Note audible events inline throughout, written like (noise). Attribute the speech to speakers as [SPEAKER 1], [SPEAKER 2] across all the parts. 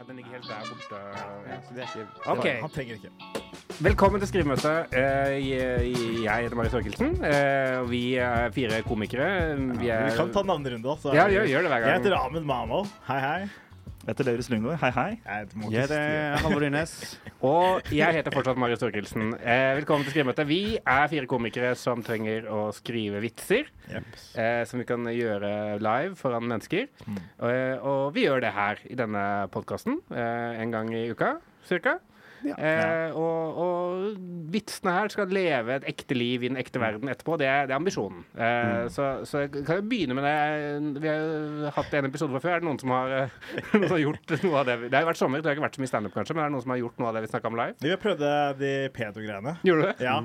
[SPEAKER 1] Ja, den ligger helt der borte. Ja, så det er ikke...
[SPEAKER 2] Ok.
[SPEAKER 1] det var-
[SPEAKER 2] Han trenger ikke.
[SPEAKER 1] Velkommen til skrivemøte. Eh, Jeg jeg heter Mari Sørkelsen. Eh, og Vi er fire komikere. Vi er
[SPEAKER 2] Vi kan ta navnerunde, da. så-
[SPEAKER 1] Ja, gjør- gjør det hver gang.
[SPEAKER 2] Jeg heter Ahmed Mamo. Hei, hei.
[SPEAKER 3] Jeg heter Lauritz Lundgaard. Hei, hei.
[SPEAKER 2] Jeg heter Markus
[SPEAKER 4] Jeg heter Halvor Dyrnes.
[SPEAKER 1] Og jeg heter fortsatt Mari Sørkelsen. Eh, Velkommen til skrivemøte. Vi er fire komikere som trenger å skrive vitser.
[SPEAKER 2] Stie. Jeps.
[SPEAKER 1] eh, som vi kan gjøre live foran mennesker.
[SPEAKER 2] Mm.
[SPEAKER 1] Eh, og vi gjør det her i denne podkasten eh, en gang i uka cirka. Eh, og, og vitsene her skal leve et ekte liv i den
[SPEAKER 2] Mm.
[SPEAKER 1] ekte verden etterpå. Det er, det er ambisjonen. Eh, så, så jeg kan jo begynne med det. Vi har jo hatt en episode fra før. Er det noen som har, (laughs) eh, noen som har gjort noe av det? vi- Det har jo vært sommer, så det har ikke vært så mye standup, kanskje, men er det noen som har gjort noe av det vi snakka om live?
[SPEAKER 2] Vi prøvde de pedo-greiene.
[SPEAKER 1] Gjorde du det?
[SPEAKER 2] Ja,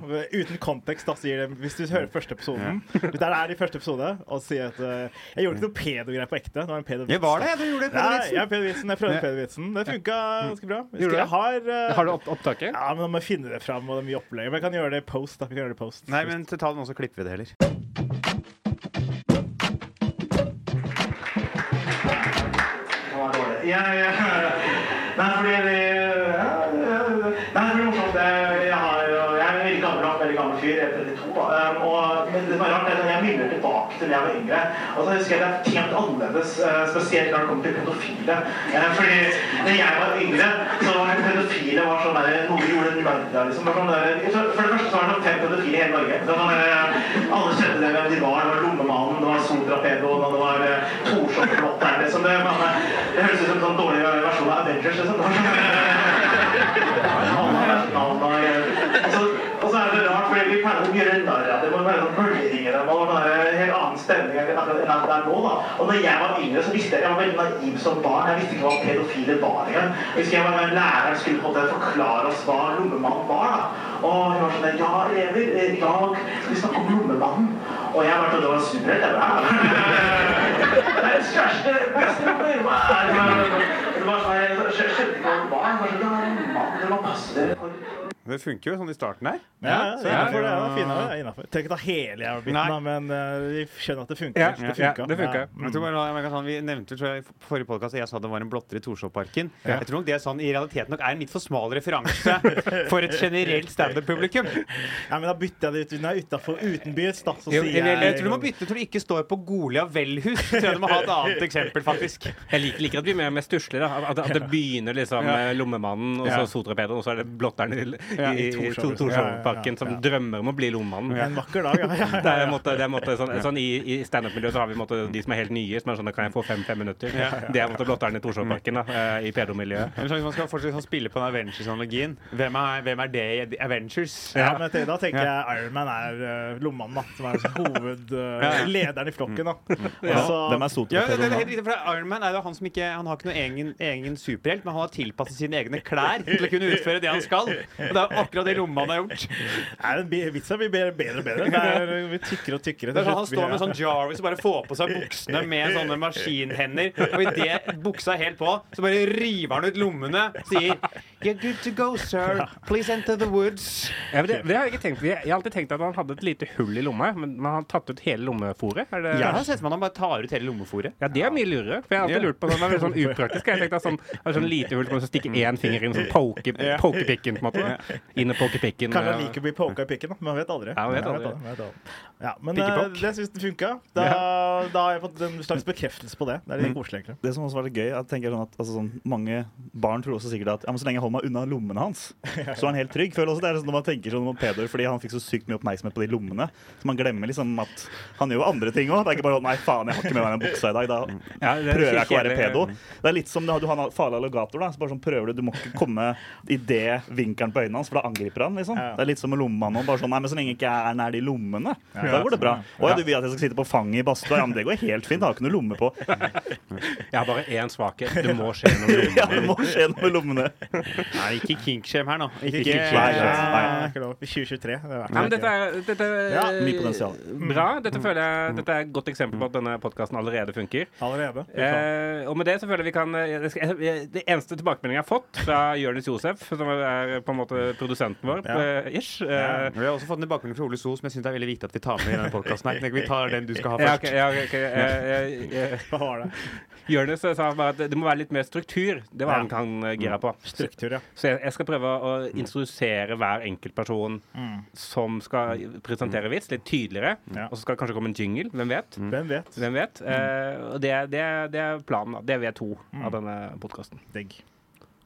[SPEAKER 2] Uten kontekst, da sier det Hvis du hører første episoden (laughs) Hvis det er i første episode og sier at eh, Jeg gjorde ikke noe pedo-greier på ekte. Det var en pedo
[SPEAKER 4] Jeg var det, jeg. Du gjorde det.
[SPEAKER 2] Nei,
[SPEAKER 4] Pedersen.
[SPEAKER 2] jeg, pedovitsen, jeg prøvde pedovitsen. Det funka ganske bra.
[SPEAKER 1] Gjorde
[SPEAKER 2] Husker jeg
[SPEAKER 1] det?
[SPEAKER 2] har, eh,
[SPEAKER 1] Har du opp opptaket?
[SPEAKER 2] Ja, men Da må jeg finne det fram, og det er mye opplegg. Men jeg kan gjøre det i post. da. Vi kan gjøre det i post.
[SPEAKER 4] Nei, men til talen også klipper vi det heller.
[SPEAKER 3] Ja, ja. Nei, fordi det ja, ja, Nei, det blir morsomt. Jeg, jeg, har, jo- jeg er en veldig gammel, veldig gammel fyr. Jeg er 32. da. Um, og, men det som er rart, er at jeg minner tilbake til da jeg var yngre. Og så husker jeg at det er helt annerledes, eh, spesielt når det kommer til pedofile. Eh, Fordi da jeg var yngre, så var pedofile var sånn der, noe vi gjorde langt der, liksom. Det var Sånn der, for det første så var det sånn fem pedofile i hele Norge. Det var sånn der, alle kjente det hvem de var. Det var Lommemannen, det var Sotrapedoen, og det var eh, Torshov-blotteren. Liksom. Det, var sånn, eh, det høres ut som en sånn dårlig versjon av Avengers. Liksom. Det var sånn, og så, og så er det rart, fordi vi pleier å gjøre narr av det. Man pleier å bølgeringe dem. Og det er en helt annen stemning enn akkurat enn det er nå. da. Og når jeg var yngre, så visste jeg jeg var veldig naiv som barn. Jeg visste ikke hva pedofile var engang. Jeg husker jeg var en lærer som skulle på en måte forklare oss hva lommemann var. da. Og hun var sånn Ja, elever, eh, i dag skal vi snakke om lommemannen. Og jeg bare trodde det var en superhelt. jeg bare, «Hæ?» Deres kjæreste, bestevenner, hva er det? Det var sånn, jeg skjønte ikke hva det var. Jeg bare sånn, «Ja, det er en mann, det må passe dere for.
[SPEAKER 4] Det funker jo sånn i starten her.
[SPEAKER 2] Ja, ja,
[SPEAKER 1] ja.
[SPEAKER 2] innenfor det, ja, fine, ja, innenfor. Trenger ikke ta hele jævla biten,
[SPEAKER 4] Nei.
[SPEAKER 2] da, men eh, vi skjønner at det funker.
[SPEAKER 1] Ja,
[SPEAKER 2] det
[SPEAKER 1] ja,
[SPEAKER 2] funka.
[SPEAKER 1] det funka.
[SPEAKER 4] Jeg tror bare, nå- jeg merker sånn, vi nevnte jo, tror jeg, i forrige podcast at jeg sa det var en blotter i Torshov-parken. Jeg tror nok det sånn, i realiteten nok er en litt for smal referanse for et generelt standup-publikum.
[SPEAKER 2] Nei, men da bytter jeg det ut. Når jeg er utafor utenbys, da, så
[SPEAKER 1] Jo,
[SPEAKER 2] sier
[SPEAKER 1] jeg-
[SPEAKER 2] jeg
[SPEAKER 4] Jeg tror du må bytte til du ikke står på Golia Velhus. Tror jeg du må ha et annet eksempel, faktisk.
[SPEAKER 1] Jeg liker, liker at vi er mer med stusler. da. At, at det begynner liksom med Lommemannen, og så
[SPEAKER 4] Ja.
[SPEAKER 1] Sotrapederen, og så er det blotteren i, i,
[SPEAKER 2] i
[SPEAKER 1] i
[SPEAKER 2] Torshov,
[SPEAKER 1] Tor-
[SPEAKER 2] liksom. Ja, ja,
[SPEAKER 1] Torshov-parken
[SPEAKER 2] ja.
[SPEAKER 1] som drømmer om å bli Lommemannen.
[SPEAKER 2] En vakker dag, ja. ja,
[SPEAKER 1] (laughs) Det er en måte, det er en måte sånn, sånn I, i standup-miljøet så har vi en måte, de som er helt nye, som er sånn da kan jeg få fem-fem minutter. Det er en måte blotteren i Torshov-parken, da, eh, i pedomiljøet.
[SPEAKER 4] Hvis man skal fortsette å spille på den Avengers-analogien hvem, er- hvem er det i Avengers?
[SPEAKER 2] Ja, men jeg tenker- da tenker jeg Iron Man er uh, lommemannen, da. Som er liksom hoved... eh, lederen i flokken, da. Og så-
[SPEAKER 3] Dem er
[SPEAKER 4] Ja, det, det er
[SPEAKER 3] sotrapedoen.
[SPEAKER 4] helt riktig, for Iron Man er jo han som ikke Han har ikke noen egen, egen superhelt, men han har tilpasset sine egne klær til å kunne utføre det han skal. Og det er jo akkurat det Lomman har gjort.
[SPEAKER 2] Nei, den bi- vitsa blir bedre bedre og bedre. Det er, vi tykkere og tykkere.
[SPEAKER 4] Det er sånn Han står med sånn Jarvis og bare får på seg buksene med sånne maskinhender. Og idet buksa er helt på, så bare river han ut lommene sier You're good to go, sir. Please enter the woods.
[SPEAKER 1] Ja, men det, det har jeg ikke tenkt Jeg jeg har alltid tenkt at han hadde et lite hull i lomma, men man har tatt ut hele lommefòret. Er det
[SPEAKER 4] Jeg har sett for meg at han bare tar ut hele lommefòret.
[SPEAKER 1] Ja, det er mye lurere. For jeg har alltid
[SPEAKER 4] Ja.
[SPEAKER 1] lurt på sånn, Det er veldig sånn upraktisk. Jeg tenkte at sånn, det er sånn lite hull som man stikker én finger inn, sånn poke,
[SPEAKER 4] Ja.
[SPEAKER 1] pokepikken, på en måte. Inn i pokepikken. eh.
[SPEAKER 2] Kanskje han
[SPEAKER 1] ja.
[SPEAKER 2] liker å bli poka i pikken, da. Man vet aldri.
[SPEAKER 1] Ja, man vet
[SPEAKER 2] Jeg
[SPEAKER 1] aldri.
[SPEAKER 2] vet aldri. Ja, men eh,
[SPEAKER 1] Pikkepokk.
[SPEAKER 2] det syns jeg funka. Da, da har jeg fått en slags bekreftelse på det. Det er
[SPEAKER 4] Mm.
[SPEAKER 2] litt koselig, egentlig.
[SPEAKER 3] Det som også var litt gøy, jeg tenker sånn at altså, sånn, Mange barn tror også sikkert at ja, men så lenge jeg holder meg unna lommene hans, så er han helt trygg. Føler også det er sånn når man tenker sånn om Peder, fordi han fikk så sykt mye oppmerksomhet på de lommene. Så man glemmer liksom at han gjør jo andre ting òg. Det er ikke bare sånn Nei, faen, jeg har ikke med meg den buksa i dag. Da
[SPEAKER 1] Ja, det er
[SPEAKER 3] prøver jeg ikke å være
[SPEAKER 1] kjedelig.
[SPEAKER 3] pedo. Det er litt som du har farlig alligator. da, så bare sånn prøver Du du må ikke komme i det vinkelen på øynene hans, for da angriper han. liksom.
[SPEAKER 2] Ja.
[SPEAKER 3] Det er litt som med lommemannen. og Bare sånn, nei, men så lenge jeg ikke er nær de lommene, da går det bra. Å ja, du vil at jeg skal sitte på fanget i badstua? Ja, men det går helt fint. Jeg har ikke noe lomme på.
[SPEAKER 1] Jeg har bare én svakhet. Det må skje noe.
[SPEAKER 3] Ja, det må skje noe med lommene.
[SPEAKER 4] Nei, ikke kinkshame her nå. Ikke,
[SPEAKER 3] Ikke
[SPEAKER 2] Nei,
[SPEAKER 3] kinkshame.
[SPEAKER 2] det
[SPEAKER 3] nei.
[SPEAKER 2] er ikke lov. I 2023. Det er
[SPEAKER 1] Nei, men dette er, dette er eh,
[SPEAKER 2] Ja, Mm.
[SPEAKER 3] mye potensial.
[SPEAKER 1] Bra. Dette, føler jeg, dette er et godt eksempel på at denne podkasten allerede funker.
[SPEAKER 2] Allerede. Fy faen.
[SPEAKER 1] Eh, og med det så føler jeg vi kan eh, jeg skal- jeg- Det eneste tilbakemeldingen jeg har fått fra Jonis Josef, som er på en måte eh, produsenten vår.
[SPEAKER 2] Ja.
[SPEAKER 1] eh, Yes. eh,
[SPEAKER 4] Vi har også fått en bakmelding fra Ole So, som jeg syns er veldig viktig at vi tar med i denne podkasten.
[SPEAKER 1] (laughs)
[SPEAKER 4] Vi tar den du skal ha
[SPEAKER 1] ja,
[SPEAKER 4] først.
[SPEAKER 1] ok, ja, ok, eh, eh, eh,
[SPEAKER 2] Hva var det?
[SPEAKER 1] Jonis sa bare at det må være litt mer struktur. Det var
[SPEAKER 2] Ja. Mm.
[SPEAKER 1] han han eh, gira på.
[SPEAKER 2] Struktur, ja.
[SPEAKER 1] Så jeg, jeg skal prøve å introdusere hver enkelt person som skal presentere vits, litt tydeligere.
[SPEAKER 2] Mm. Ja.
[SPEAKER 1] Og så skal det kanskje komme en jingle. Hvem vet?
[SPEAKER 2] Hvem vet?
[SPEAKER 1] Hvem vet? Eh, og det, det, det er planen. da. Det er V2 av denne podkasten.
[SPEAKER 2] Digg.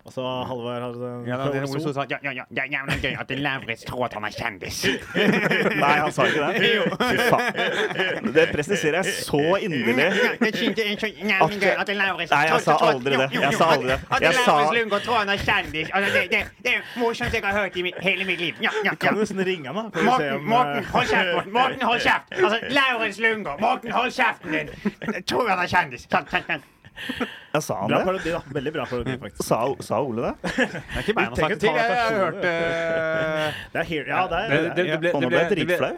[SPEAKER 2] Og så Halvard har eh,
[SPEAKER 4] Ja, da,
[SPEAKER 2] fra
[SPEAKER 4] det er
[SPEAKER 2] Ole
[SPEAKER 4] Ole So
[SPEAKER 2] Sol.
[SPEAKER 4] sa ja, ja, ja, ja, ja, men det er gøy at det Lauritz tror at han er kjendis.
[SPEAKER 5] (laughs) Nei, han sa ikke det. Fy faen. Det presiserer jeg så inderlig.
[SPEAKER 4] Ja, det synes jeg er så jævlig gøy at det Lauritz
[SPEAKER 5] Nei, jeg
[SPEAKER 4] tror-
[SPEAKER 5] sa
[SPEAKER 4] tror-
[SPEAKER 5] aldri det.
[SPEAKER 4] jo, jo,
[SPEAKER 5] Jeg
[SPEAKER 4] jo,
[SPEAKER 5] sa
[SPEAKER 4] at-
[SPEAKER 5] aldri det.
[SPEAKER 4] At
[SPEAKER 5] Jeg sa-
[SPEAKER 4] Lauritz Lundgaard tror han er kjendis. Altså, det, det, det er morsomst jeg har hørt i mi, hele mitt liv. Ja, ja, ja.
[SPEAKER 2] Kan du nesten ringe han, da? for å se
[SPEAKER 4] Morten,
[SPEAKER 2] om, eh,
[SPEAKER 4] Morten, hold kjeft! Morten, Morten hold kjeft! Altså, Lauritz Lundgaard, Morten, hold kjeften din! Jeg tror han er kjendis. Sånn, sånn, sånn.
[SPEAKER 5] Jeg sa
[SPEAKER 2] Bra
[SPEAKER 5] han det.
[SPEAKER 2] parodi, da. Veldig bra parodi, faktisk.
[SPEAKER 5] Mm. Sa, sa Ole det?
[SPEAKER 4] Det er sånn- ikke meg
[SPEAKER 2] han har sagt det til. Jeg har hørt,
[SPEAKER 1] eh,
[SPEAKER 4] det.
[SPEAKER 2] Det er here. Ja, det
[SPEAKER 1] Det,
[SPEAKER 2] er
[SPEAKER 1] det, det ble, det
[SPEAKER 5] Og nå ble
[SPEAKER 1] ble,
[SPEAKER 5] jeg
[SPEAKER 1] det ble,
[SPEAKER 5] dritflau.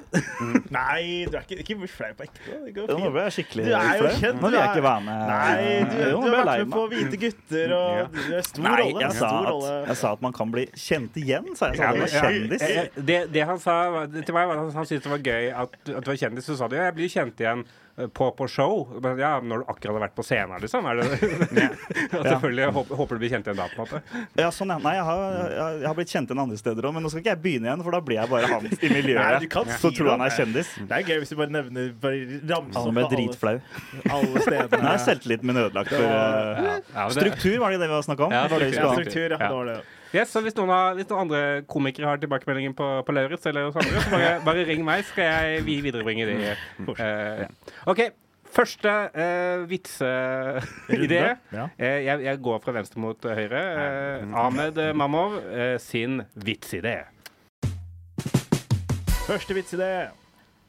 [SPEAKER 2] Nei, du er ikke, ikke bli flau på ekte. Det går
[SPEAKER 5] Ja, Nå
[SPEAKER 2] fint.
[SPEAKER 5] ble jeg skikkelig
[SPEAKER 2] Du er jo
[SPEAKER 5] flau.
[SPEAKER 2] kjent.
[SPEAKER 5] Nå vil jeg ikke være med.
[SPEAKER 2] Nei, du,
[SPEAKER 5] Jo,
[SPEAKER 2] du har
[SPEAKER 5] nå ble jeg
[SPEAKER 2] vært
[SPEAKER 5] lei
[SPEAKER 2] med
[SPEAKER 5] meg.
[SPEAKER 2] på Hvite gutter, og du er stor
[SPEAKER 5] Nei,
[SPEAKER 2] rolle.
[SPEAKER 5] jeg sa,
[SPEAKER 2] stor
[SPEAKER 5] at,
[SPEAKER 2] rolle.
[SPEAKER 5] jeg sa at man kan bli kjent igjen, sa jeg. jeg. Sa
[SPEAKER 1] Ja,
[SPEAKER 5] det var
[SPEAKER 1] men-
[SPEAKER 5] kjendis.
[SPEAKER 1] Eh, eh, Det, det han sa var- det- til meg, var at han- han syntes det var gøy at, at du var kjendis. Så sa du ja, jeg blir kjent igjen eh, på, på show. Men ja, når du akkurat har vært på scenen, liksom. Er
[SPEAKER 5] (laughs)
[SPEAKER 1] (laughs) det, og selvfølgelig jeg håper, håper du blir kjent igjen da, på en måte.
[SPEAKER 5] Ja, sånn, ja. Nei, jeg har, jeg, jeg har blitt kjent igjen andre steder òg, men nå skal ikke jeg begynne igjen, for da blir jeg bare han i
[SPEAKER 2] Nei,
[SPEAKER 5] miljøet.
[SPEAKER 2] du kan
[SPEAKER 5] så
[SPEAKER 2] si
[SPEAKER 5] tror
[SPEAKER 2] det.
[SPEAKER 5] han er kjendis.
[SPEAKER 2] Det er gøy hvis du bare nevner bare ramser
[SPEAKER 5] Han
[SPEAKER 2] opp
[SPEAKER 5] ble
[SPEAKER 2] alle-
[SPEAKER 5] dritflau.
[SPEAKER 2] alle
[SPEAKER 5] Nå
[SPEAKER 2] stedene.
[SPEAKER 5] er selvtilliten min ødelagt. For, eh,
[SPEAKER 1] Ja, men det-
[SPEAKER 5] struktur var det det vi var snakka om.
[SPEAKER 1] Ja,
[SPEAKER 5] Det var det vi
[SPEAKER 2] Ja,
[SPEAKER 5] skulle ha.
[SPEAKER 2] struktur, ja.
[SPEAKER 1] Ja.
[SPEAKER 2] Det var det.
[SPEAKER 1] Yes, så hvis noen, har, hvis noen andre komikere har tilbakemeldingen på, på Lauritz, eller oss andre, så bare, bare ring meg, skal jeg vi viderebringe det. Eh, OK. Første uh, vitseidé.
[SPEAKER 2] Ja.
[SPEAKER 1] Eh, jeg, jeg går fra venstre mot høyre. Eh, Ahmed Mamov eh, sin vitsidé.
[SPEAKER 2] Første vits i det,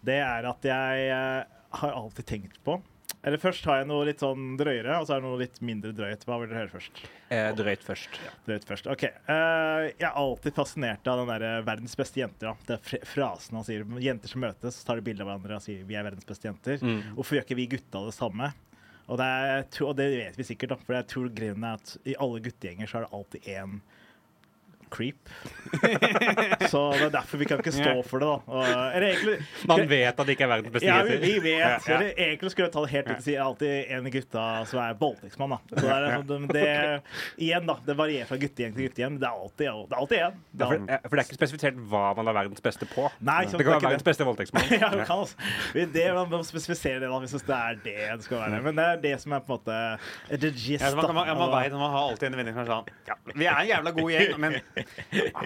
[SPEAKER 2] det er at jeg eh, har alltid tenkt på Eller først har jeg noe litt sånn drøyere, og så er det noe litt mindre drøyt. Hva vil dere høre først?
[SPEAKER 1] Eh, drøyt først.
[SPEAKER 2] Drøyt først. OK. Eh, jeg er alltid fascinert av den derre 'verdens beste jenter'. Da. Det er fr- frasen han sier. Jenter som møtes, tar de bilde av hverandre og sier 'vi er verdens beste jenter'. Hvorfor gjør ikke vi gutta det samme? Og det, er, jeg tror- og det vet vi sikkert, da, for jeg tror grunnen er at i alle guttegjenger så er det alltid én creep. (laughs) så det er derfor vi kan ikke stå for det, da. Og, eller egentlig
[SPEAKER 1] Man vet at det ikke er verdens beste
[SPEAKER 2] ja, vi,
[SPEAKER 1] jenter.
[SPEAKER 2] vi vet. Eller egentlig skulle jeg ta det helt ut og si jeg er alltid en av gutta som er voldtektsmann. da. Så det, er, sånn, det, igjen, da. Det varierer fra guttegjeng til guttegjeng. men Det er alltid, det er alltid en. Det
[SPEAKER 1] Ja,
[SPEAKER 2] er
[SPEAKER 1] For, eh, for det er ikke spesifisert hva man er verdens beste på.
[SPEAKER 2] Nei, sånn ikke sant,
[SPEAKER 1] det kan
[SPEAKER 2] det er
[SPEAKER 1] være
[SPEAKER 2] ikke
[SPEAKER 1] verdens beste (laughs) voldtektsmann.
[SPEAKER 2] (laughs) ja, du kan altså. Vi- Det, man må spesifisere det, da, hvis det er det det skal være. Men det er det som er på en måte the gist.
[SPEAKER 4] Ja, så man, man, ja, man
[SPEAKER 2] da.
[SPEAKER 4] vet, man har alltid en venninne som er sånn ja, Vi er en jævla god gjeng, men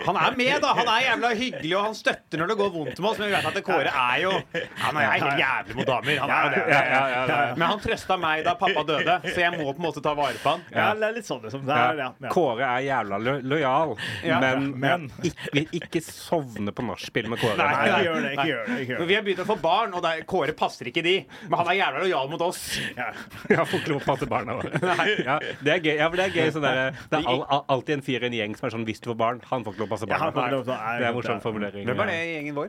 [SPEAKER 4] han er med, da! Han er jævla hyggelig, og han støtter når det går vondt med oss. Men vi vet at det Kåre er jo Han er helt jævlig mot damer. Han er jo det.
[SPEAKER 1] Ja, ja, ja, ja.
[SPEAKER 4] Men han trøsta meg da pappa døde, så jeg må på en måte ta vare på han.
[SPEAKER 2] Ja, det er litt sånn, liksom. Det
[SPEAKER 1] Ja.
[SPEAKER 2] er, ja, ja.
[SPEAKER 1] Kåre er jævla lo lojal,
[SPEAKER 4] Ja,
[SPEAKER 1] men,
[SPEAKER 2] men-
[SPEAKER 1] Ikke, vil ikke sovne på nachspiel med Kåre.
[SPEAKER 2] Nei,
[SPEAKER 4] Nei,
[SPEAKER 1] (laughs)
[SPEAKER 2] ikke
[SPEAKER 4] nei,
[SPEAKER 2] gjør det. Ikke gjør det. Ikke gjør
[SPEAKER 4] Men
[SPEAKER 2] det.
[SPEAKER 4] vi har begynt å få barn, og det er, Kåre passer ikke de. Men han er jævla lojal mot oss.
[SPEAKER 2] Ja.
[SPEAKER 1] Ja, får ikke lov å passe barna våre. Ja, det er gøy. Ja, for det er gøy sånn derre- det er al al alltid en fyr i en gjeng som er sånn 'hvis du får barn', han får ikke lov å passe
[SPEAKER 2] Ja,
[SPEAKER 1] barna.
[SPEAKER 2] han får ikke lov til å-
[SPEAKER 1] det
[SPEAKER 2] nei,
[SPEAKER 1] er en
[SPEAKER 2] det er-
[SPEAKER 1] morsom formulering.
[SPEAKER 4] Hvem er det i gjengen vår?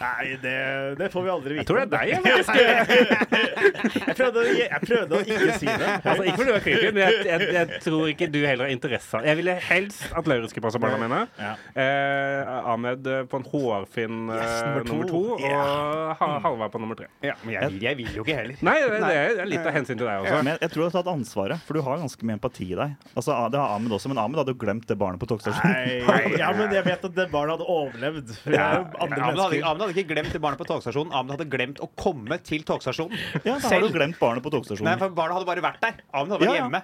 [SPEAKER 2] Nei, det, det får vi aldri vite.
[SPEAKER 1] Jeg tror det er
[SPEAKER 2] (laughs)
[SPEAKER 1] deg. Jeg, faktisk.
[SPEAKER 2] Jeg prøvde, å- jeg prøvde å ikke si det.
[SPEAKER 1] altså, ikke fordi du er creepy, men jeg, jeg, jeg tror ikke du heller har interesse av Jeg ville helst at Lauritz skulle passe barna mine.
[SPEAKER 2] Ja.
[SPEAKER 1] Eh, Ahmed eh, på en hårfin eh,
[SPEAKER 2] Yes, nummer to.
[SPEAKER 1] nummer to, og ha Halvard på nummer tre.
[SPEAKER 4] Ja, men jeg vil, jeg vil jo ikke heller.
[SPEAKER 1] Nei, det, det er litt av hensyn til deg også.
[SPEAKER 5] Men jeg tror du har tatt ansvaret, for du har ganske mye empati i deg. Altså, ah, Det har Ahmed også, men Ahmed hadde jo glemt det barnet på togstasjonen.
[SPEAKER 2] Nei, ja, men jeg vet at det barnet hadde overlevd. For det er jo andre
[SPEAKER 4] Amund hadde,
[SPEAKER 2] mennesker.
[SPEAKER 4] Amund hadde ikke glemt det barnet på togstasjonen. Amund hadde glemt å komme til togstasjonen.
[SPEAKER 5] (laughs)
[SPEAKER 2] Mm.
[SPEAKER 5] Ja, da har du glemt barnet på togstasjonen.
[SPEAKER 4] Nei, for Barnet hadde bare vært der. Amund hadde vært
[SPEAKER 5] Ja, ja.
[SPEAKER 4] hjemme.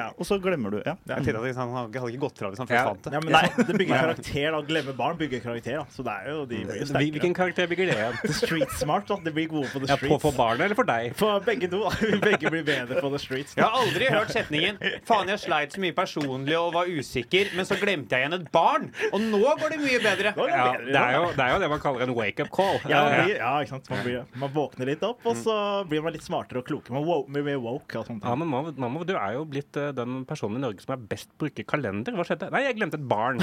[SPEAKER 5] Ja, og så glemmer du. Ja.
[SPEAKER 4] Jeg tenkte at Han hadde ikke gått fra hvis han
[SPEAKER 1] Ja.
[SPEAKER 4] først fant det.
[SPEAKER 2] Ja, men det, det bygger karakter. da, Å glemme barn bygger karakter. da. Så det er jo de blir jo
[SPEAKER 1] Hvil-
[SPEAKER 2] sterkere.
[SPEAKER 1] Hvilken karakter bygger det igjen?
[SPEAKER 2] The street smart. da. De blir gode på the
[SPEAKER 1] (laughs) Ja, på,
[SPEAKER 2] streets.
[SPEAKER 1] for barnet eller for deg?
[SPEAKER 2] (laughs) For begge to. (laughs) da. Vi Begge blir bedre på the streets.
[SPEAKER 4] Jeg har aldri hørt setningen 'Faen, jeg sleit så mye personlig og var usikker, men så glemte jeg igjen et barn'. Og nå går det mye bedre.
[SPEAKER 2] Nå er det
[SPEAKER 1] Ja,
[SPEAKER 2] bedre,
[SPEAKER 1] det, er jo, det er jo det man kaller en wake-up call.
[SPEAKER 2] Ja,
[SPEAKER 1] Eh,
[SPEAKER 2] man blir, ja, ikke sant? Man, blir, man våkner litt opp, og så blir man litt smartere og klokere. Man wo- blir mer woke. Og sånt.
[SPEAKER 1] Mm. Ja, men mamma, mamma, du er jo blitt eh, den personen i Norge som er best bruker kalender. Hva skjedde? Nei, jeg glemte et (laughs) barn.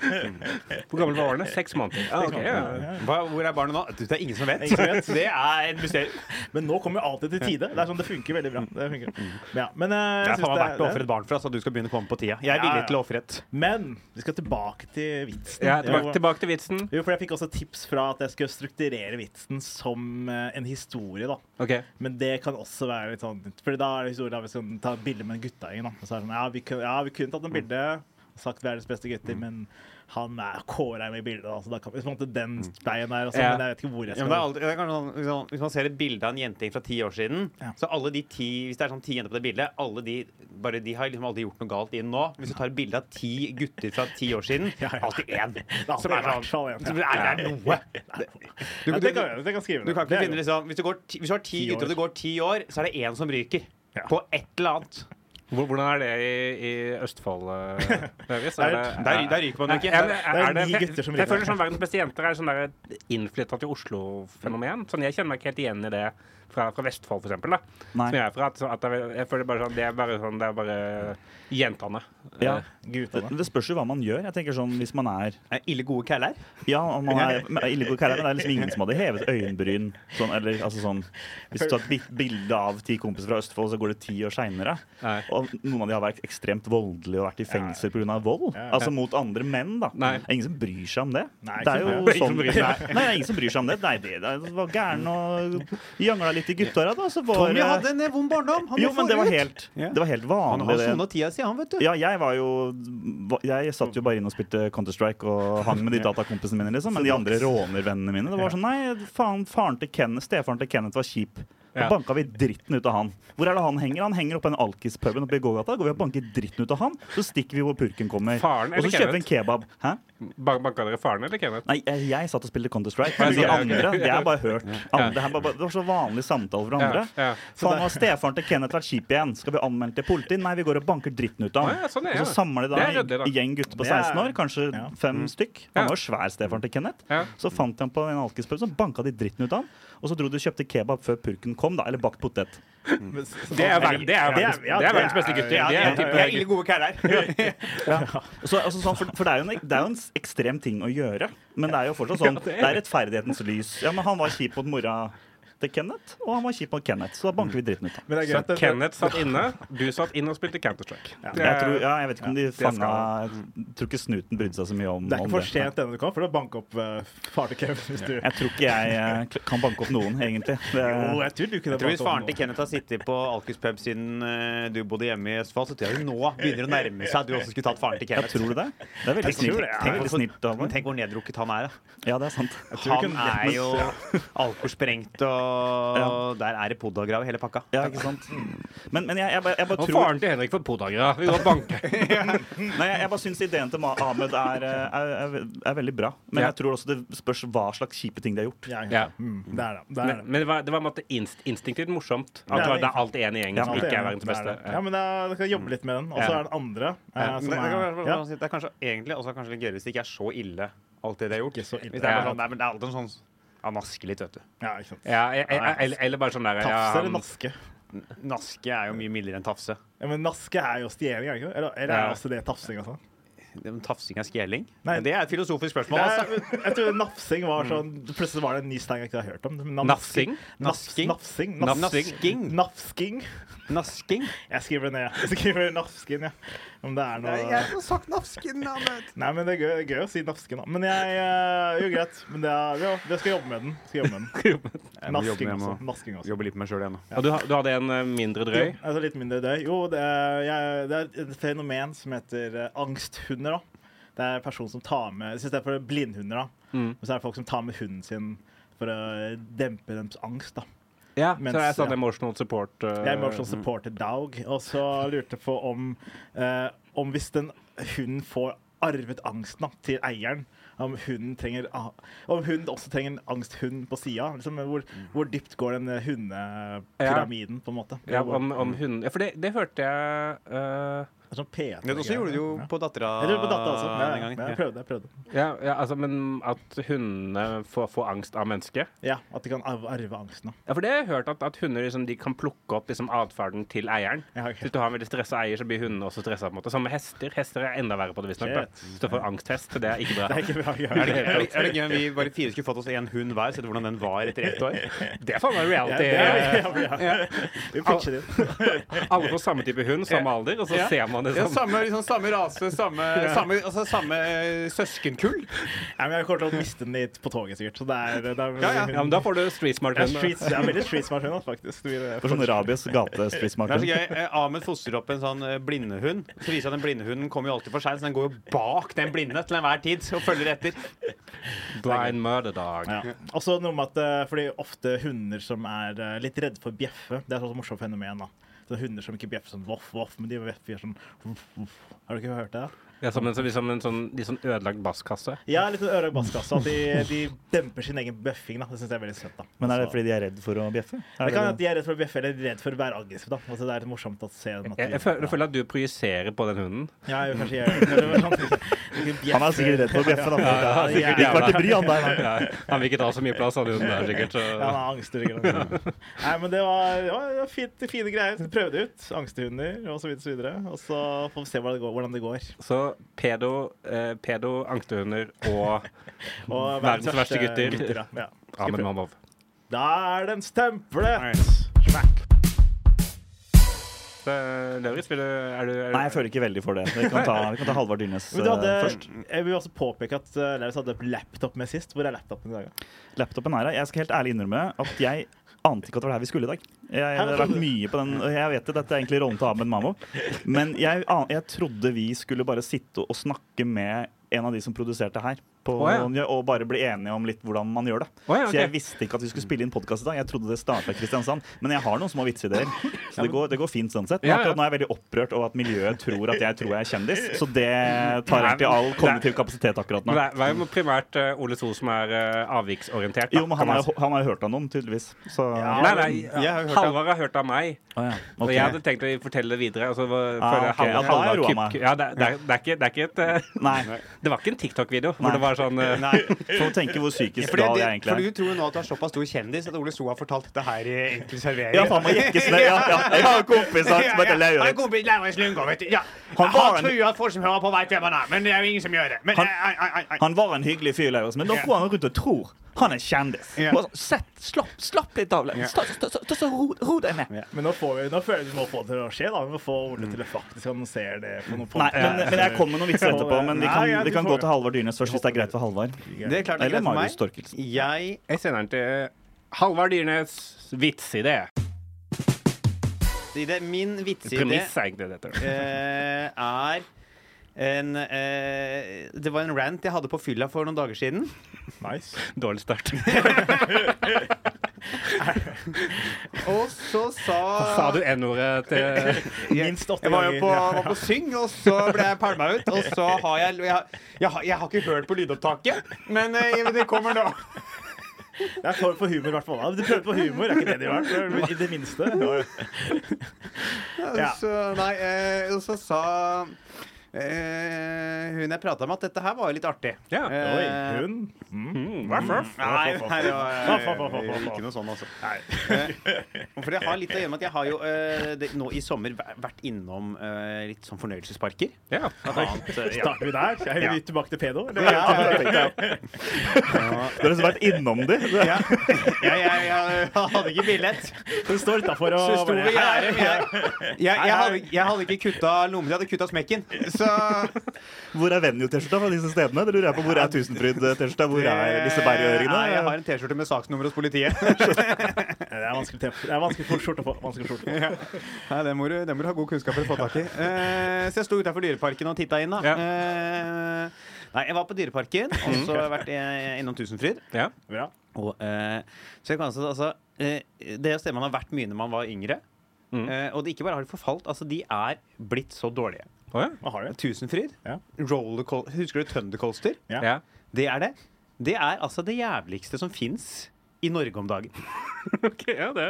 [SPEAKER 1] Hvor gammel var barnet? Seks måneder. Ja, ok, ja.
[SPEAKER 4] Hva, hvor er barnet nå? Du, Det er ingen som vet.
[SPEAKER 2] Ingen som vet.
[SPEAKER 4] Det er et mysterium.
[SPEAKER 2] Men nå kommer jo alltid til tide. Det er sånn, det funker veldig bra. Det
[SPEAKER 1] Mm.
[SPEAKER 2] funker. Ja, men, eh,
[SPEAKER 4] Det
[SPEAKER 2] jeg
[SPEAKER 4] er faen meg
[SPEAKER 2] synes det er-
[SPEAKER 4] verdt å ofre et barn for, altså. Du skal begynne å komme på tida. Jeg er
[SPEAKER 2] Ja,
[SPEAKER 4] villig
[SPEAKER 2] ja.
[SPEAKER 4] til å ofre et.
[SPEAKER 2] men Vi skal tilbake til vitsen.
[SPEAKER 1] Ja,
[SPEAKER 2] Det
[SPEAKER 1] tilbake,
[SPEAKER 2] var-
[SPEAKER 1] tilbake til vitsen.
[SPEAKER 2] Jo, for jeg fikk også tips fra at jeg skulle strukturere vitsen som eh, en historie, da.
[SPEAKER 1] OK.
[SPEAKER 2] Men det kan også være litt sånn Fordi da er det historien da vi skal ta et bilde med en guttegjeng, da. Og Så er det sånn, ja, vi kunne, ja, vi kunne tatt en bilde og sagt vi er deres beste gutter, men han er Kåre er med i bildet, da, så da kan vi på en måte den
[SPEAKER 4] Mm.
[SPEAKER 2] veien der. Og sånn,
[SPEAKER 1] Ja.
[SPEAKER 2] Men jeg vet ikke hvor jeg
[SPEAKER 4] Ja,
[SPEAKER 2] skal.
[SPEAKER 4] men det er alltid, det er kanskje sånn, liksom, hvis man ser et bilde av en jenting fra ti år siden,
[SPEAKER 2] Ja.
[SPEAKER 4] så alle de ti Hvis det er sånn ti jenter på det bildet, alle de, bare de har liksom aldri gjort noe galt inn nå. Hvis du tar et bilde av ti gutter fra ti år siden,
[SPEAKER 2] Ja, ja.
[SPEAKER 4] alltid én.
[SPEAKER 2] er alltid
[SPEAKER 4] Som
[SPEAKER 2] i
[SPEAKER 4] er
[SPEAKER 2] hvert
[SPEAKER 4] sånn
[SPEAKER 2] fall en, ja.
[SPEAKER 4] som er, er noe.
[SPEAKER 2] Ja,
[SPEAKER 4] Du-
[SPEAKER 2] det kan jeg, det kan jeg skrive.
[SPEAKER 4] Du kan
[SPEAKER 2] Det
[SPEAKER 4] ikke
[SPEAKER 2] er
[SPEAKER 4] finne
[SPEAKER 2] jo-
[SPEAKER 4] liksom, hvis, du går, ti- hvis du har ti
[SPEAKER 2] Ti
[SPEAKER 4] gutter og
[SPEAKER 2] år.
[SPEAKER 4] det går ti år, så er det én som ryker.
[SPEAKER 2] Ja.
[SPEAKER 4] På et eller annet.
[SPEAKER 1] Hvor- Hvordan er det i, i Østfold, eh, (laughs) Davis? Er det,
[SPEAKER 4] Der, der ryker man jo
[SPEAKER 1] Ja,
[SPEAKER 4] ikke.
[SPEAKER 1] men er,
[SPEAKER 2] Det er
[SPEAKER 1] er det,
[SPEAKER 2] ni gutter som
[SPEAKER 1] jeg
[SPEAKER 2] river.
[SPEAKER 1] føler sånn Verdens beste jenter er sånn der innflytta til Oslo-fenomen. Sånn, Jeg kjenner meg ikke helt igjen i det fra, fra Vestfold, for eksempel. Da.
[SPEAKER 5] Nei.
[SPEAKER 1] Som jeg er fra. At, at jeg, jeg føler bare sånn, det er bare sånn, det er bare jentene.
[SPEAKER 5] Ja. Det,
[SPEAKER 2] Guttene.
[SPEAKER 5] det spørs jo hva man gjør. Jeg tenker sånn, Hvis man er
[SPEAKER 4] Er Ille gode kæller.
[SPEAKER 5] Ja, om man er men ille god karakter, men det er liksom ingen som hadde hevet øyenbryn. Sånn, eller, altså sånn, hvis du tar et bi- bilde av ti kompiser fra Østfold, så går det ti år seinere.
[SPEAKER 1] Nei.
[SPEAKER 5] Og noen av de har vært ekstremt voldelige og vært i fengsel pga. vold. Altså mot andre menn, da.
[SPEAKER 1] Nei.
[SPEAKER 5] Det er ingen som bryr seg om det.
[SPEAKER 2] Nei,
[SPEAKER 5] det er
[SPEAKER 2] ikke
[SPEAKER 5] jo
[SPEAKER 1] det.
[SPEAKER 5] sånn,
[SPEAKER 1] Ingen som
[SPEAKER 5] nei,
[SPEAKER 1] bryr seg.
[SPEAKER 5] det er ingen som bryr seg om det. Nei, det, det var gæren og jangla litt i gutteåra, da. Så var,
[SPEAKER 4] Tommy hadde en eh, vond barndom. Han
[SPEAKER 5] jo,
[SPEAKER 4] må
[SPEAKER 5] men det
[SPEAKER 4] få
[SPEAKER 5] var
[SPEAKER 4] ut.
[SPEAKER 5] helt,
[SPEAKER 4] Ja.
[SPEAKER 5] det var helt
[SPEAKER 4] Han
[SPEAKER 5] vanlig.
[SPEAKER 4] har
[SPEAKER 5] det.
[SPEAKER 4] sona tida si, han, vet du.
[SPEAKER 5] Ja, jeg var jo Jeg satt jo bare inn og spilte Counter-Strike og hang med de datakompisene mine, liksom. Men de andre rånervennene mine. Det var sånn Nei, faen, faren til Kenneth, stefaren til Kenneth var kjip. Da
[SPEAKER 1] Ja.
[SPEAKER 5] banka vi dritten ut av han. Hvor er det han henger? Han henger oppe i den alkispuben oppe i gågata. Går vi og banker dritten ut av han, så stikker vi hvor purken kommer.
[SPEAKER 1] Faren
[SPEAKER 5] og
[SPEAKER 1] eller
[SPEAKER 5] så kjøper vi en kebab. Hæ?
[SPEAKER 1] Ban- Banka dere faren eller Kenneth?
[SPEAKER 5] Nei, jeg, jeg satt og spilte Counter-Strike. Men de
[SPEAKER 1] Ja, ok.
[SPEAKER 5] andre, det er bare hørt. Andre, det, er bare, det var så vanlig samtale for andre.
[SPEAKER 1] Ja, ja.
[SPEAKER 5] Faen, har stefaren til Kenneth vært kjip igjen? Skal vi anmelde til politiet? Nei, vi går og banker dritten ut av
[SPEAKER 1] Å, ja,
[SPEAKER 5] ham.
[SPEAKER 1] sånn er
[SPEAKER 5] og
[SPEAKER 1] det.
[SPEAKER 5] så samler de da
[SPEAKER 1] Det er ryddig, da. Mm.
[SPEAKER 5] en gjeng gutter på
[SPEAKER 2] Det er-
[SPEAKER 5] 16 år, kanskje
[SPEAKER 2] Ja.
[SPEAKER 5] fem stykk.
[SPEAKER 1] Ja.
[SPEAKER 5] Han var jo svær, stefaren til Kenneth.
[SPEAKER 1] Ja.
[SPEAKER 5] Så fant de ham på en alkispub, så banka de dritten ut av ham. Og så dro de og kjøpte kebab før purken kom, da. Eller bakt potet.
[SPEAKER 2] Mm.
[SPEAKER 1] Det er, ver- det er, verdens,
[SPEAKER 2] ja,
[SPEAKER 1] det er verdens
[SPEAKER 2] det
[SPEAKER 1] beste
[SPEAKER 2] er-
[SPEAKER 1] gutter.
[SPEAKER 2] ja,
[SPEAKER 1] Det er
[SPEAKER 2] det
[SPEAKER 1] type
[SPEAKER 4] Vi er ille gode kæller.
[SPEAKER 5] Så, altså, sånn, for for det, er jo en, det er jo en s- ekstrem ting å gjøre. Men det er jo fortsatt sånn. Det er rettferdighetens lys. Ja, men han var kjip mot mora til Kenneth, og han var kjip mot Kenneth, så da banker vi dritten ut av ham.
[SPEAKER 2] Men det
[SPEAKER 1] Så
[SPEAKER 2] er greit. det-
[SPEAKER 1] Kenneth satt inne, du satt inne og spilte Counter-Strike. Det
[SPEAKER 5] Jeg,
[SPEAKER 1] er-
[SPEAKER 2] eh,
[SPEAKER 5] tror, ja, jeg vet ikke om de
[SPEAKER 1] skal
[SPEAKER 5] fanga Jeg tror ikke snuten brydde seg så mye om
[SPEAKER 2] Det er ikke
[SPEAKER 5] om
[SPEAKER 2] for sent ennå du kan for å banke opp eh, far til Kevin hvis du
[SPEAKER 5] Jeg tror ikke jeg eh, k- kan banke opp noen, egentlig. Det,
[SPEAKER 2] Jo, jeg tror
[SPEAKER 4] Jeg tror Hvis
[SPEAKER 2] du kunne banket opp
[SPEAKER 4] faren til
[SPEAKER 2] noe.
[SPEAKER 4] Kenneth har sittet på Alkis pub siden eh, du bodde hjemme i Østfold, så tror jeg hun nå begynner å nærme seg at du også skulle tatt faren til
[SPEAKER 5] jeg
[SPEAKER 4] Kenneth.
[SPEAKER 5] tror du det? Det er veldig
[SPEAKER 2] Jeg tror
[SPEAKER 5] snilt.
[SPEAKER 2] det, ja.
[SPEAKER 5] Tenk veldig snilt av
[SPEAKER 4] Men
[SPEAKER 5] meg.
[SPEAKER 4] tenk hvor nedrukket han er. (laughs) da.
[SPEAKER 5] Ja, det er sant.
[SPEAKER 2] tror ikke
[SPEAKER 4] Han er
[SPEAKER 2] Kenneth-
[SPEAKER 4] jo (laughs) alkosprengt, og der er det podagrav i hele pakka.
[SPEAKER 5] Ja, ikke sant?
[SPEAKER 2] Mm.
[SPEAKER 5] Men, men jeg, jeg, bare- jeg bare
[SPEAKER 1] Og
[SPEAKER 5] tror
[SPEAKER 1] faren til Henrik for podagra. Vi går og banker.
[SPEAKER 5] Nei, jeg, jeg bare syns ideen til Ma- Ahmed er, eh, er, er, ve- er veldig bra. Men
[SPEAKER 1] Ja.
[SPEAKER 5] jeg tror også det spørs hva slags kjipe ting de har
[SPEAKER 2] (laughs)
[SPEAKER 5] gjort.
[SPEAKER 2] Ja,
[SPEAKER 1] Ja.
[SPEAKER 2] Mm, det er det. det, er
[SPEAKER 1] Men,
[SPEAKER 2] det.
[SPEAKER 1] men det var, det var en måte inst, instinktivt morsomt. At det,
[SPEAKER 2] Ja,
[SPEAKER 1] var,
[SPEAKER 2] det-
[SPEAKER 1] det er alt én gjeng
[SPEAKER 5] Ja,
[SPEAKER 1] som
[SPEAKER 5] alt
[SPEAKER 1] ikke er
[SPEAKER 2] Ja,
[SPEAKER 1] verdens
[SPEAKER 2] det er
[SPEAKER 1] beste.
[SPEAKER 2] det. Ja, men da da skal jeg jobbe litt med den. Og så
[SPEAKER 1] Ja.
[SPEAKER 2] er den andre eh,
[SPEAKER 4] Mm. Ja, det,
[SPEAKER 2] som
[SPEAKER 4] det,
[SPEAKER 2] er
[SPEAKER 4] kan
[SPEAKER 2] ja.
[SPEAKER 4] være- det er kanskje egentlig også kanskje litt gøyere hvis det ikke er så ille, alt det de har gjort.
[SPEAKER 2] Ikke så ille.
[SPEAKER 4] Hvis det er bare
[SPEAKER 1] Ja.
[SPEAKER 4] sånn, nei, men det er alltid en sånn ja, naske litt, vet du.
[SPEAKER 2] ja, ikke sant.
[SPEAKER 1] Ja, e- e- eller, eller bare sånn der
[SPEAKER 2] Tafse
[SPEAKER 1] ja,
[SPEAKER 2] eller naske?
[SPEAKER 4] Naske er jo mye mildere enn tafse.
[SPEAKER 2] Ja, men naske er jo stjeling, er det ikke det? Eller, eller
[SPEAKER 1] Ja.
[SPEAKER 2] er også det tafsing? Altså?
[SPEAKER 4] Men Tafsing er skjeling?
[SPEAKER 2] Nei.
[SPEAKER 4] Det er et filosofisk spørsmål, altså. Mm.
[SPEAKER 2] Nei, jeg tror nafsing var sånn Plutselig var det en ny stein jeg ikke har hørt om. men nafs-
[SPEAKER 1] Nafsing?
[SPEAKER 2] Nafs,
[SPEAKER 4] Nasking?
[SPEAKER 2] nafsing? Nafs,
[SPEAKER 1] Nafsing.
[SPEAKER 4] Nasking?
[SPEAKER 2] nafsking?
[SPEAKER 4] Nasking?
[SPEAKER 2] Jeg skriver det ned. Jeg skriver nafsking, ja. Om det er noe
[SPEAKER 4] har sagt nasken, Ahmed.
[SPEAKER 2] Nei, men det er gøy, det er gøy å si nafsken, da. Men jeg eh, Jo, greit. Men det er, ja, det skal jeg jobbe med den. Skal jobbe med den.
[SPEAKER 4] må jobbe
[SPEAKER 2] Nasking
[SPEAKER 4] med den
[SPEAKER 2] også.
[SPEAKER 4] nå.
[SPEAKER 2] Nasking også.
[SPEAKER 4] Jobber litt med meg sjøl igjen nå.
[SPEAKER 1] Og du, ha- du hadde en eh, mindre drøy?
[SPEAKER 2] Jo, altså litt mindre døy. Jo, det er, jeg, det er et fenomen som heter eh, angsthunder. da. Det er en person som tar med I stedet for blindhunder, da.
[SPEAKER 1] Mm.
[SPEAKER 2] Og så er det folk som tar med hunden sin for å dempe deres angst. da.
[SPEAKER 1] Ja,
[SPEAKER 2] mens-
[SPEAKER 1] så det er sånn
[SPEAKER 2] ja.
[SPEAKER 1] emotional support. eh,
[SPEAKER 2] Jeg er sånn emotional supporter dog, og så lurte jeg på om, eh, om hvis den hunden får arvet angsten da, til eieren, om hunden, trenger, ah, om hunden også trenger en angsthund på sida. Liksom, hvor, hvor dypt går den eh, hundepyramiden, på en måte?
[SPEAKER 1] Mm. ja,
[SPEAKER 2] Hvor-
[SPEAKER 1] om, om hunden Ja, for det, det hørte jeg eh,
[SPEAKER 2] det er sånn P3
[SPEAKER 4] Det også gjorde du jo på dattera
[SPEAKER 2] Jeg gjorde det på datteren også. Ja,
[SPEAKER 4] den
[SPEAKER 2] ja,
[SPEAKER 4] gangen.
[SPEAKER 2] jeg prøvde. jeg prøvde.
[SPEAKER 1] ja, ja, altså, Men at hundene får, får angst av mennesket?
[SPEAKER 2] Ja, At de kan arve, arve angsten. da.
[SPEAKER 1] Ja, for det har jeg hørt at, at hunder liksom, de kan plukke opp liksom, atferden til eieren.
[SPEAKER 2] Ja, ok.
[SPEAKER 1] Hvis du har en veldig stressa eier, så blir hundene også stressa. Samme med hester. Hester er enda verre på det, visstnok. da.
[SPEAKER 2] Shit.
[SPEAKER 1] Hvis du får angsthest, det er ikke
[SPEAKER 2] Det
[SPEAKER 1] bra.
[SPEAKER 2] er ikke bra. å
[SPEAKER 4] Er det,
[SPEAKER 2] gjøre.
[SPEAKER 4] er, det, er det gøy om vi bare fire skulle fått oss en hund hver? Sett hvordan den var etter ett år?
[SPEAKER 1] Det er faen meg
[SPEAKER 2] Ja,
[SPEAKER 1] reality.
[SPEAKER 2] det er- ja, ja. Vi fikser det.
[SPEAKER 1] Alle får samme type hund, samme alder, og så ser man sånn.
[SPEAKER 6] man det
[SPEAKER 4] Ja,
[SPEAKER 6] som.
[SPEAKER 4] samme, liksom, samme rase, samme, (laughs) samme, altså, samme eh, søskenkull.
[SPEAKER 2] Nei, men jeg kommer til å miste den litt på toget, sikkert. Så det er, det er
[SPEAKER 4] Ja, ja.
[SPEAKER 6] Ja, men da får du street smart.
[SPEAKER 2] Det
[SPEAKER 6] hund,
[SPEAKER 2] er,
[SPEAKER 6] da.
[SPEAKER 2] streets, det er veldig streetsmart hund, faktisk. Det blir- eh,
[SPEAKER 5] For sånn rabies
[SPEAKER 4] Det er så
[SPEAKER 5] gatespissmarked.
[SPEAKER 4] gøy. Eh, Ahmed fostrer opp en sånn eh, blindehund. Så viser han at den blindehunden kommer jo alltid for seint, så den går jo bak den blinde til enhver tid og følger etter.
[SPEAKER 6] Blind murder dog.
[SPEAKER 2] Ja. Også noe med at eh, Fordi ofte hunder som er eh, litt redde for å bjeffe Det er et sånt morsomt fenomen. da så Hunder som ikke bjeffer sånn voff, voff, men de bjeffer sånn voff, voff. Har du ikke hørt det?
[SPEAKER 1] Ja, som en, som- som en sånn, litt sånn ødelagt basskasse.
[SPEAKER 2] Ja, litt sånn ørebasskasse. At de, de demper sin egen bjeffing. da Det syns jeg er veldig søtt. da
[SPEAKER 5] Men er det
[SPEAKER 2] Så-
[SPEAKER 5] fordi de er redd for å bjeffe? Er
[SPEAKER 2] det
[SPEAKER 5] det
[SPEAKER 2] kan hende
[SPEAKER 5] det?
[SPEAKER 2] at de er redd for å bjeffe eller redd for å være aggressiv. da altså, Det er litt morsomt å se dem at de,
[SPEAKER 1] Jeg, jeg, føler, jeg føler at du projiserer på den hunden.
[SPEAKER 2] Ja, jeg vil kanskje gjøre det. Eller sånn, ikke
[SPEAKER 5] Han er sikkert redd for å bjeffe, da.
[SPEAKER 2] Ja,
[SPEAKER 5] Det
[SPEAKER 2] ja,
[SPEAKER 5] gikk
[SPEAKER 2] ja.
[SPEAKER 5] vært til bry, han der. da.
[SPEAKER 1] Ja, (laughs) han vil ikke ta så mye plass, han hunden der, sikkert.
[SPEAKER 2] Ja, han
[SPEAKER 1] Så.
[SPEAKER 2] har angster. sikkert. Nei, men det var, det var, det var fint, fine greier. Prøv det ut. Angsthunder og så videre. Så videre. Og så får vi se hvordan det går. Hvordan det går.
[SPEAKER 1] Så pedo, eh, pedo angsthunder og
[SPEAKER 2] Og
[SPEAKER 1] Verdens verste gutter.
[SPEAKER 2] ja. Ja.
[SPEAKER 1] (laughs) Ahmed Mamov.
[SPEAKER 2] Da er den stemplet!
[SPEAKER 1] Lauritz, vil du, er du, er du
[SPEAKER 5] Nei, jeg føler ikke veldig for det. Vi kan ta, vi kan ta Halvard Dyrnes
[SPEAKER 2] Men du hadde,
[SPEAKER 5] eh, først.
[SPEAKER 2] jeg vil også påpeke at uh, Lauritz hadde laptop med sist. Hvor er laptopen i dag? da?
[SPEAKER 5] Laptopen er her. Jeg skal helt ærlig innrømme at jeg ante ikke at det var det her vi skulle i dag. Jeg, det har vært
[SPEAKER 1] sånn-
[SPEAKER 5] mye på den, og jeg vet det, dette er egentlig rollen til Ahmed Mamo. Men jeg, an- jeg trodde vi skulle bare sitte og snakke med en av de som produserte her. På,
[SPEAKER 1] Å,
[SPEAKER 5] Og bare bli enige om litt hvordan man gjør det.
[SPEAKER 1] Å, ja, ok.
[SPEAKER 5] Så jeg visste ikke at vi skulle spille inn podkast i dag. Jeg trodde det starta i Kristiansand. Men jeg har noen små vitseideer. Så det går, det går fint sånn sett. Men
[SPEAKER 1] Ja, ja.
[SPEAKER 5] akkurat nå er jeg veldig opprørt over at miljøet tror at jeg tror jeg er kjendis. Så det tar helt i all kognitiv kapasitet akkurat nå.
[SPEAKER 1] Men det er- det er jo primært eh, Ole So som er eh, avviksorientert. da,
[SPEAKER 5] Jo, men han
[SPEAKER 1] kan
[SPEAKER 5] har
[SPEAKER 1] man si.
[SPEAKER 5] jo han har jo hørt av noen, tydeligvis. Så
[SPEAKER 1] Nei, nei,
[SPEAKER 4] Jeg har hørt
[SPEAKER 1] Halvard har hørt av meg.
[SPEAKER 5] Å ja.
[SPEAKER 1] Og
[SPEAKER 5] ok.
[SPEAKER 1] jeg hadde tenkt å fortelle det videre. Og så var-
[SPEAKER 5] Ah,
[SPEAKER 1] føler jeg
[SPEAKER 5] ok.
[SPEAKER 1] Halvard-
[SPEAKER 5] Ja, da har jeg
[SPEAKER 1] Halvard
[SPEAKER 5] roet meg.
[SPEAKER 1] Kupp- ja, det, er- det, er- det, er ikke- det er ikke et eh,
[SPEAKER 5] Nei.
[SPEAKER 1] (laughs) Det var ikke en TikTok-video hvor
[SPEAKER 5] Nei.
[SPEAKER 1] det var sånn eh,
[SPEAKER 5] (laughs)
[SPEAKER 4] Nei.
[SPEAKER 5] Får du tenke hvor psykisk
[SPEAKER 4] Fordi,
[SPEAKER 5] gal
[SPEAKER 4] det,
[SPEAKER 5] jeg egentlig
[SPEAKER 4] for
[SPEAKER 5] er.
[SPEAKER 4] du tror jo nå at du er såpass stor kjendis at Ole So har fortalt dette her i Enkel servering.
[SPEAKER 5] Ja, faen meg jekkes ned. Ja, ja. Jeg har en kompis som
[SPEAKER 4] (laughs) Ja,
[SPEAKER 5] heter
[SPEAKER 4] ja.
[SPEAKER 5] Lauritz.
[SPEAKER 4] Jeg har en kompis, Lauritz Lundgaard, vet du. Ja.
[SPEAKER 5] Han
[SPEAKER 4] Han,
[SPEAKER 5] var en-
[SPEAKER 4] tror at folk som hører på, vet hvem han er, men det er jo ingen som gjør det. Men, eh,
[SPEAKER 5] Han-
[SPEAKER 4] ei, ei, ei, ei.
[SPEAKER 5] Han var en hyggelig fyr, Lauritz, men da går han rundt og tror han er kjendis.
[SPEAKER 4] Ja.
[SPEAKER 5] Bare sånn, Sett, slapp, slapp litt av, Lauritz. Ta- ta- ta- ta- så Ro ro deg ned.
[SPEAKER 2] Men nå, får vi, nå føler jeg vi må få det til å skje. da Vi må få Ole til å faktisk annonsere det. På noen
[SPEAKER 5] Nei, men, men jeg kommer med noen vitser etterpå. Men vi
[SPEAKER 2] Nei,
[SPEAKER 5] kan,
[SPEAKER 2] ja,
[SPEAKER 5] vi
[SPEAKER 2] du
[SPEAKER 5] kan
[SPEAKER 2] får
[SPEAKER 5] gå
[SPEAKER 2] det.
[SPEAKER 5] til Halvard Dyrnes først, hvis det er greit for Halvard.
[SPEAKER 4] Det er klart det er
[SPEAKER 5] Eller
[SPEAKER 4] greit for
[SPEAKER 5] Marius
[SPEAKER 4] meg.
[SPEAKER 5] Torkelsen.
[SPEAKER 4] Jeg
[SPEAKER 1] Jeg sender den til Halvard Dyrnes vitsidé.
[SPEAKER 4] i det, Min vitsidé
[SPEAKER 1] Premiss er egentlig dette.
[SPEAKER 4] eh, er en, eh, det var en rant jeg hadde på fylla for noen dager siden.
[SPEAKER 2] Nice.
[SPEAKER 1] Dårlig (laughs) start.
[SPEAKER 4] Og så sa
[SPEAKER 1] Sa du N-ordet til (laughs)
[SPEAKER 2] Minst åtte
[SPEAKER 4] Jeg var jo på,
[SPEAKER 2] ganger.
[SPEAKER 4] var på syng, og så ble jeg pælma ut. Og så har jeg Jeg, jeg, har- jeg har ikke hørt på lydopptaket, men eh, det kommer nå.
[SPEAKER 2] Det er form for humor, i hvert fall. da. Du prøvde på humor, er ikke det de har
[SPEAKER 5] (laughs)
[SPEAKER 2] vært? I det minste. Ja.
[SPEAKER 4] Så, nei, eh, og så sa eh, hun jeg prata med, at dette her var jo litt artig.
[SPEAKER 1] Ja.
[SPEAKER 2] Oi,
[SPEAKER 4] Eh,
[SPEAKER 2] hun.
[SPEAKER 1] Mm, hva for?
[SPEAKER 4] Nei, nei, det var eh, ikke noe sånn, altså. Eh, For det har litt å gjøre med at jeg har jo eh, det, nå i sommer væ- vært innom eh, litt sånn fornøyelsesparker.
[SPEAKER 1] Ja.
[SPEAKER 2] Starter vi der? Er vi tilbake til pedo? eller?
[SPEAKER 5] Du har liksom vært innom de.
[SPEAKER 4] Ja, jeg, jeg, jeg hadde ikke billett.
[SPEAKER 2] Hun står utafor og
[SPEAKER 4] Så sto vi i gjerdet, men jeg, jeg, jeg, hadde, jeg hadde ikke kutta lommen, jeg hadde kutta smekken. Så
[SPEAKER 5] Hvor er Venue-T-skjorta fra disse stedene? Det lurer jeg på. Hvor er Tusenfryd-T-skjorta? Hvor
[SPEAKER 4] eh,
[SPEAKER 5] er
[SPEAKER 4] Nei, Jeg
[SPEAKER 5] Liseberg-øringene?
[SPEAKER 4] har en T-skjorte med saksnummer hos politiet.
[SPEAKER 2] Det er vanskelig, temp- det er vanskelig for skjorte på. Vanskelig skjorte på.
[SPEAKER 4] Nei, den må, du, den må du ha god kunnskap for å få tak i. Eh, så jeg sto utafor Dyreparken og titta inn, da.
[SPEAKER 1] Ja.
[SPEAKER 4] Eh, nei, jeg var på Dyreparken, og så har jeg vært eh, innom Tusenfryd.
[SPEAKER 1] ja.
[SPEAKER 2] Bra.
[SPEAKER 4] Og, eh, så jeg kan altså, altså eh, Det er et sted man har vært mye når man var yngre. Eh, og det ikke bare har de forfalt, altså de er blitt så dårlige.
[SPEAKER 1] Å,
[SPEAKER 2] Hva har du?
[SPEAKER 4] Tusenfryd,
[SPEAKER 2] Ja.
[SPEAKER 4] rollerco- husker du Thundercoaster?
[SPEAKER 1] ja. ja.
[SPEAKER 4] Det er det. Det er altså det jævligste som fins i Norge om dagen.
[SPEAKER 1] (laughs) Ok, ja, det.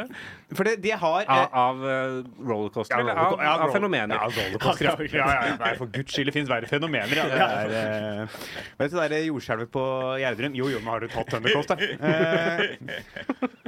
[SPEAKER 4] For det, de har eh,
[SPEAKER 1] Av, av eh, rollercoaster, eller av,
[SPEAKER 4] rollerco- ja,
[SPEAKER 1] av
[SPEAKER 4] roller-
[SPEAKER 1] fenomener?
[SPEAKER 4] Ja, rollercoaster. Ja, ja, ja, Nei, for guds skyld, det finnes verre fenomener. Ja. Det er, eh, vet du det der jordskjelvet på Gjerdrum? Jo, jo, men har du tatt Thundercoaster? Eh, (laughs)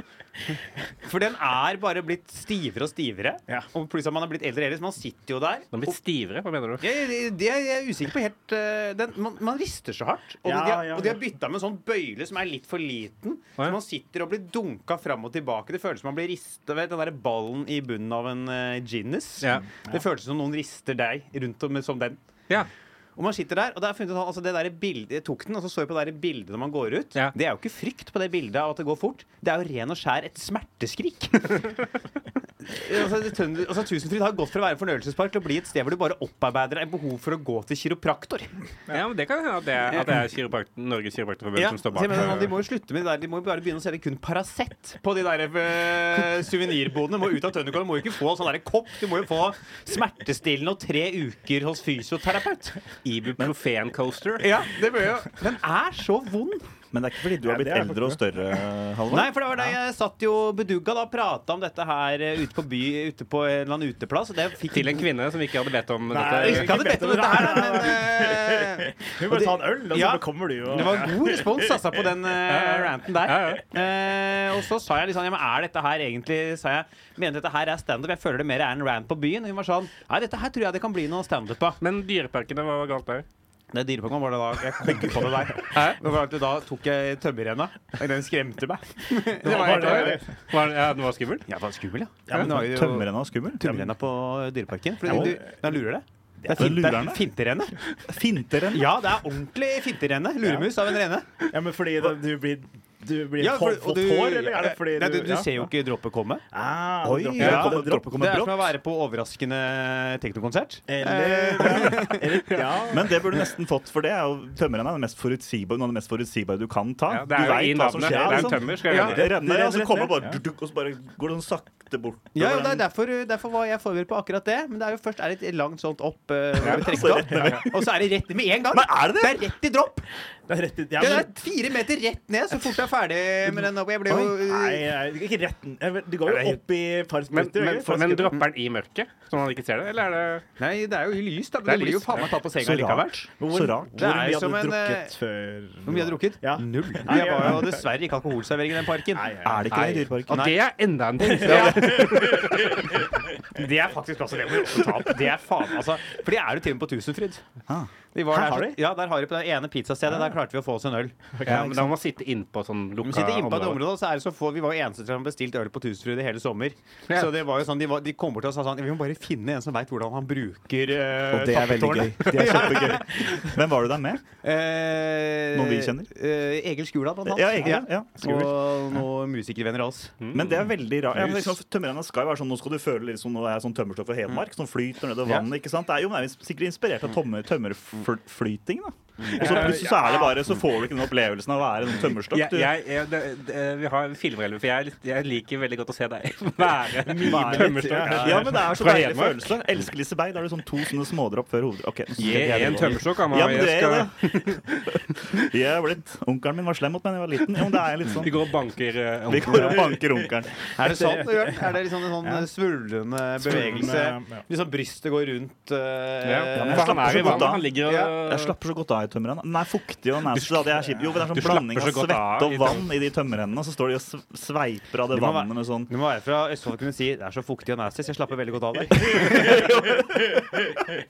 [SPEAKER 4] For den er bare blitt stivere og stivere.
[SPEAKER 2] Ja.
[SPEAKER 4] Og pluss at man er blitt eldre og eldre, så man sitter jo der.
[SPEAKER 1] Den har blitt stivere, hva mener du?
[SPEAKER 4] Jeg, jeg, det er jeg er usikker på helt eh, den, man, man rister så hardt. Og,
[SPEAKER 2] Ja,
[SPEAKER 4] de, har,
[SPEAKER 2] ja,
[SPEAKER 4] og de har
[SPEAKER 2] ja.
[SPEAKER 4] bytta med en sånn bøyle som er litt for liten.
[SPEAKER 1] ja.
[SPEAKER 4] Så man sitter og blir dunka fram og tilbake. Det føles som man blir rista ved den der ballen i bunnen av en uh, Guinness.
[SPEAKER 1] Ja.
[SPEAKER 4] Det føles som noen rister deg rundt om som den.
[SPEAKER 1] Ja.
[SPEAKER 4] Og man sitter der, og det er funnet ut at, altså, det der bildet, Jeg tok den, og så så jeg på det der bildet når man går ut.
[SPEAKER 1] Ja.
[SPEAKER 4] Det er jo ikke frykt på det bildet av at det går fort. Det er jo ren og skjær et (laughs) smerteskrik. altså, det Trønder- altså, Tusenfryd har gått fra å være en fornøyelsespark til å bli et sted hvor du bare opparbeider deg et behov for å gå til kiropraktor.
[SPEAKER 1] ja, men det kan hende at det er, at det er kiropraktor- Norges kiropraktorforbund
[SPEAKER 4] Ja,
[SPEAKER 1] som står
[SPEAKER 4] så jeg
[SPEAKER 1] bak.
[SPEAKER 4] mener, de må jo slutte med det der. De må jo bare begynne å selge kun Paracet på de der eh, suvenirbodene. Må ut av Tønderkollen. Må jo ikke få sånn der kopp. Du må jo få smertestillende og tre uker hos fysioterapeut.
[SPEAKER 1] Ibuprofen coaster.
[SPEAKER 4] Ja, det bør jo Den er så vond!
[SPEAKER 5] Men det er ikke fordi du har blitt
[SPEAKER 2] det er
[SPEAKER 5] eldre og større, Halvor.
[SPEAKER 4] Nei, for det var da jeg satt jo bedugga da og prata om dette her eh, ute på by, ute på en eller annen uteplass. Og det fikk
[SPEAKER 1] Til en kvinne som ikke hadde bedt om
[SPEAKER 4] Jeg
[SPEAKER 1] dette.
[SPEAKER 4] ikke hadde bedt om dette her, da, men eh,
[SPEAKER 2] Vi bare ta en øl, og så
[SPEAKER 4] Ja.
[SPEAKER 2] kommer du jo.
[SPEAKER 4] (laughs) det var god respons altså, på den eh, ranten der.
[SPEAKER 1] Ja, ja.
[SPEAKER 4] Eh, og så sa jeg liksom ja, men Er dette her egentlig sa jeg, Mener dette her er standup? Jeg føler det mer er en rant på byen. Og hun var sånn Nei, dette her tror jeg det kan bli noe standup av.
[SPEAKER 1] Men Dyreparkene, hva var galt der?
[SPEAKER 4] Det Dyreparken var det da jeg kom på det der. Det var at Da tok jeg tømmerrenna. og Den skremte meg. Det var helt
[SPEAKER 2] Bare-
[SPEAKER 1] Var, ja, den var skummel?
[SPEAKER 4] Jeg var skummel, ja.
[SPEAKER 2] Ja, men
[SPEAKER 4] det var jo-
[SPEAKER 5] Tømmerrenna er skummel.
[SPEAKER 4] Tømmerrenna på Dyreparken. Fordi
[SPEAKER 5] Ja.
[SPEAKER 4] du, da lurer det. Det
[SPEAKER 5] Ja,
[SPEAKER 4] er fint, det
[SPEAKER 5] lurer
[SPEAKER 4] er
[SPEAKER 5] det.
[SPEAKER 4] finterenne.
[SPEAKER 5] Finterrenn.
[SPEAKER 4] Ja, det er ordentlig finterenne. Luremus av en rene.
[SPEAKER 2] Ja, men fordi det, du blir du blir
[SPEAKER 4] Ja, for-
[SPEAKER 2] fått-
[SPEAKER 4] og
[SPEAKER 2] fått hår, eller er det fordi
[SPEAKER 4] Nei, du, du
[SPEAKER 2] ja.
[SPEAKER 4] ser jo ikke dråper komme.
[SPEAKER 2] Ah,
[SPEAKER 5] Oi,
[SPEAKER 2] dropp-
[SPEAKER 5] ja.
[SPEAKER 2] dropp- dropp-
[SPEAKER 5] kommer- droppet kommer
[SPEAKER 4] det er
[SPEAKER 5] brått.
[SPEAKER 4] som å være på overraskende teknokonsert.
[SPEAKER 2] Eller, eller ja.
[SPEAKER 5] Men det burde du nesten fått, for det er jo tømmerrenna er det mest forutsigbare, noe av det mest forutsigbare du kan ta.
[SPEAKER 1] Ja, det er jo
[SPEAKER 5] du
[SPEAKER 1] i
[SPEAKER 5] vet hva som
[SPEAKER 1] navnet. Det
[SPEAKER 5] skjer,
[SPEAKER 1] er en
[SPEAKER 5] liksom.
[SPEAKER 1] tømmer. Skal
[SPEAKER 5] Ja,
[SPEAKER 1] jeg
[SPEAKER 5] det
[SPEAKER 1] gjøre.
[SPEAKER 5] renner, og så
[SPEAKER 2] rett
[SPEAKER 5] kommer
[SPEAKER 2] ned.
[SPEAKER 5] bare, duk, og så bare går det sånn sakte bort.
[SPEAKER 4] Ja, jo,
[SPEAKER 5] over
[SPEAKER 4] det er
[SPEAKER 5] den-
[SPEAKER 4] derfor, derfor var jeg forberedt på akkurat det. Men det er jo først er det et langt sånt opp, eh, hvor vi trekker
[SPEAKER 5] så
[SPEAKER 4] opp og så er det rett med en gang.
[SPEAKER 5] Men er det
[SPEAKER 4] Det
[SPEAKER 5] det?
[SPEAKER 4] er rett i dropp!
[SPEAKER 2] Det er rett i ja,
[SPEAKER 4] Det
[SPEAKER 2] men,
[SPEAKER 4] er fire meter rett ned så fort jeg er ferdig med den. opp. Jeg ble jo
[SPEAKER 2] Nei, nei, ikke retten. Du går jo opp i et par
[SPEAKER 1] Men,
[SPEAKER 2] splitter.
[SPEAKER 1] men,
[SPEAKER 2] ikke? For-
[SPEAKER 1] men dropper den i mørket, så man ikke ser det? Eller er det
[SPEAKER 4] Nei, det er jo lys, da.
[SPEAKER 1] Det er
[SPEAKER 4] Men det blir jo
[SPEAKER 1] lys.
[SPEAKER 4] faen meg tatt på senga
[SPEAKER 5] Så
[SPEAKER 4] likevel.
[SPEAKER 5] rart.
[SPEAKER 2] Hvor-
[SPEAKER 5] Så
[SPEAKER 4] Det
[SPEAKER 5] rart.
[SPEAKER 2] Hvor
[SPEAKER 4] er
[SPEAKER 2] mye hadde
[SPEAKER 4] som
[SPEAKER 2] du
[SPEAKER 4] en, eh,
[SPEAKER 2] drukket før?
[SPEAKER 4] Hvor mye har jeg drukket?
[SPEAKER 2] Ja.
[SPEAKER 4] Null.
[SPEAKER 2] Nei,
[SPEAKER 4] Jeg var
[SPEAKER 2] ja.
[SPEAKER 4] jo dessverre ikke alkoholservering i den parken.
[SPEAKER 2] Nei, ja, ja.
[SPEAKER 5] Er det ikke det i Dyreparken?
[SPEAKER 1] Og det er enda en ting!
[SPEAKER 4] Det er faktisk også det må vi også ta opp. Det er faen, altså. For de er jo til og med på Tusenfryd.
[SPEAKER 5] Ah.
[SPEAKER 4] De var
[SPEAKER 2] Her
[SPEAKER 4] der,
[SPEAKER 2] har
[SPEAKER 4] så-
[SPEAKER 2] de?
[SPEAKER 4] Ja, der har de på det ene pizzastedet. Der klarte vi å få oss en øl.
[SPEAKER 1] Ja, men da må man sitte innpå sånn
[SPEAKER 4] Vi
[SPEAKER 1] lukka
[SPEAKER 4] sitter inne på et
[SPEAKER 1] område.
[SPEAKER 4] område, og så er det så få Vi var jo eneste som bestilte øl på Tusenfryd i hele sommer.
[SPEAKER 1] Ja.
[SPEAKER 4] Så det var jo sånn, de, var, de kom bort til oss og sa sånn Vi må bare finne en som veit hvordan han bruker uh,
[SPEAKER 5] Og det er veldig gøy. Det er kjempegøy. Hvem var du der med?
[SPEAKER 4] (laughs) Eh,
[SPEAKER 5] Noen vi kjenner?
[SPEAKER 4] Eh, Egil Skula, blant annet.
[SPEAKER 5] Ja, egentlig. Ja.
[SPEAKER 4] Og noen musikervenner av oss.
[SPEAKER 5] Men det er
[SPEAKER 1] Mm.
[SPEAKER 5] veldig rart. Ja, men liksom, tømmerrenna skal jo være sånn Nå skal du føle litt som nå er jeg sånn tømmerstoff fra
[SPEAKER 1] Mm.
[SPEAKER 5] Hedmark som flyter nedover
[SPEAKER 4] Ja.
[SPEAKER 5] vannet. ikke sant? Det er jo men det er sikkert inspirert av tømmer, tømmerflyting, da.
[SPEAKER 1] Mm.
[SPEAKER 5] Og så plutselig så er det bare, så får du ikke den opplevelsen av å være en tømmerstokk.
[SPEAKER 1] Jeg,
[SPEAKER 5] du.
[SPEAKER 1] jeg, jeg, det, det, vi har filmrelven, for jeg, jeg liker veldig godt å se deg (laughs) være
[SPEAKER 5] Bare-
[SPEAKER 1] tømmerstokk.
[SPEAKER 5] Ja, men det er så
[SPEAKER 1] Fra
[SPEAKER 5] deilig
[SPEAKER 1] Hedmark.
[SPEAKER 5] følelse. Elsker Liseberg. Da er det sånn to sånne smådropp før hodet. Ok, nå skal
[SPEAKER 1] Jeg
[SPEAKER 5] jeg-
[SPEAKER 1] er en tømmerstokk, Amma.
[SPEAKER 5] Ja, men du
[SPEAKER 1] jeg
[SPEAKER 5] er
[SPEAKER 1] skal,
[SPEAKER 5] jo det. (laughs) Jeg er blitt Onkelen min var slem mot meg da jeg var liten. Jo, men det er litt
[SPEAKER 1] Vi
[SPEAKER 5] sånn.
[SPEAKER 1] går og banker eh,
[SPEAKER 5] Vi går og banker onkelen.
[SPEAKER 4] Er det sant? Jørn? Er det liksom en sånn eh, svulvende bevegelse?
[SPEAKER 2] Svulvende, ja.
[SPEAKER 4] Liksom brystet går rundt eh,
[SPEAKER 1] Ja,
[SPEAKER 5] men jeg
[SPEAKER 1] for han er
[SPEAKER 5] slapper så
[SPEAKER 1] i
[SPEAKER 5] godt
[SPEAKER 1] vannet.
[SPEAKER 5] av.
[SPEAKER 1] Han ligger og
[SPEAKER 5] Jeg slapper så godt av i tømmerrenna. Den er fuktig og nasty. da, Det er kjipt. Jo, men det er
[SPEAKER 1] Du
[SPEAKER 5] sånn blanding av
[SPEAKER 1] slapper så godt av
[SPEAKER 5] svette og
[SPEAKER 1] i
[SPEAKER 5] vann i de tømmerrennene. Så står de og sve- sveiper av det
[SPEAKER 4] Det må være-
[SPEAKER 5] vannet med sånn
[SPEAKER 4] Du må være fra Østfold for å kunne si det er så fuktig og nasty, så jeg slapper veldig godt av der.
[SPEAKER 5] Jo, men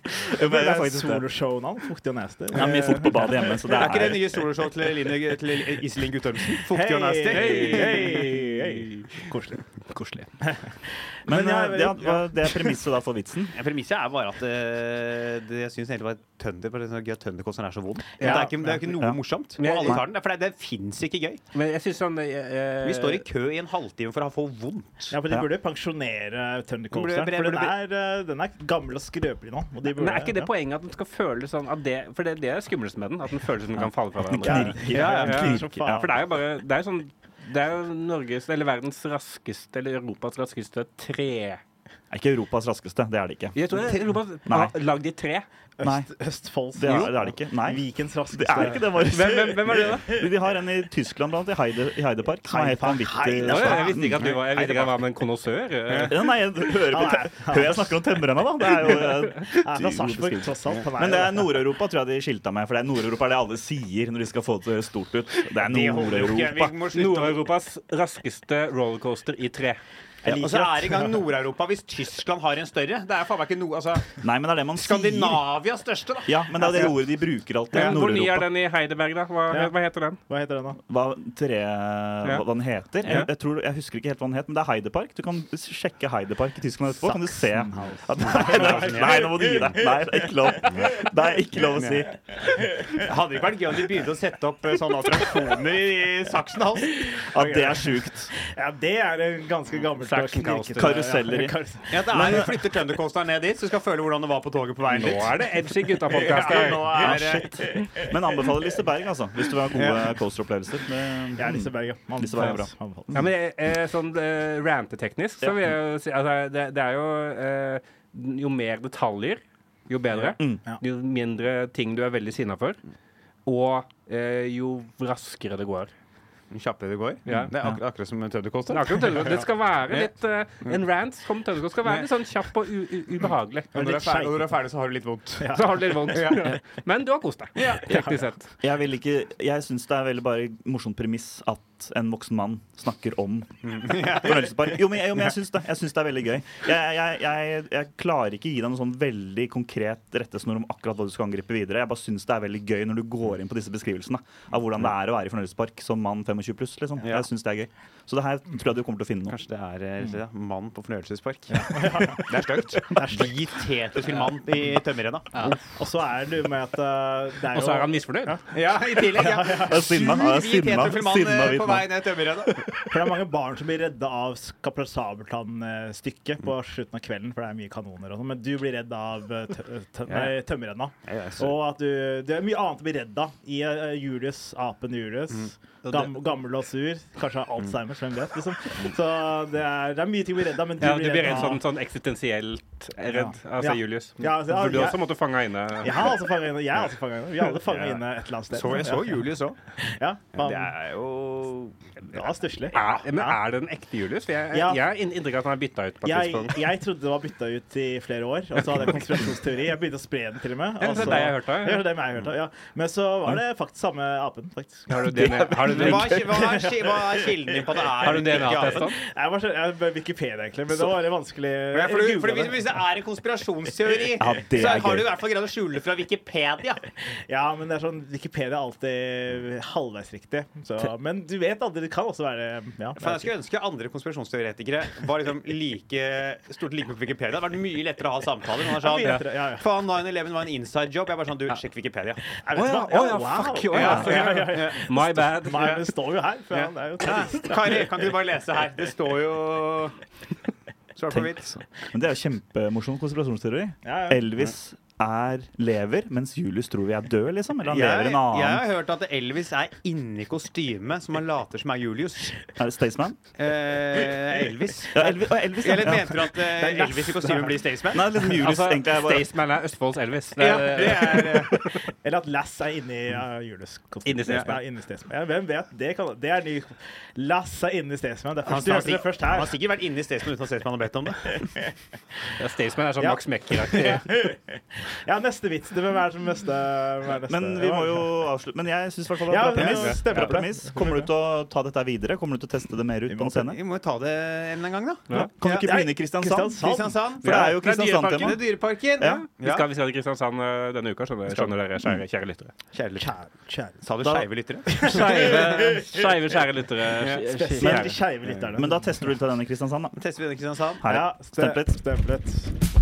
[SPEAKER 2] Det er
[SPEAKER 5] det er faktisk det.
[SPEAKER 2] soloshow-navn. Fuktig og nasty.
[SPEAKER 5] Det er mye fukt på badet hjemme, så det
[SPEAKER 4] Er ikke det
[SPEAKER 5] er
[SPEAKER 4] nye soloshow til, Line- til Iselin Guttormsen?
[SPEAKER 2] Hei,
[SPEAKER 4] Fuktig og nasty.
[SPEAKER 2] hei, hei, hei. Koselig.
[SPEAKER 1] Koselig.
[SPEAKER 5] Men
[SPEAKER 2] Men jeg-
[SPEAKER 5] eh, det er, det er premisset da for vitsen.
[SPEAKER 4] Ja, Premisset er bare at eh, det, jeg syns egentlig bare tønder på det sånn gøy at tønderkonsern er så vond. Men det, er ikke, det er ikke noe
[SPEAKER 5] Ja.
[SPEAKER 4] morsomt. Og
[SPEAKER 1] Men-
[SPEAKER 4] alle tar den. For det, det fins ikke gøy.
[SPEAKER 1] Men jeg syns sånn eh,
[SPEAKER 4] Vi står i kø i en halvtime for å få vondt.
[SPEAKER 2] Ja, for De
[SPEAKER 5] Ja.
[SPEAKER 2] burde pensjonere Thunder
[SPEAKER 4] Burde-
[SPEAKER 2] Coaster. For
[SPEAKER 4] burde-
[SPEAKER 2] den er, eh, den er gammel og skrøpelig nå. Og de burde,
[SPEAKER 1] eh, Men er ikke det
[SPEAKER 2] ja.
[SPEAKER 1] poenget at den skal føles sånn at det, For det, det er skumlest med den. At den føles som den kan falle fra hverandre.
[SPEAKER 2] Ja,
[SPEAKER 1] ja, ja.
[SPEAKER 2] knirker,
[SPEAKER 1] Ja, for det er jo bare Det er jo sånn Det er jo Norges, eller verdens raskeste, eller Europas raskeste tre
[SPEAKER 5] er ikke Europas raskeste. Det er det ikke.
[SPEAKER 1] Jeg tror det er Europa
[SPEAKER 5] Nei.
[SPEAKER 1] har lagd i tre.
[SPEAKER 5] Nei.
[SPEAKER 2] Øst, Østfolds
[SPEAKER 5] Det er det, er det ikke. Nei.
[SPEAKER 2] Vikens
[SPEAKER 5] Det er
[SPEAKER 2] raskeste.
[SPEAKER 5] ikke det, Marius.
[SPEAKER 1] Hvem, hvem, hvem er det, da?
[SPEAKER 5] De har en i Tyskland, blant annet, i Heide, i Heidepark, som er helt vanvittig.
[SPEAKER 1] Å, ja, jeg visste ikke at du var, jeg visste ikke at jeg var med en konnoissør.
[SPEAKER 5] Ja, nei, jeg hører, på te hører jeg snakker om temmerne, da. Det er jo eh,
[SPEAKER 2] Er fra Sarpsborg, tross alt. Han
[SPEAKER 5] Men det
[SPEAKER 2] jo-
[SPEAKER 5] er Nord-Europa tror jeg de skilta meg, for det er Nord-Europa er det alle sier når de skal få det til å høres stort ut. Det er
[SPEAKER 4] Det holder jo ikke.
[SPEAKER 5] Nord-Europa.
[SPEAKER 4] Vi må slutte å
[SPEAKER 1] Eh, Nord-Europas raskeste rollercoaster i tre.
[SPEAKER 5] Ja,
[SPEAKER 4] Og
[SPEAKER 5] og
[SPEAKER 4] så
[SPEAKER 5] så-
[SPEAKER 4] er det i gang Nord-Europa hvis Tyskland har en større. Det er faen meg ikke noe altså,
[SPEAKER 5] Nei, men det er det man sier.
[SPEAKER 4] Skandinavias største, da.
[SPEAKER 5] Ja, men det er det ordet de bruker alltid.
[SPEAKER 1] Hvor ny er
[SPEAKER 5] Nord-Europa.
[SPEAKER 1] den i Heideberg, da? Hva,
[SPEAKER 2] Ja.
[SPEAKER 1] hva heter den?
[SPEAKER 2] Hva heter den, da?
[SPEAKER 5] Hva, tre, hva hva den heter?
[SPEAKER 1] Ja.
[SPEAKER 5] Jeg, jeg, tror, jeg husker ikke helt hva den het, men det er Heidepark. Du kan s- sjekke Heidepark i Tyskland etterpå. Kan du se at, (laughs) nei, nei, nei, nå må du gi deg. Nei, det er ikke lov. Det er ikke lov å si.
[SPEAKER 4] Hadde det ikke vært gøy om de begynte å sette opp eh,
[SPEAKER 2] (laughs)
[SPEAKER 4] sånne attraksjoner i saksen hans?
[SPEAKER 5] At det er sjukt.
[SPEAKER 2] Ja, det er en ganske gammel
[SPEAKER 5] Sachsenhausen. Karuseller i.
[SPEAKER 4] Ja, det er, vi flytter Thundercoaster ned dit, så du skal føle hvordan det var på toget på veien
[SPEAKER 1] Nå
[SPEAKER 4] dit.
[SPEAKER 1] er det edgy gutta-podkast
[SPEAKER 4] Ja,
[SPEAKER 1] her.
[SPEAKER 4] nå
[SPEAKER 5] Ja,
[SPEAKER 4] er det
[SPEAKER 5] Ah, shit. Men anbefaler Liseberg, altså. Hvis du vil ha gode coasteropplevelser. Det-
[SPEAKER 2] Ja, Liseberg, ja. Man-
[SPEAKER 5] Liseberg er bra.
[SPEAKER 2] Anbefales.
[SPEAKER 1] Ja, men eh, sånn eh, ranteteknisk, så
[SPEAKER 5] Ja.
[SPEAKER 1] vil jeg jo si altså, det, det er jo eh, Jo mer detaljer, jo bedre.
[SPEAKER 5] Mm.
[SPEAKER 2] Ja.
[SPEAKER 1] Jo mindre ting du er veldig sinna for. Og eh, jo raskere det går.
[SPEAKER 4] Kjappere det går.
[SPEAKER 1] Ja.
[SPEAKER 4] Det er akkurat, akkurat som
[SPEAKER 1] Det,
[SPEAKER 4] Thundercoaster.
[SPEAKER 1] er akkurat Tønnegård. det skal være litt eh, En rant som Tønnegård skal være litt sånn kjapp og u u ubehagelig.
[SPEAKER 4] Og når du er ferdig, og når du er ferdig, så har du litt vondt.
[SPEAKER 1] Så har du litt vondt. Men du har kost deg, teknisk sett.
[SPEAKER 5] Jeg, vil ikke, jeg syns det er veldig bare morsomt premiss at en voksen mann snakker om fornøyelsespark. Jo, men, jo, men jeg syns det. Jeg synes det er veldig gøy. Jeg, jeg, jeg, jeg klarer ikke gi deg noen sånn veldig konkret rettesnor om akkurat hva du skal angripe videre. Jeg bare syns det er veldig gøy når du går inn på disse beskrivelsene av hvordan det er å være i fornøyelsespark som mann 25 pluss. Liksom. Jeg syns det er gøy. Så det her tror jeg du kommer til å finne noe.
[SPEAKER 4] Kanskje det er eh, rett og slett, ja, mann på fornøyelsespark. Det er stygt. Hvit heterosil mann i tømmerrenna.
[SPEAKER 2] Og så er det jo med at eh, det er
[SPEAKER 1] Og så er
[SPEAKER 2] jo
[SPEAKER 1] han misfornøyd.
[SPEAKER 4] Ja, i tillegg. Ja.
[SPEAKER 5] Det er Sinna, det er
[SPEAKER 4] Hvit
[SPEAKER 5] sinna,
[SPEAKER 4] heterofil mann
[SPEAKER 5] sinna
[SPEAKER 4] eh,
[SPEAKER 5] hvit
[SPEAKER 4] på vei
[SPEAKER 5] mann.
[SPEAKER 4] ned tømmerrenna.
[SPEAKER 2] For det er mange barn som blir redda av Kaptein Sabeltann-stykket på slutten av kvelden, for det er mye kanoner og sånn, men du blir redd av eh, tø- tø- nei, tømmerrenna. Og at du Det er mye annet å bli redd av i eh, Julius, apen Julius.
[SPEAKER 4] Mm.
[SPEAKER 2] Gam, gammel og sur. Kanskje har Alzheimer, hvem vet. Liksom. Så det er, det er mye ting å bli redd av, men du
[SPEAKER 1] Ja, du
[SPEAKER 2] blir
[SPEAKER 1] blir
[SPEAKER 2] redd
[SPEAKER 1] en
[SPEAKER 2] av
[SPEAKER 1] sånn, sånn eksistensielt redd,
[SPEAKER 2] Ja.
[SPEAKER 1] altså
[SPEAKER 2] Ja.
[SPEAKER 1] Julius.
[SPEAKER 2] Ja, altså, ja,
[SPEAKER 1] For du
[SPEAKER 2] jeg-
[SPEAKER 1] også måtte fange øynene.
[SPEAKER 2] Jeg har altså fanget inne. Jeg er altså fanget inne. Vi er alle fanget inne et eller annet sted.
[SPEAKER 4] Så jeg så Julius òg.
[SPEAKER 2] Ja, man,
[SPEAKER 4] Det er jo
[SPEAKER 2] det var stusslig.
[SPEAKER 1] Er, men er det den ekte Julius? For jeg,
[SPEAKER 2] Ja.
[SPEAKER 1] jeg har inn- inntrykk av at han er bytta ut på et
[SPEAKER 2] Jeg,
[SPEAKER 1] tidspunkt.
[SPEAKER 2] (laughs) jeg trodde det var bytta ut i flere år, og så hadde jeg konspirasjonsteori. Jeg begynte å spre den, til og
[SPEAKER 1] Ja,
[SPEAKER 2] med. og
[SPEAKER 1] det er
[SPEAKER 2] så-
[SPEAKER 1] det jeg hørte, ja.
[SPEAKER 2] Ja, det er det jeg hørte, ja. Men så var det faktisk samme apen, faktisk.
[SPEAKER 1] Har du DNA Har du
[SPEAKER 4] Men hva,
[SPEAKER 1] DNA
[SPEAKER 4] er- hva, er, ki- hva er kilden din på at det er
[SPEAKER 1] Har du DNA-test
[SPEAKER 4] Ja,
[SPEAKER 1] av den?
[SPEAKER 2] Jeg var så, jeg var Wikipedia, egentlig, men det var veldig vanskelig.
[SPEAKER 4] for- for-
[SPEAKER 2] Jeg
[SPEAKER 4] for
[SPEAKER 2] googlet
[SPEAKER 4] hvis, hvis det er en konspirasjonsteori,
[SPEAKER 5] Ja, det
[SPEAKER 4] så
[SPEAKER 5] er
[SPEAKER 4] har
[SPEAKER 5] gøy.
[SPEAKER 4] du i hvert fall greid å skjule det fra Wikipedia.
[SPEAKER 2] det. Ja, men det er sånn, Wikipedia er alltid halvveis riktig. Så, men du vet aldri. Det kan også være ja,
[SPEAKER 4] For Jeg skulle ønske andre konspirasjonsteoretikere var liksom like stort like på Wikipedia. Det hadde vært mye lettere å ha samtaler. Men han
[SPEAKER 2] Ja, mye
[SPEAKER 4] sa
[SPEAKER 2] lettere, ja, ja.
[SPEAKER 4] faen, 9-11 var en inside job. Jeg bare sånn, du, sjekk Wikipedia.
[SPEAKER 2] Jeg vet
[SPEAKER 1] Å ja,
[SPEAKER 2] hva.
[SPEAKER 1] å ja,
[SPEAKER 2] wow.
[SPEAKER 1] fuck, å ja,
[SPEAKER 2] ja,
[SPEAKER 1] sorry.
[SPEAKER 2] ja, ja, ja.
[SPEAKER 1] My bad.
[SPEAKER 2] Nei, men det står jo her. For han er jo terrorist.
[SPEAKER 4] Kari, kan ikke du bare lese her? Det står jo Svart på hvitt.
[SPEAKER 5] Men det er jo kjempemorsom konspirasjonsteori.
[SPEAKER 2] Ja, ja.
[SPEAKER 5] Elvis er lever, mens Julius tror vi er død, liksom. Eller han lever i en
[SPEAKER 4] jeg
[SPEAKER 5] annen
[SPEAKER 4] har hørt at Elvis er inni kostymet som han later som er Julius.
[SPEAKER 5] Er det Staysman?
[SPEAKER 4] Eh, Elvis.
[SPEAKER 5] Ja, Elvis, å, Elvis ja.
[SPEAKER 4] Eller
[SPEAKER 5] Ja.
[SPEAKER 4] mente du at eh, Elvis i kostymet blir Staysman?
[SPEAKER 5] Nei, liksom Julius,
[SPEAKER 1] Altså,
[SPEAKER 5] egentlig. Er bare,
[SPEAKER 1] Staysman er Østfolds Elvis. Det
[SPEAKER 4] Ja,
[SPEAKER 1] er,
[SPEAKER 4] det er
[SPEAKER 5] (laughs)
[SPEAKER 4] eh,
[SPEAKER 2] Eller at Lass er inni uh, julekostymet.
[SPEAKER 1] Inni Staysman.
[SPEAKER 2] Ja, inni Staysman. Ja, hvem vet? Det, kan, det er ny Lass er inni Staysman. Det er
[SPEAKER 4] Han
[SPEAKER 2] først, du
[SPEAKER 4] har
[SPEAKER 2] hørte det
[SPEAKER 4] sikk-
[SPEAKER 2] først
[SPEAKER 4] han
[SPEAKER 2] her.
[SPEAKER 4] har sikkert vært inne i Staysman uten at Staysman har bedt om det.
[SPEAKER 1] Ja, Staysman er sånn
[SPEAKER 2] Ja.
[SPEAKER 1] Max Mekker-aktig.
[SPEAKER 2] Ja, neste vits. Det hvem er det som neste, hvem er neste?
[SPEAKER 5] men vi må jo avslutte. Men jeg syns i hvert fall det
[SPEAKER 2] Ja,
[SPEAKER 5] var bra
[SPEAKER 2] det er jo-
[SPEAKER 5] premiss.
[SPEAKER 2] stemmer
[SPEAKER 5] Bra
[SPEAKER 2] det.
[SPEAKER 5] premiss. Kommer du til å ta dette her videre? Kommer du til å teste det mer ut på en scene?
[SPEAKER 4] Vi må jo ta det en eller annen gang, da.
[SPEAKER 5] Ja. Kan du ikke
[SPEAKER 2] Ja,
[SPEAKER 5] begynne i Kristiansand?
[SPEAKER 4] Kristiansand.
[SPEAKER 5] For det er jo
[SPEAKER 4] Det er Dyreparken.
[SPEAKER 5] Kristiansand-tema.
[SPEAKER 4] Det er dyreparken.
[SPEAKER 5] Ja.
[SPEAKER 1] Vi skal, vi skal til Kristiansand eh, denne uka, skjønner, skjønner dere, kjære, kjære lyttere.
[SPEAKER 4] Kjære lyttere.
[SPEAKER 2] Kjære, kjære.
[SPEAKER 4] Sa du skeive lyttere?
[SPEAKER 1] Skeive, skeive, kjære lyttere.
[SPEAKER 2] Spesielt de skeive lytterne.
[SPEAKER 5] Men da tester du litt av den i Kristiansand, da.
[SPEAKER 4] Tester vi den i Kristiansand?
[SPEAKER 5] Her, ja.
[SPEAKER 2] ste-
[SPEAKER 5] Stemplet.
[SPEAKER 2] Stemplet.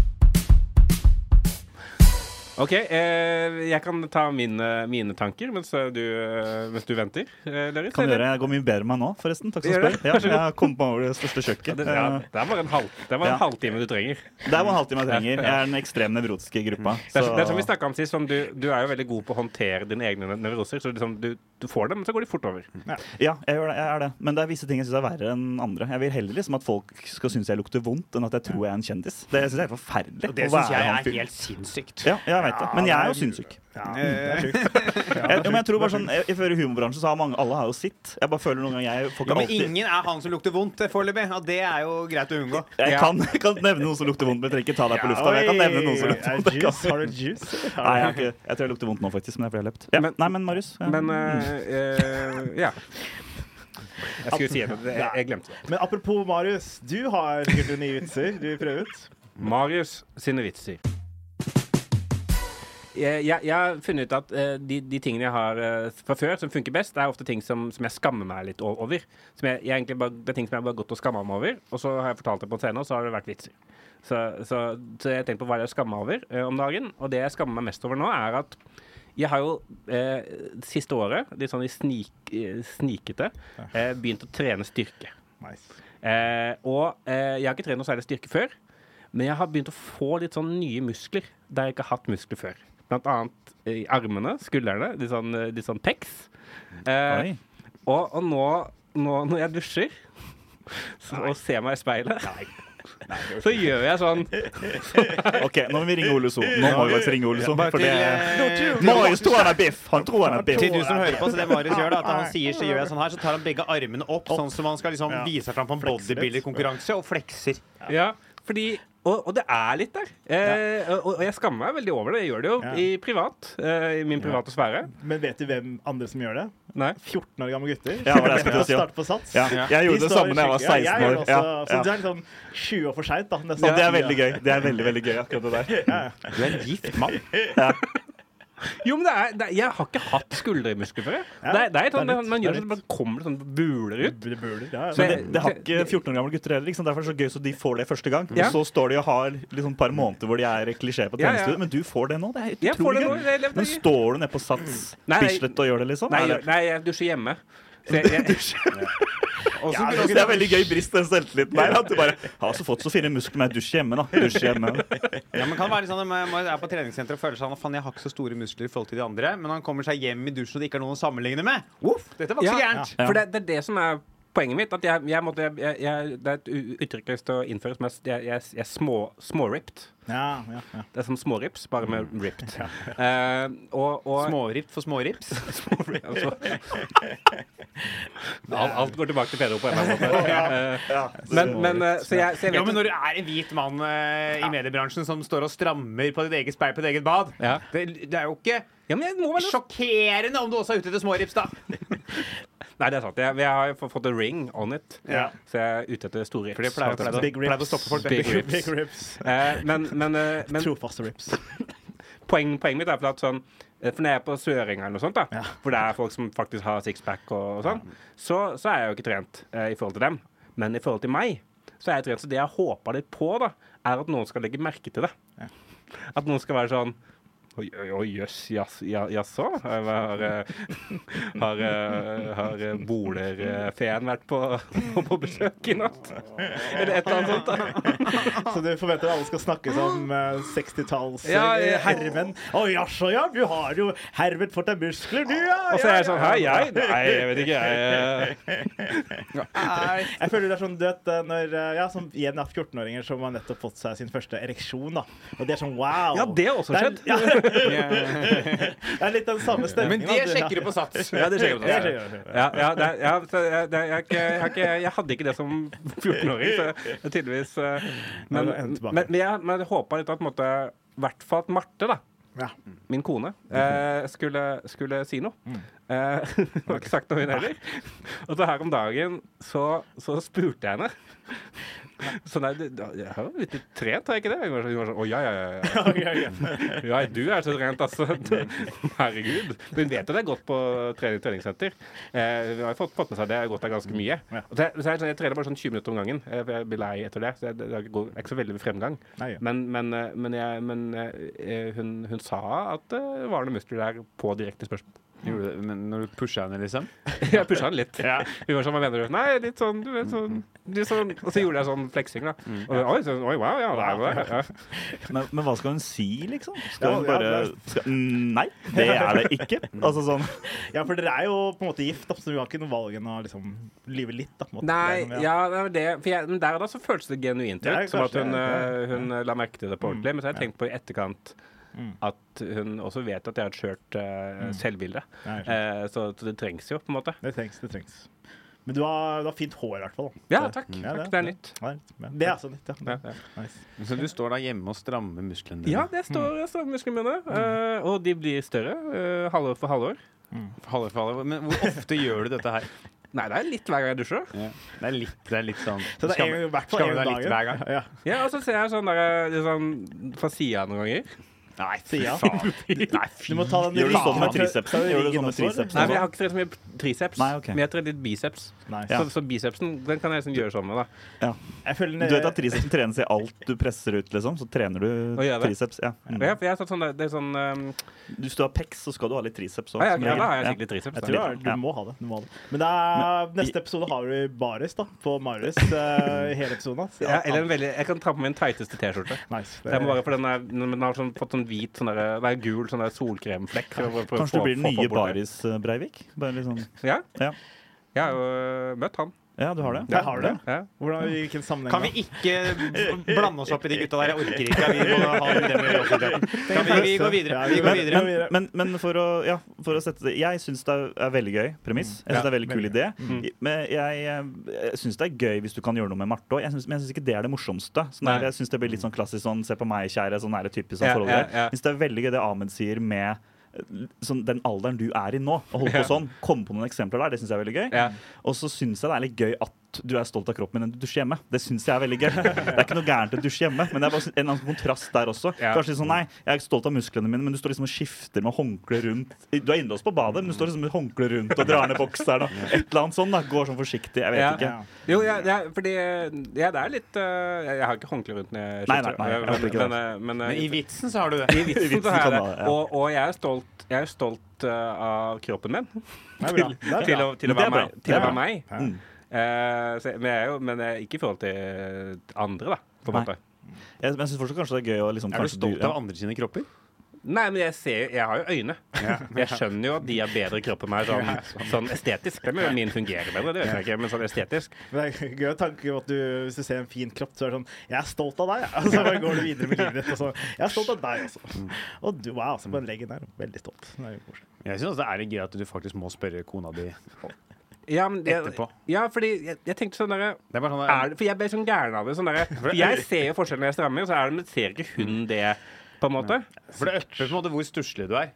[SPEAKER 1] OK, eh, jeg kan ta mine, mine tanker mens eh, du, eh, mens du venter. Eh, Lerith,
[SPEAKER 5] Kan
[SPEAKER 1] eller?
[SPEAKER 5] gjøre. Jeg går mye bedre med meg nå, forresten. Takk
[SPEAKER 1] Gjør
[SPEAKER 5] skal du
[SPEAKER 1] det?
[SPEAKER 5] spørre. Ja, jeg har kommet meg over det største kjøkket.
[SPEAKER 1] Det, ja,
[SPEAKER 5] Eh,
[SPEAKER 1] det er bare en, halv, det er bare en
[SPEAKER 5] Ja.
[SPEAKER 1] halvtime du trenger.
[SPEAKER 5] Det er bare en halvtime jeg trenger. Jeg er den ekstremt nevrotiske i gruppa.
[SPEAKER 1] Det er, som- det er
[SPEAKER 5] så-
[SPEAKER 1] som vi snakket om sist, som du, du er jo veldig god på å håndtere dine egne ne- nevroser. Så liksom, du, du får dem, men så går de fort over.
[SPEAKER 5] Ja, jeg, gjør det, jeg er det. Men det er visse ting jeg syns er verre enn andre. Jeg vil heller liksom at folk skal synes jeg lukter vondt, enn at jeg tror jeg er en kjendis. Det syns jeg er forferdelig.
[SPEAKER 4] Det
[SPEAKER 5] å
[SPEAKER 4] syns
[SPEAKER 5] være
[SPEAKER 4] jeg
[SPEAKER 5] han
[SPEAKER 4] er
[SPEAKER 5] fyren.
[SPEAKER 4] helt sinnssykt.
[SPEAKER 5] ja, jeg vet det. Men jeg er jo sinnssyk. (laughs) Jeg, men jeg tror bare sånn, jeg, jeg føler i humorbransjen så har mange, alle har jo sitt. Jeg bare føler noen ganger jeg
[SPEAKER 4] Ja,
[SPEAKER 5] får ikke
[SPEAKER 4] men
[SPEAKER 5] alltid
[SPEAKER 4] ingen er han som lukter vondt eh, foreløpig, og det er jo greit å unngå.
[SPEAKER 5] Jeg kan, jeg kan nevne noen som lukter vondt, men jeg trenger ikke ta deg på lufta. men Jeg kan nevne noen som lukter
[SPEAKER 2] Er det juice? Har du juice?
[SPEAKER 5] Nei, jeg, har ikke, jeg tror jeg lukter vondt nå, faktisk. Men det er fordi jeg har løpt. Ja.
[SPEAKER 1] Men-
[SPEAKER 5] Nei, men Marius. Ja.
[SPEAKER 1] Men eh, eh, ja. Jeg skulle si det. det- Jeg, jeg glemte det.
[SPEAKER 2] Men apropos Marius, du har sikkert nye vitser du vil prøve ut.
[SPEAKER 1] Marius sine vitser. Jeg, jeg, jeg har funnet ut at eh, de, de tingene jeg har eh, fra før som funker best, det er ofte ting som, som jeg skammer meg litt o- over. Som jeg, jeg egentlig bare, det er ting som jeg bare har gått og skamma meg over, og så har jeg fortalt det på en scene, og så har det vært vitser. Så, så, så jeg tenkte på hva det er jeg skammer meg over eh, om dagen, og det jeg skammer meg mest over nå, er at jeg har jo eh, siste året, litt sånn i snik, eh, snikete, eh, begynt å trene styrke.
[SPEAKER 2] Nice.
[SPEAKER 1] Eh, og eh, jeg har ikke trent noe særlig styrke før, men jeg har begynt å få litt sånn nye muskler der jeg ikke har hatt muskler før. Blant annet eh, i armene, skuldrene, litt sånn, eh, litt sånn pecs. Eh,
[SPEAKER 5] Oi.
[SPEAKER 1] og og nå, nå når jeg dusjer (laughs) så, og ser meg i speilet, (laughs) så gjør jeg sånn
[SPEAKER 5] OK, nå må vi ringe Ole So. Nå må vi faktisk ringe Ole So. For
[SPEAKER 4] Til,
[SPEAKER 5] det
[SPEAKER 4] eh,
[SPEAKER 5] Marius tror han er biff! Han tror han er biff.
[SPEAKER 4] til du som hører på, så det Marius gjør, da, at (laughs) han sier så gjør jeg sånn her, så tar han begge armene opp, sånn som han skal liksom
[SPEAKER 2] Ja.
[SPEAKER 4] vise seg fram på en
[SPEAKER 2] Flekse litt.
[SPEAKER 4] bodybuilder-konkurranse, og flekser.
[SPEAKER 1] Ja, fordi og, og det er litt der. Eh, og, og jeg skammer meg veldig over det. Jeg gjør det jo
[SPEAKER 2] Ja.
[SPEAKER 1] i privat. Eh, I min private sfære.
[SPEAKER 2] Men vet du hvem andre som gjør det?
[SPEAKER 1] Nei.
[SPEAKER 2] 14 år gamle gutter.
[SPEAKER 5] Ja, det var det jeg skulle
[SPEAKER 2] Som
[SPEAKER 5] si, ja.
[SPEAKER 2] starter på sats.
[SPEAKER 5] Ja, jeg
[SPEAKER 2] De
[SPEAKER 5] gjorde det
[SPEAKER 2] står
[SPEAKER 5] samme da jeg var
[SPEAKER 2] skikkelig- ja,
[SPEAKER 5] 16
[SPEAKER 2] gjorde
[SPEAKER 5] år.
[SPEAKER 2] også,
[SPEAKER 5] Ja,
[SPEAKER 2] Så
[SPEAKER 5] ja.
[SPEAKER 1] sånn.
[SPEAKER 2] du er liksom 20 år for seint, da. nesten.
[SPEAKER 5] Og det er veldig gøy. Det er veldig, veldig gøy, akkurat det der.
[SPEAKER 4] Du er en gift mann.
[SPEAKER 1] Jo, men det er, det er, jeg har ikke hatt skuldermuskler før. jeg.
[SPEAKER 2] Ja,
[SPEAKER 1] det, er- det er sånn,
[SPEAKER 2] det er litt-
[SPEAKER 1] man
[SPEAKER 2] det er
[SPEAKER 1] gjør det, man kommer det sånn buler ut.
[SPEAKER 2] Det burde, ja, ja.
[SPEAKER 5] Men det, det har ikke 14 år gamle gutter heller. Ikke sant? Derfor er det så gøy så de får det første gang.
[SPEAKER 1] Ja.
[SPEAKER 5] Og så står de og har liksom et par måneder hvor de er klisjé på
[SPEAKER 1] Ja, ja.
[SPEAKER 5] treningsstudio, men du får det nå. Det er
[SPEAKER 1] Jeg får det
[SPEAKER 5] utrolig
[SPEAKER 1] nå.
[SPEAKER 5] gøy.
[SPEAKER 1] Jeg lever
[SPEAKER 5] Men
[SPEAKER 1] i-
[SPEAKER 5] står du nede på Sats
[SPEAKER 1] Nei, nei.
[SPEAKER 5] Bislett og gjør det, liksom?
[SPEAKER 1] Nei,
[SPEAKER 5] Er
[SPEAKER 1] jeg-
[SPEAKER 5] det-
[SPEAKER 1] nei, jeg dusjer hjemme. Så jeg, jeg, Og så
[SPEAKER 5] Ja,
[SPEAKER 1] begynner
[SPEAKER 5] det er veldig gøy brist den selvtilliten der. At du bare har så fått så fine muskler, men jeg dusjer hjemme, da. Dusjer hjemme.
[SPEAKER 4] Ja, men kan være litt sånn, at Man er på treningssenteret og føler sånn at faen, jeg har ikke så store muskler i forhold til de andre, men han kommer seg hjem i dusjen og det ikke er noen å sammenligne med. Uff, dette var ikke så
[SPEAKER 1] Ja,
[SPEAKER 4] gærent.
[SPEAKER 1] For det, det er det som er poenget mitt. At jeg, jeg, måtte, jeg, jeg, det er et u- uttrykk jeg har lyst til å innføre som er s- jeg, jeg, jeg er små, småripped.
[SPEAKER 2] Ja, ja, ja.
[SPEAKER 1] Det er som smårips, bare med ripped. Eh, og, og,
[SPEAKER 4] Smårips for smårips.
[SPEAKER 1] altså. (laughs) alt, alt går tilbake til Pedro på en eller annen måte. Eh, men, men, eh, så jeg, så jeg vet
[SPEAKER 4] Ja, men når du er en hvit mann eh, i mediebransjen som står og strammer på ditt eget speil på ditt eget bad,
[SPEAKER 1] Ja.
[SPEAKER 4] det, det er jo ikke
[SPEAKER 1] Ja, men jeg må være litt-
[SPEAKER 4] sjokkerende om du også er ute etter smårips, da.
[SPEAKER 1] Nei, det er sant. Jeg, jeg har jo fått a ring on it.
[SPEAKER 2] Ja.
[SPEAKER 1] Så jeg er ute etter store rips.
[SPEAKER 4] For det pleier, pleier,
[SPEAKER 2] Big
[SPEAKER 4] pleier, å stoppe folk. det.
[SPEAKER 1] Big rips.
[SPEAKER 2] Big rips.
[SPEAKER 1] Eh, men men, eh, men
[SPEAKER 2] Trofaste rips.
[SPEAKER 1] poeng, poenget mitt er for at sånn eh, For når jeg er på Sørenga eller noe sånt, da, hvor det er folk som faktisk har sixpack og, og sånn, så, så er jeg jo ikke trent eh, i forhold til dem. Men i forhold til meg, så er jeg trent. Så det jeg håpa litt på, da, er at noen skal legge merke til det. At noen skal være sånn Oi, oi, oi, jøss, jas- ja- jaså? Har, har, eh, har, eh, har eh, bolerfeen vært på, på besøk i natt? Eller et eller annet sånt. da
[SPEAKER 2] Så du forventer at alle skal snakke som eh, 60-talls eh,
[SPEAKER 1] Ja, ja.
[SPEAKER 2] herremenn. Å jaså, ja. Du har jo herved fått deg muskler, du, ja.
[SPEAKER 1] Og så
[SPEAKER 2] ja,
[SPEAKER 1] er jeg sånn
[SPEAKER 2] ja.
[SPEAKER 1] Hei, jeg? Nei, jeg vet ikke, jeg. eh,
[SPEAKER 2] Jeg føler det er sånn, du vet, eh, når, eh, ja, som igjen er 14-åringer som har nettopp fått seg sin første ereksjon, da. Og det er sånn wow.
[SPEAKER 1] Ja, det har også
[SPEAKER 2] Det er-
[SPEAKER 1] skjedd.
[SPEAKER 2] (laughs) Ja, det er litt den samme stemningen.
[SPEAKER 4] Men det sjekker du på sats.
[SPEAKER 1] Ja, det skjer jo
[SPEAKER 2] Ja,
[SPEAKER 4] (laughs)
[SPEAKER 2] det skjer jo.
[SPEAKER 1] Ja, ja, det, er- ja så jeg, det, er- jeg, har ikke- jeg, har ikke- jeg hadde ikke det som 14-åring, så det er tydeligvis eh, Men,
[SPEAKER 2] Ja, det er en tilbake.
[SPEAKER 1] men, men jeg men jeg håpa litt at på en måte, i hvert fall at Marte, da,
[SPEAKER 2] Ja. Mhm.
[SPEAKER 1] min kone, eh, skulle, skulle si noe. Eh, (laughs) Hun har ikke sagt noe, hun heller. Og så her om dagen så, så spurte jeg henne Så nei, det, det- jeg har jo blitt litt trent, har jeg ikke det? Jeg var sånn- jeg var sånn, Å, ja, ja, ja, ja.
[SPEAKER 2] Ok, ok.
[SPEAKER 1] Ja, du er så trent, altså. Herregud. Hun vet at det er godt på trening treningssenter. Eh, hun har fått, fått med seg det jeg har gått der ganske mye.
[SPEAKER 2] Ja.
[SPEAKER 1] Og det, så er, det sånn, jeg trener bare sånn 20 minutter om gangen. eh, for Jeg blir lei etter det. Så jeg, det, det går det er ikke så veldig fremgang.
[SPEAKER 2] Nei, ja.
[SPEAKER 1] Men, men, eh, men, jeg, men eh, hun, hun sa at eh, det var noen muskler der på direkte spørsmål. (laughs)
[SPEAKER 4] Gjorde du det men når du pusha henne, liksom?
[SPEAKER 1] Jeg pusha henne litt. Hun var sånn, hva mener du? Nei, litt sånn, du vet sånn, litt sånn. Og så gjorde jeg sånn fleksing, da.
[SPEAKER 2] Mm.
[SPEAKER 1] Og, oi, så, oi, wow, ja, det er det. Ja.
[SPEAKER 5] Men, men hva skal hun si, liksom? Skal hun
[SPEAKER 2] Ja, ja,
[SPEAKER 5] bare skal, Nei, det er det ikke. Altså sånn
[SPEAKER 2] ja, for dere er jo på en måte gift, da, så du har ikke noe valg enn å liksom lyve litt. Da, på en måte.
[SPEAKER 1] Nei,
[SPEAKER 2] Det er noe-
[SPEAKER 1] ja, det var det. For jeg, men der og da så føltes det genuint ut.
[SPEAKER 2] Det er
[SPEAKER 1] som at
[SPEAKER 2] kanskje-
[SPEAKER 1] hun,
[SPEAKER 2] ja,
[SPEAKER 1] eh, hun la merke til det på ordentlig. Men så har jeg tenkt på i etterkant Mm. at hun også vet at jeg har et skjørt eh, selvbilde.
[SPEAKER 2] Nei, skjønner.
[SPEAKER 1] Eh, så, så det trengs jo, på en måte.
[SPEAKER 2] Det trengs, det trengs. Men du har, du har fint hår, i hvert fall. da.
[SPEAKER 1] Ja, takk.
[SPEAKER 2] Ja,
[SPEAKER 1] takk. Det er nytt.
[SPEAKER 2] Ja, det er- det er altså nytt, ja.
[SPEAKER 1] Ja, ja.
[SPEAKER 2] Nice.
[SPEAKER 4] Så du står der hjemme og strammer musklene
[SPEAKER 1] ja det står strammusklene mine. eh, og de blir større eh, halvår for halvår.
[SPEAKER 4] Faller, faller. Men hvor ofte gjør du dette her?
[SPEAKER 1] Nei, det er litt hver gang jeg dusjer.
[SPEAKER 4] Det er litt, det er litt sånn
[SPEAKER 2] Så det er en, i hvert fall en
[SPEAKER 4] skammer deg litt hver gang.
[SPEAKER 2] Ja.
[SPEAKER 1] Ja, Og så ser jeg sånn der, litt sånn fra sida noen ganger.
[SPEAKER 4] Nei,
[SPEAKER 2] Sier jeg.
[SPEAKER 1] (laughs)
[SPEAKER 4] faen. Nei,
[SPEAKER 2] Du må ta den
[SPEAKER 5] Gjør du sånn
[SPEAKER 2] ryggen-
[SPEAKER 5] med
[SPEAKER 2] ta
[SPEAKER 5] tricepsen?
[SPEAKER 2] den
[SPEAKER 5] Gjør du
[SPEAKER 2] ryggen
[SPEAKER 5] sånn med
[SPEAKER 2] også, eller?
[SPEAKER 5] tricepsen?
[SPEAKER 1] Nei, men
[SPEAKER 5] også?
[SPEAKER 1] Jeg har ikke trent så mye triceps,
[SPEAKER 5] Nei, ok.
[SPEAKER 1] men jeg har trent litt biceps.
[SPEAKER 2] Nice.
[SPEAKER 5] Ja.
[SPEAKER 1] Så, så bicepsen den kan jeg liksom gjøre sånn med. da
[SPEAKER 5] Ja.
[SPEAKER 2] Jeg føler
[SPEAKER 5] Du vet at tricepsen trenes i alt du presser ut, liksom? Så trener du
[SPEAKER 1] Å, gjør det?
[SPEAKER 5] triceps. Ja. Mm.
[SPEAKER 1] Ja, for jeg har satt sånn der, det er sånn um,
[SPEAKER 5] Hvis du har pecs, så skal du ha litt triceps òg.
[SPEAKER 1] ja, ja, ja, da har jeg skikkelig triceps.
[SPEAKER 2] Jeg
[SPEAKER 1] da.
[SPEAKER 2] tror det er, du
[SPEAKER 5] Ja.
[SPEAKER 2] må ha det. Du må ha det. Men det er, neste episode har du Baris, da. På Marius. eh, hele episoden. ass.
[SPEAKER 1] Ja, eller en veldig, jeg kan ta på meg den teiteste T-skjorte.
[SPEAKER 2] Nice. Det,
[SPEAKER 1] Jeg må bare, for Den, er, den har sånn, fått sånn hvit, sånn der, nei, gul sånn der solkremflekk. for å prøve å
[SPEAKER 5] Kanskje
[SPEAKER 1] få-
[SPEAKER 5] du blir den
[SPEAKER 1] få- få
[SPEAKER 5] nye
[SPEAKER 1] bort det.
[SPEAKER 5] Baris eh, Breivik? Bare litt sånn
[SPEAKER 1] Ja,
[SPEAKER 5] Ja.
[SPEAKER 1] jeg har jo øh, møtt han.
[SPEAKER 5] ja, du har det?
[SPEAKER 2] Der har du det.
[SPEAKER 1] Ja.
[SPEAKER 2] Hvordan, I hvilken sammenheng?
[SPEAKER 4] Kan vi ikke blande oss opp i de gutta der? Jeg orker ikke.
[SPEAKER 2] (laughs)
[SPEAKER 4] Vi må ha det med i offentligheten. Kan vi, vi går videre. Vi går
[SPEAKER 5] Men,
[SPEAKER 4] videre.
[SPEAKER 5] men, men, men for, å, ja, for å sette det Jeg syns det er- er veldig gøy premiss. Jeg synes det er veldig kul idé. Men jeg, jeg syns det er gøy hvis du kan gjøre noe med Marte òg, men jeg syns ikke det er det morsomste. Sånn
[SPEAKER 1] Nei.
[SPEAKER 5] der, jeg syns det blir litt sånn klassisk sånn se på meg, kjære, sånn er det typisk sånn
[SPEAKER 1] Ja,
[SPEAKER 5] forhold
[SPEAKER 1] ja,
[SPEAKER 5] der.
[SPEAKER 1] ja.
[SPEAKER 5] Jeg syns det er veldig gøy det Ahmed sier med eh, Sånn, den alderen du er i nå, og holde på sånn. Komme på noen eksempler der, det syns jeg er veldig gøy.
[SPEAKER 1] Ja.
[SPEAKER 5] Og så syns jeg det er litt gøy at du er stolt av kroppen din enn du dusjer hjemme. Det syns jeg er veldig gøy. Det er ikke noe gærent å dusje hjemme, men det er bare en eller annen kontrast der også.
[SPEAKER 1] Ja.
[SPEAKER 5] Kanskje litt sånn, nei, jeg er stolt av musklene mine, men du står liksom og skifter med håndkle rundt Du er innelåst på badet, men du står liksom med håndkle rundt og drar ned bokseren og et eller annet sånn. da Går sånn forsiktig. Jeg vet
[SPEAKER 1] Ja.
[SPEAKER 5] ikke.
[SPEAKER 2] Ja.
[SPEAKER 1] Jo, ja, ja, fordi ja, det er litt øh, Jeg jeg har ikke håndkle rundt når jeg
[SPEAKER 5] Nei, nei, nei, jeg håper ikke
[SPEAKER 1] men,
[SPEAKER 5] det.
[SPEAKER 1] men, øh, men, øh,
[SPEAKER 4] Men i vitsen så har du
[SPEAKER 1] i
[SPEAKER 4] det.
[SPEAKER 5] (laughs)
[SPEAKER 1] vitsen
[SPEAKER 5] vitsen
[SPEAKER 1] så har jeg
[SPEAKER 5] kan
[SPEAKER 1] det.
[SPEAKER 5] man- ja.
[SPEAKER 1] Og, og jeg er stolt, jeg er stolt øh, av kroppen min.
[SPEAKER 2] Det er bra. Det er
[SPEAKER 1] Til
[SPEAKER 2] bra.
[SPEAKER 1] å, til å
[SPEAKER 5] Det er
[SPEAKER 1] være
[SPEAKER 5] bra.
[SPEAKER 1] meg.
[SPEAKER 5] Det
[SPEAKER 1] Til
[SPEAKER 5] er
[SPEAKER 1] å
[SPEAKER 5] bra.
[SPEAKER 1] være meg.
[SPEAKER 2] Ja.
[SPEAKER 1] Eh, så, jeg- men jeg er jo men jeg, ikke i forhold til eh, andre, da. På en
[SPEAKER 5] Nei.
[SPEAKER 1] måte.
[SPEAKER 5] Jeg, men jeg syns fortsatt kanskje det er gøy å liksom
[SPEAKER 4] Er du
[SPEAKER 5] kanskje
[SPEAKER 4] stolt
[SPEAKER 5] ja.
[SPEAKER 4] av andre sine kropper?
[SPEAKER 1] Nei, men jeg ser jo Jeg har jo øyne. (laughs) Jeg skjønner jo at de har bedre kropp enn meg sånn, sånn estetisk. Det med min fungerer bedre, det vet jeg ikke, men sånn estetisk.
[SPEAKER 2] Men det er gøy å tanke om at du, hvis du ser en fin kropp, så er det sånn Jeg er stolt av deg. (laughs) Og så bare går du videre med livet ditt. Og så, jeg er stolt av deg også. Og du er altså på den leggen der. Veldig stolt. Det er jo koselig.
[SPEAKER 4] Jeg syns det er litt gøy at du faktisk må spørre kona di.
[SPEAKER 1] Ja, men jeg,
[SPEAKER 4] Etterpå.
[SPEAKER 1] Ja, fordi jeg, jeg tenkte sånn derre
[SPEAKER 4] Det er bare sånn
[SPEAKER 1] er det- For jeg ble sånn gæren av det. Sånn derre for Jeg ser jo forskjellen når jeg strammer, så er det, men ser ikke hun det, på en måte?
[SPEAKER 4] For det øpper på en måte hvor stusslig du er.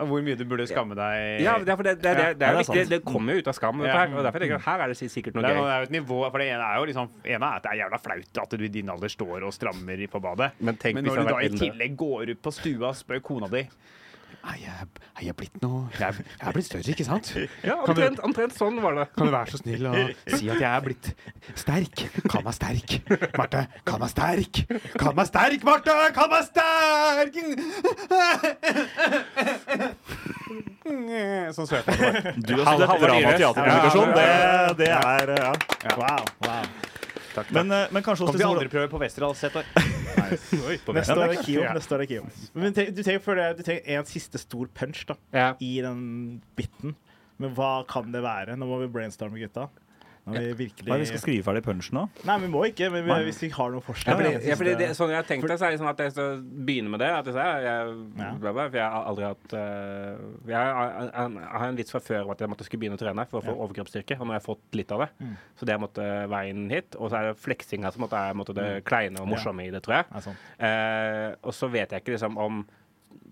[SPEAKER 4] Og hvor mye du burde skamme deg.
[SPEAKER 1] Ja, det, er for det, det, det, det, er jo
[SPEAKER 5] Ja, det er
[SPEAKER 1] viktig.
[SPEAKER 5] sant.
[SPEAKER 1] Det kommer jo ut av skam, dette
[SPEAKER 4] Ja.
[SPEAKER 1] her. Og derfor tenker jeg her er det sikkert noe
[SPEAKER 4] Det er, noe-
[SPEAKER 1] gøy.
[SPEAKER 4] det er jo et nivå, for det ene er jo liksom ene er at det er jævla flaut at du i din alder står og strammer i- på badet.
[SPEAKER 1] Men tenk hvis jeg
[SPEAKER 4] når du da
[SPEAKER 1] hadde
[SPEAKER 4] i
[SPEAKER 1] vært eldre.
[SPEAKER 4] tillegg går ut på stua og spør kona di Er jeg, er jeg blitt noe jeg er, jeg er blitt større, ikke sant?
[SPEAKER 1] Ja,
[SPEAKER 4] Kan du-
[SPEAKER 1] omtrent, omtrent sånn var det.
[SPEAKER 4] Kan du være så snill å si at jeg er blitt sterk? Kall meg sterk, Marte. Kall meg sterk. Kall meg sterk, Marte! Kall meg sterk! Sånn svøper man bare.
[SPEAKER 5] Du har studert drama- og teaterkommunikasjon. Det, det er ja.
[SPEAKER 2] Wow. wow.
[SPEAKER 5] men, eh, men kanskje
[SPEAKER 4] Kom
[SPEAKER 5] også
[SPEAKER 4] til
[SPEAKER 5] liksom-
[SPEAKER 4] andreprøve på Westerdals et år.
[SPEAKER 2] Neste
[SPEAKER 5] Ja,
[SPEAKER 2] år
[SPEAKER 5] det
[SPEAKER 2] er Kio. Neste år er Kio. Men tre- du trenger, før det, du trenger en siste stor punch da,
[SPEAKER 1] Ja.
[SPEAKER 2] i den biten. Men hva kan det være? Nå må vi brainstorme, gutta. Nå må vi
[SPEAKER 5] Hva er det vi skal
[SPEAKER 2] virkelig...
[SPEAKER 5] skrive ferdig punchen nå?
[SPEAKER 2] Nei, vi må ikke, men vi,
[SPEAKER 5] Nei.
[SPEAKER 2] hvis vi har
[SPEAKER 1] Ja,
[SPEAKER 2] noen forslag
[SPEAKER 1] fordi,
[SPEAKER 2] jeg
[SPEAKER 1] ja,
[SPEAKER 2] synes
[SPEAKER 1] fordi det,
[SPEAKER 2] det-
[SPEAKER 1] sånn jeg har tenkt det, så er det liksom at jeg skal begynne med det. At jeg, sier, jeg,
[SPEAKER 2] Ja.
[SPEAKER 1] bla, bla, for jeg har aldri hatt eh, jeg, har- jeg, jeg, jeg har en vits fra før om at jeg måtte skulle begynne å trene for å få overkroppsstyrke. Og nå har jeg fått litt av det.
[SPEAKER 2] Mm.
[SPEAKER 1] Så det er måtte, veien hit. Og så er det fleksinga som måtte, er måtte, det kleine og morsomme i det, tror jeg.
[SPEAKER 2] Mm. Ja, sånn.
[SPEAKER 1] Eh, og så vet jeg ikke liksom om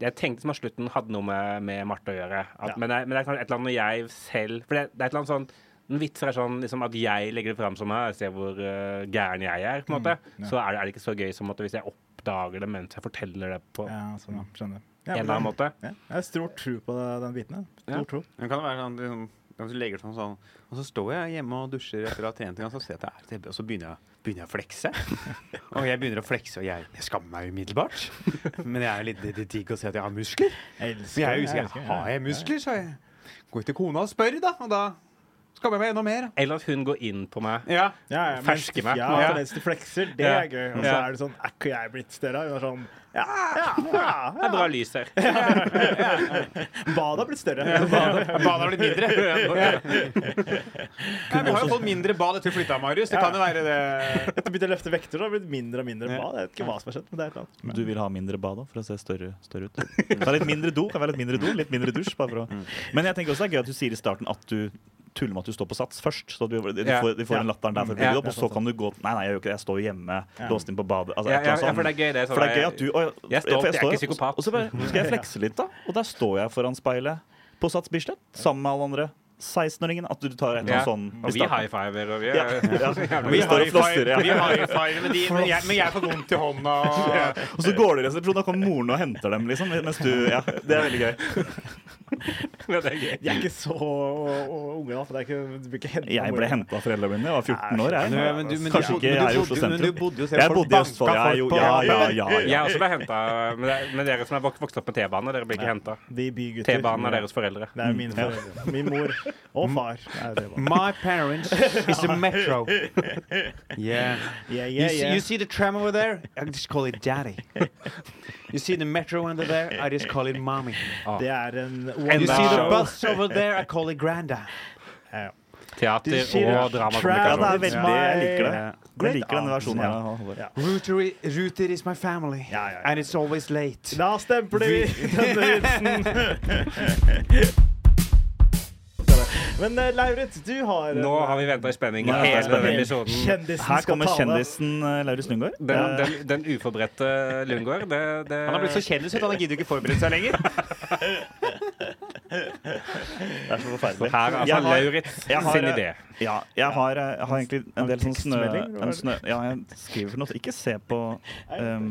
[SPEAKER 1] Jeg tenkte som at slutten hadde noe med, med Marte å gjøre. At,
[SPEAKER 2] Ja.
[SPEAKER 1] men, det, er- men det er kanskje et eller annet når jeg selv For det, det er et eller annet sånn En vits er sånn liksom, at jeg legger det fram som meg, ser hvor eh, gæren jeg er, på en måte. Så er det, er det ikke så gøy som at hvis jeg oppdager det mens jeg forteller det på
[SPEAKER 2] Ja, sånn, ja. Skjønner.
[SPEAKER 1] en
[SPEAKER 2] Ja,
[SPEAKER 1] eller annen måte.
[SPEAKER 2] Ja, jeg har stor tro på den biten. jeg.
[SPEAKER 1] Ja.
[SPEAKER 2] Stor tro.
[SPEAKER 4] (laughs) Men kan det være sånn, liksom, hvis du legger det sånn, sånn Og så står jeg hjemme og dusjer etter å ha trent en gang, så ser jeg at det er TV, og så begynner jeg, begynner jeg å (laughs) flekse. Og jeg begynner å flekse, og jeg, jeg skammer meg umiddelbart. Men jeg er litt det er digg å se at jeg har muskler.
[SPEAKER 2] Jeg
[SPEAKER 4] Så
[SPEAKER 2] elsker
[SPEAKER 4] jeg er
[SPEAKER 2] det,
[SPEAKER 4] usikker.
[SPEAKER 2] elsker det.
[SPEAKER 4] Har jeg muskler, så jeg går til kona og spør, da. Og da skammer jeg meg enda mer.
[SPEAKER 1] Eller at hun går inn på meg.
[SPEAKER 4] Ja.
[SPEAKER 2] Ja, ja, mens-
[SPEAKER 1] Ferske meg.
[SPEAKER 2] Ja,
[SPEAKER 4] Ja.
[SPEAKER 2] mens du flekser, det
[SPEAKER 1] Ja.
[SPEAKER 2] er gøy. Og så
[SPEAKER 1] Ja.
[SPEAKER 2] er det sånn Er ikke jeg blitt større? Hun er sånn Ja, ja,
[SPEAKER 1] Det
[SPEAKER 2] ja.
[SPEAKER 1] er bra lys her.
[SPEAKER 2] Badet har blitt større.
[SPEAKER 4] Badet har blitt (laughs) mindre. Nei, vi har jo fått mindre bad etter du flytta, Marius. Det kan jo være det.
[SPEAKER 2] Etter å begynne å løfte vekter, så har det blitt mindre og mindre bad. Jeg vet ikke hva som har skjedd, men det er et eller annet.
[SPEAKER 5] Du vil ha mindre bad da, for å se større, større ut. Ta litt mindre do, kan være litt mindre do, litt mindre dusj. Bare for å. Men jeg tenker også det er gøy at du sier i starten at du tuller med at du står på sats først. Så du, du,
[SPEAKER 1] Ja. Mm.
[SPEAKER 5] får, du får en latteren der for å
[SPEAKER 1] Ja.
[SPEAKER 5] bygge det opp, og så kan du gå Nei, nei, jeg gjør ikke det. Jeg står jo hjemme, låst inn på badet.
[SPEAKER 1] Ja,
[SPEAKER 5] Altså, et
[SPEAKER 1] ja,
[SPEAKER 5] eller
[SPEAKER 1] ja,
[SPEAKER 5] annet
[SPEAKER 1] for det
[SPEAKER 5] sånn.
[SPEAKER 1] er gøy, det.
[SPEAKER 5] For det er gøy at du og, jeg-
[SPEAKER 1] Jeg er stolt,
[SPEAKER 5] for
[SPEAKER 1] jeg er ikke
[SPEAKER 5] står-
[SPEAKER 1] psykopat.
[SPEAKER 5] Og så bare nå skal jeg flekse litt, da. Og der står jeg foran speilet på Sats Bislett sammen med alle andre 16-åringene. At du tar et eller
[SPEAKER 1] Ja.
[SPEAKER 5] annet sånn i
[SPEAKER 1] Og vi
[SPEAKER 5] starten.
[SPEAKER 1] high fiver, og vi (laughs)
[SPEAKER 5] (laughs) Ja.
[SPEAKER 1] er
[SPEAKER 5] Ja.
[SPEAKER 4] Vi
[SPEAKER 5] Vi står og flosser.
[SPEAKER 4] high-fiver,
[SPEAKER 5] Ja.
[SPEAKER 4] vi high-fiver, men, de- men, jeg- men jeg får vondt i hånda. Og,
[SPEAKER 1] (laughs)
[SPEAKER 5] Og så går du i resepsjonen, og da kommer moren og henter dem, liksom. Mens du Ja, det er veldig gøy.
[SPEAKER 1] Det er gøy.
[SPEAKER 2] De er ikke så unge, da. For det er ikke, du blir ikke hentet
[SPEAKER 5] Jeg
[SPEAKER 2] av
[SPEAKER 5] ble
[SPEAKER 2] mora.
[SPEAKER 5] henta av foreldrene mine. Jeg var 14 år. Jeg,
[SPEAKER 4] Nei, men du- men du
[SPEAKER 5] Kanskje
[SPEAKER 4] bodde- men
[SPEAKER 5] ikke
[SPEAKER 4] du
[SPEAKER 5] her i
[SPEAKER 4] bodde-
[SPEAKER 5] Oslo
[SPEAKER 4] men du bodde jo
[SPEAKER 5] sentrum.
[SPEAKER 4] selv
[SPEAKER 5] Jeg
[SPEAKER 4] folk
[SPEAKER 5] bodde i Østfold.
[SPEAKER 4] banka
[SPEAKER 5] Jeg, er jo,
[SPEAKER 4] folk på-
[SPEAKER 5] ja, ja, ja, ja.
[SPEAKER 1] (laughs) Jeg også ble henta. Men, det- men dere som er vok- vokst opp med T-bane, dere blir ikke henta.
[SPEAKER 2] De bygutter.
[SPEAKER 1] T-banen er deres foreldre.
[SPEAKER 2] Det er mine foreldre. Min mor og far. Er det
[SPEAKER 4] (laughs)
[SPEAKER 2] bare.
[SPEAKER 4] My parents is a metro. (laughs) Yeah.
[SPEAKER 2] Yeah,
[SPEAKER 4] You,
[SPEAKER 2] yeah,
[SPEAKER 4] see,
[SPEAKER 2] yeah.
[SPEAKER 4] you see the tram over there? I just call it daddy. (laughs) You see the metro under there? I just call it mommy.
[SPEAKER 2] Det er en
[SPEAKER 4] You see the
[SPEAKER 1] Show.
[SPEAKER 4] bus over there? I call it granda.
[SPEAKER 2] Ja.
[SPEAKER 1] Teater og
[SPEAKER 5] Ja, det
[SPEAKER 1] dramakommunikasjon.
[SPEAKER 5] er veldig, jeg liker det. Jeg
[SPEAKER 2] Great
[SPEAKER 5] liker denne versjonen her.
[SPEAKER 2] Ja.
[SPEAKER 4] Router, i- router is my family.
[SPEAKER 2] Ja, ja, ja.
[SPEAKER 4] And it's always late.
[SPEAKER 2] Da stempler vi denne vitsen. Men eh, Lauritz, du har en-
[SPEAKER 1] Nå har vi venta i spenning
[SPEAKER 5] Nå er det
[SPEAKER 1] hele
[SPEAKER 5] spenning.
[SPEAKER 1] denne episoden.
[SPEAKER 2] Kjendisen
[SPEAKER 5] (laughs) Her
[SPEAKER 2] skal
[SPEAKER 5] kommer
[SPEAKER 2] tale.
[SPEAKER 5] kjendisen eh, Lauritz Lundgaard.
[SPEAKER 1] Den, den, den uforberedte Lundgaard, det, det
[SPEAKER 4] Han har blitt så kjendis at han gidder ikke forberede seg lenger.
[SPEAKER 5] Det er så forferdelig.
[SPEAKER 1] Her er
[SPEAKER 5] Jeg
[SPEAKER 1] altså
[SPEAKER 5] har-
[SPEAKER 1] Lauritz
[SPEAKER 5] jeg har-
[SPEAKER 1] sin idé.
[SPEAKER 5] Ja, jeg har, eh, jeg har egentlig en del sånn snø,
[SPEAKER 2] tekstmelding, eller hva er
[SPEAKER 5] en
[SPEAKER 2] det?
[SPEAKER 5] snø... Ja, jeg skriver for noe. Ikke se på um,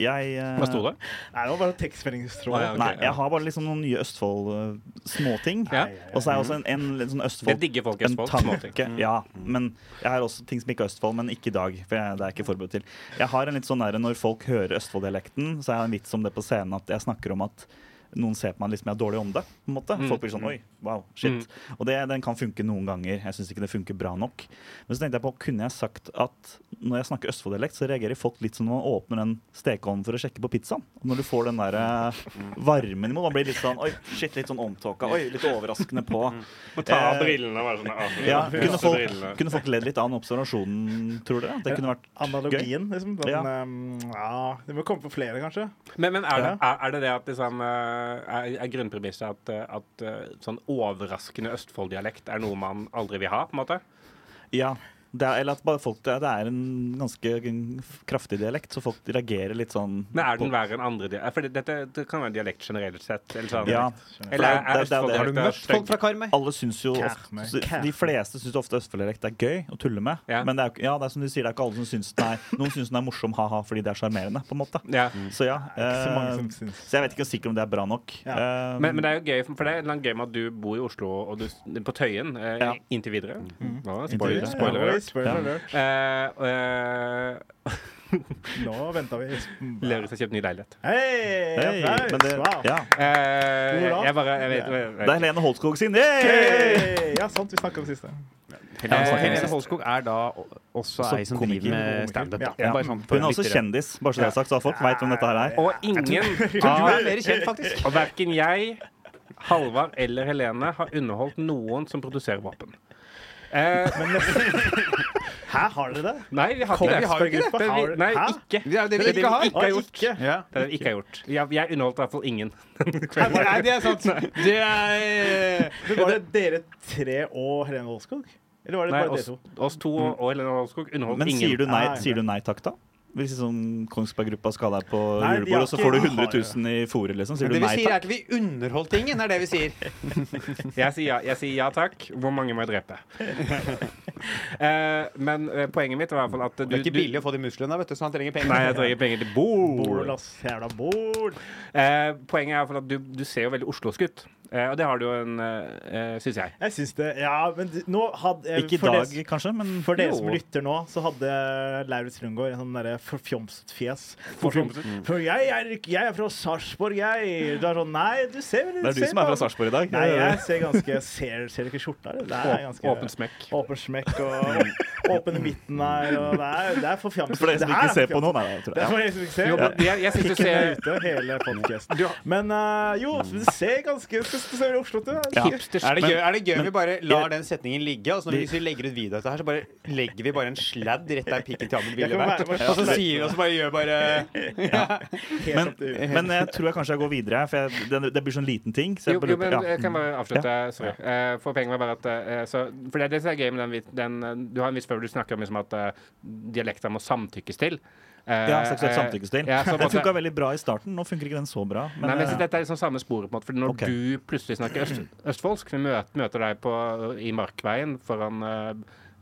[SPEAKER 5] Jeg eh,
[SPEAKER 1] Hva sto det?
[SPEAKER 2] Nei, det var bare tekstmeldingstråd.
[SPEAKER 1] Å, ja, ok.
[SPEAKER 5] Nei, jeg har bare liksom noen nye Østfold-småting.
[SPEAKER 1] Ja.
[SPEAKER 5] Og så er jeg også en, en litt sånn Østfold
[SPEAKER 1] Det digger folk i
[SPEAKER 5] en
[SPEAKER 1] Østfold. Småting.
[SPEAKER 5] tanke. Ja, men jeg har også ting som ikke er Østfold, men ikke i dag. For jeg, det er jeg ikke forberedt til. Jeg har en litt sånn der, Når folk hører Østfold-dialekten, så har jeg en vits om det på scenen at jeg snakker om at noen ser på meg liksom jeg er dårlig om det. på en måte. Folk blir sånn Oi, wow, shit. Og det, den kan funke noen ganger. Jeg syns ikke det funker bra nok. Men så tenkte jeg på, kunne jeg sagt at når jeg snakker Østfold-dialekt, så reagerer folk litt som når man åpner den stekeovnen for å sjekke på pizzaen. Og når du får den der eh, varmen imot, man blir litt sånn Oi, shit, litt sånn omtåka. Oi, litt overraskende på.
[SPEAKER 1] Må ta av
[SPEAKER 5] Eh,
[SPEAKER 1] brillene og være sånn ah, (laughs)
[SPEAKER 5] Ja,
[SPEAKER 1] første
[SPEAKER 5] kunne folk,
[SPEAKER 1] brillene.
[SPEAKER 5] kunne folk ledd litt av den observasjonen, tror dere? Det kunne vært gøy.
[SPEAKER 2] Analogien, liksom. Den,
[SPEAKER 5] Ja.
[SPEAKER 2] ehm, ja, det må komme på flere, kanskje.
[SPEAKER 1] Men, men er, det, er, er det det at liksom eh, Er, er grunnpremisset at, eh, at eh, sånn overraskende Østfold-dialekt er noe man aldri vil ha, på en måte?
[SPEAKER 5] Ja. Det er, eller at bare folk, det er- det er en ganske kraftig dialekt, så folk reagerer litt sånn
[SPEAKER 1] Men er den
[SPEAKER 5] på-
[SPEAKER 1] verre enn andre dialekter? For dette det kan være dialekt generelt sett. Eller, sånn.
[SPEAKER 5] Ja.
[SPEAKER 1] eller er, er
[SPEAKER 5] Det- det- det-
[SPEAKER 1] Østfold-dialekter
[SPEAKER 5] har
[SPEAKER 4] Har du møtt
[SPEAKER 1] stygg?
[SPEAKER 4] folk fra Karmøy?
[SPEAKER 5] Alle syns jo ofte,
[SPEAKER 2] Kæme,
[SPEAKER 5] De fleste syns ofte Østfold-dialekt er gøy å tulle med.
[SPEAKER 1] Ja.
[SPEAKER 5] Men det er, jo ikke- ja, det er som du sier, det er ikke alle som syns den er Noen syns den er morsom ha-ha fordi det er sjarmerende, på en måte.
[SPEAKER 1] ja.
[SPEAKER 5] Så ja.
[SPEAKER 2] Ikke så mange
[SPEAKER 5] eh,
[SPEAKER 2] som syns.
[SPEAKER 5] så jeg vet ikke sikkert om det er bra nok. Eh,
[SPEAKER 1] men, men det er jo gøy, for det er en eller annen gøy med at du bor i Oslo og du, på Tøyen eh,
[SPEAKER 5] Ja.
[SPEAKER 1] inntil videre. Nå,
[SPEAKER 5] Inntil
[SPEAKER 1] spoiler,
[SPEAKER 5] videre,
[SPEAKER 1] spoiler.
[SPEAKER 2] Ja,
[SPEAKER 1] alert.
[SPEAKER 2] spoiler alert.
[SPEAKER 1] Eh, eh, (laughs)
[SPEAKER 2] Nå venta vi.
[SPEAKER 1] Lauritz har kjøpt ny leilighet.
[SPEAKER 2] Hei!
[SPEAKER 5] hey,
[SPEAKER 2] applaus!
[SPEAKER 5] men det,
[SPEAKER 2] Wow.
[SPEAKER 5] ja.
[SPEAKER 1] Eh,
[SPEAKER 2] Hvor da?
[SPEAKER 1] jeg bare jeg vet,
[SPEAKER 5] det er Helene Holtskog sin! Hey!
[SPEAKER 2] Hey! Ja, sant. Vi snakka om det siste.
[SPEAKER 1] Helene Holtskog.
[SPEAKER 4] Helene Holskog er da o- også
[SPEAKER 5] Også
[SPEAKER 4] ei som
[SPEAKER 5] komiker.
[SPEAKER 4] driver med standup.
[SPEAKER 2] Ja.
[SPEAKER 5] Ja.
[SPEAKER 4] Bare sånn for
[SPEAKER 5] Hun er også
[SPEAKER 4] lyttere.
[SPEAKER 5] kjendis, bare så det er sagt, så folk veit hvem dette her er.
[SPEAKER 1] Og ingen
[SPEAKER 4] Du
[SPEAKER 1] av
[SPEAKER 4] er mer kjent, faktisk.
[SPEAKER 1] Og verken jeg, Halvard eller Helene har underholdt noen som produserer våpen. Eh,
[SPEAKER 2] Hæ, har dere det?
[SPEAKER 1] nei, vi har ikke det.
[SPEAKER 4] vi har jo ikke
[SPEAKER 1] det.
[SPEAKER 2] Har-
[SPEAKER 1] vi- Nei,
[SPEAKER 2] Hæ?
[SPEAKER 1] ikke.
[SPEAKER 4] Det er jo det vi
[SPEAKER 1] Det er det
[SPEAKER 4] ikke
[SPEAKER 1] vi
[SPEAKER 4] har.
[SPEAKER 1] ikke har gjort.
[SPEAKER 2] Ikke?
[SPEAKER 4] Ja.
[SPEAKER 1] Det er det vi ikke har gjort. Jeg, jeg underholdt i hvert fall ingen.
[SPEAKER 4] Nei, det er sant. Det er eh,
[SPEAKER 2] Men var det dere tre og Helene Holskog? Eller var det
[SPEAKER 1] Nei,
[SPEAKER 2] bare dere
[SPEAKER 1] oss,
[SPEAKER 2] to?
[SPEAKER 4] Mm.
[SPEAKER 1] oss to og og Helene Holskog underholdt
[SPEAKER 5] Men
[SPEAKER 1] ingen.
[SPEAKER 5] sier du nei,
[SPEAKER 2] Nei.
[SPEAKER 5] sier du nei takk, da? Hvis liksom Kongsberg Gruppa skal deg på
[SPEAKER 2] Nei, de har
[SPEAKER 5] julebord, og så
[SPEAKER 2] ikke-
[SPEAKER 5] får du
[SPEAKER 2] har
[SPEAKER 5] 100 000 i fôret, liksom. Sier du
[SPEAKER 4] Det vi
[SPEAKER 5] nei
[SPEAKER 4] sier, er at
[SPEAKER 5] takk?
[SPEAKER 4] vi underholdt tingen, er det vi sier.
[SPEAKER 1] Jeg sier ja, jeg sier ja takk. Hvor mange må jeg
[SPEAKER 4] (laughs)
[SPEAKER 1] drepe? Eh, men eh, poenget mitt var i hvert fall at du
[SPEAKER 4] Det er ikke billig å få de musklene, vet du, så han trenger penger.
[SPEAKER 1] Nei, jeg trenger penger til
[SPEAKER 2] Bol,
[SPEAKER 1] bord.
[SPEAKER 2] ass. Jævla bol.
[SPEAKER 1] Eh, poenget er i hvert fall at du, du ser jo veldig oslosk ut. Eh, og det har du jo en eh, Syns jeg.
[SPEAKER 2] Jeg syns det Ja, men d- nå hadde eh,
[SPEAKER 5] Ikke i
[SPEAKER 2] for
[SPEAKER 5] dag,
[SPEAKER 2] dere-
[SPEAKER 5] kanskje, men
[SPEAKER 2] For dere
[SPEAKER 1] Jo.
[SPEAKER 2] som lytter nå, så hadde Lauritz Lundgaard en sånn derre forfjomset fjes.
[SPEAKER 1] Forfjomset?
[SPEAKER 2] For jeg er, ikke- jeg er fra Sarpsborg, jeg. Du er sånn Nei, du ser vel
[SPEAKER 5] det er du
[SPEAKER 2] ser
[SPEAKER 5] som er
[SPEAKER 2] på-
[SPEAKER 5] fra Sarpsborg i dag.
[SPEAKER 2] Nei, jeg ser ganske Ser, ser du ikke skjorta? eller? Det er ganske
[SPEAKER 1] Åpen smekk.
[SPEAKER 2] Åpen smekk
[SPEAKER 5] (laughs)
[SPEAKER 2] og åpen i midten her. Og det er, det er forfjamset.
[SPEAKER 5] For dere
[SPEAKER 2] Det
[SPEAKER 5] som
[SPEAKER 2] her
[SPEAKER 5] ikke
[SPEAKER 2] er
[SPEAKER 5] ser på
[SPEAKER 2] forfjamset.
[SPEAKER 5] nå, nei, jeg tror
[SPEAKER 2] Det er
[SPEAKER 5] det.
[SPEAKER 2] for dere som ikke ser.
[SPEAKER 1] Jo, men jeg, jeg syns du
[SPEAKER 2] Pikken er
[SPEAKER 1] ser
[SPEAKER 2] ute, hele podcasten.
[SPEAKER 1] Du-
[SPEAKER 2] Men eh, jo, du ser ganske Du ser Oslo ut. du.
[SPEAKER 5] Ja.
[SPEAKER 4] Er det, gøy, er det gøy vi bare lar den setningen ligge? Altså når vi,
[SPEAKER 5] Vi-
[SPEAKER 4] hvis vi legger ut video av dette her, så bare legger vi bare en sladd rett der pikken til Amund
[SPEAKER 2] Jeg
[SPEAKER 4] ville
[SPEAKER 2] kan
[SPEAKER 4] vært. eh,
[SPEAKER 2] være med-
[SPEAKER 4] Og så sier vi og så bare gjør bare
[SPEAKER 2] Helt
[SPEAKER 5] Men,
[SPEAKER 2] opp til-
[SPEAKER 5] men jeg tror jeg kanskje jeg går videre, for jeg, det, det blir sånn liten ting. Så
[SPEAKER 1] Jo,
[SPEAKER 5] jeg bare
[SPEAKER 1] jo,
[SPEAKER 5] lurer
[SPEAKER 1] men
[SPEAKER 5] på- ja.
[SPEAKER 1] jeg kan bare avslutte. Sorry. Eh, for poenget var bare at eh, så, For det er det som er gøy med den, vit- den eh, Du har en viss før du snakker om liksom, at eh, dialekter må samtykkes til. Eh,
[SPEAKER 5] Ja, seksuelt
[SPEAKER 1] eh,
[SPEAKER 5] samtykkestil.
[SPEAKER 1] ja,
[SPEAKER 5] (laughs)
[SPEAKER 1] så på en
[SPEAKER 5] Den
[SPEAKER 1] måte-
[SPEAKER 5] funka veldig bra i starten, nå funker ikke den så bra. Men,
[SPEAKER 1] Nei, men jeg synes
[SPEAKER 5] eh,
[SPEAKER 1] Dette er liksom samme sporet. på en måte, Fordi Når
[SPEAKER 5] Ok.
[SPEAKER 1] du plutselig snakker øst, østfoldsk, vi møter, møter deg på, i Markveien foran eh,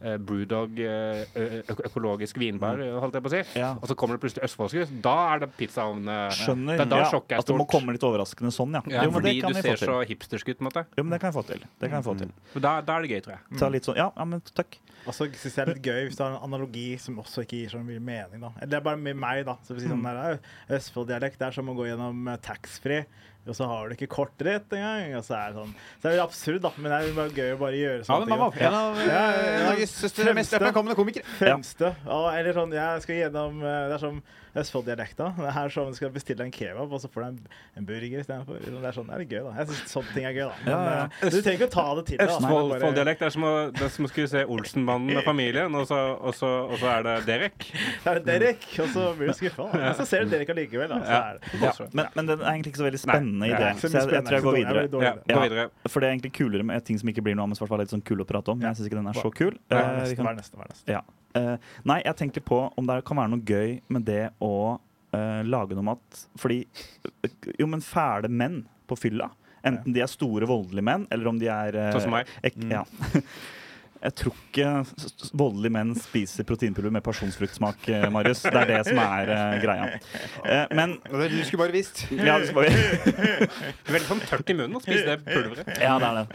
[SPEAKER 1] eh, Brewdog eh, ø- ø- økologisk vinbar, holdt jeg på å si,
[SPEAKER 5] Mm. Ja.
[SPEAKER 1] og så kommer det plutselig østfoldsk, da er det pizzaovn eh,
[SPEAKER 5] skjønner
[SPEAKER 1] Da, da
[SPEAKER 5] ja,
[SPEAKER 1] sjokket er
[SPEAKER 5] at det må
[SPEAKER 1] stort.
[SPEAKER 5] komme litt overraskende sånn, ja.
[SPEAKER 1] Ja,
[SPEAKER 5] jo, men det
[SPEAKER 1] fordi
[SPEAKER 5] kan
[SPEAKER 1] du
[SPEAKER 5] jeg få
[SPEAKER 1] ser
[SPEAKER 5] til.
[SPEAKER 1] så hipstersk ut, på en måte.
[SPEAKER 5] Jo, men det kan jeg få til.
[SPEAKER 1] Mm.
[SPEAKER 5] Det kan jeg få til.
[SPEAKER 1] Så Da, da er det gøy, tror jeg.
[SPEAKER 5] Ta litt sånn, ja, ja, men takk.
[SPEAKER 2] Og så synes Altså, jeg det er litt gøy hvis du har en analogi som også ikke gir så mye mening. da. Eller det er bare med meg, da. Så hvis sånn der, «Au, Østfold-dialekt det er som å gå gjennom eh, taxfree, og så har du ikke kortet ditt engang. og Så er det sånn. Så det er jo absurd, da. Men det er jo bare gøy å bare gjøre
[SPEAKER 4] Ja, men
[SPEAKER 2] sånne
[SPEAKER 4] man var
[SPEAKER 2] ting. da.
[SPEAKER 4] en av
[SPEAKER 2] Ja, ja, ja.
[SPEAKER 4] eh, Norges største, mest
[SPEAKER 2] Fremste.
[SPEAKER 4] oppmerksomme komikere.
[SPEAKER 2] Fremste. Ja, eller sånn, jeg skal gjennom, eh, Det er som Østfold-dialekta. Det er som om du skal bestille en kebab, og så får du en, en burger istedenfor. Det er sånn, det er litt gøy, da. Jeg synes sånne ting er gøy, da. Men,
[SPEAKER 5] Ja, ja.
[SPEAKER 2] eh, Du trenger ikke å ta det til deg. da. Bare-
[SPEAKER 1] Østfold-dialekt er som å, det er som å skulle se Olsenmannen og familien, og så, og så, og så er det Derek.
[SPEAKER 2] Så er det Derek, og så blir du skuffa. Og så ser du Derek allikevel. Da. Så er det.
[SPEAKER 5] Ja, men, men den er egentlig ikke så veldig spennende
[SPEAKER 2] Det
[SPEAKER 5] idé,
[SPEAKER 2] er ikke
[SPEAKER 5] så
[SPEAKER 2] så mye
[SPEAKER 5] jeg, jeg tror jeg går
[SPEAKER 2] spennende.
[SPEAKER 5] videre.
[SPEAKER 2] Det er dårlig
[SPEAKER 1] Ja,
[SPEAKER 2] idé.
[SPEAKER 1] gå videre.
[SPEAKER 5] For det er egentlig kulere med ting som ikke blir noe av, men som i hvert fall er litt sånn kul å prate om. Jeg synes ikke den er så kul.
[SPEAKER 2] Hva
[SPEAKER 5] Eh,
[SPEAKER 2] er
[SPEAKER 5] vi
[SPEAKER 2] neste,
[SPEAKER 5] kan-
[SPEAKER 2] hva er neste, hva er neste?
[SPEAKER 5] Ja. Eh, nei, jeg tenkte på om det kan være noe gøy med det å eh, lage noe mat. Fordi eh, Jo, men fæle menn på fylla, enten de er store, voldelige menn, eller om de er eh,
[SPEAKER 1] Sånn som meg.
[SPEAKER 5] ek- ja. (laughs) Jeg tror ikke s- s- voldelige menn spiser proteinpulver med pasjonsfruktsmak, eh, Marius. Det er det som er eh, greia. Eh, men
[SPEAKER 4] Du skulle bare visst.
[SPEAKER 5] ja, det skal vi
[SPEAKER 1] Veldig sånn tørt i munnen å spise det pulveret.
[SPEAKER 5] (laughs) Ja, det er det.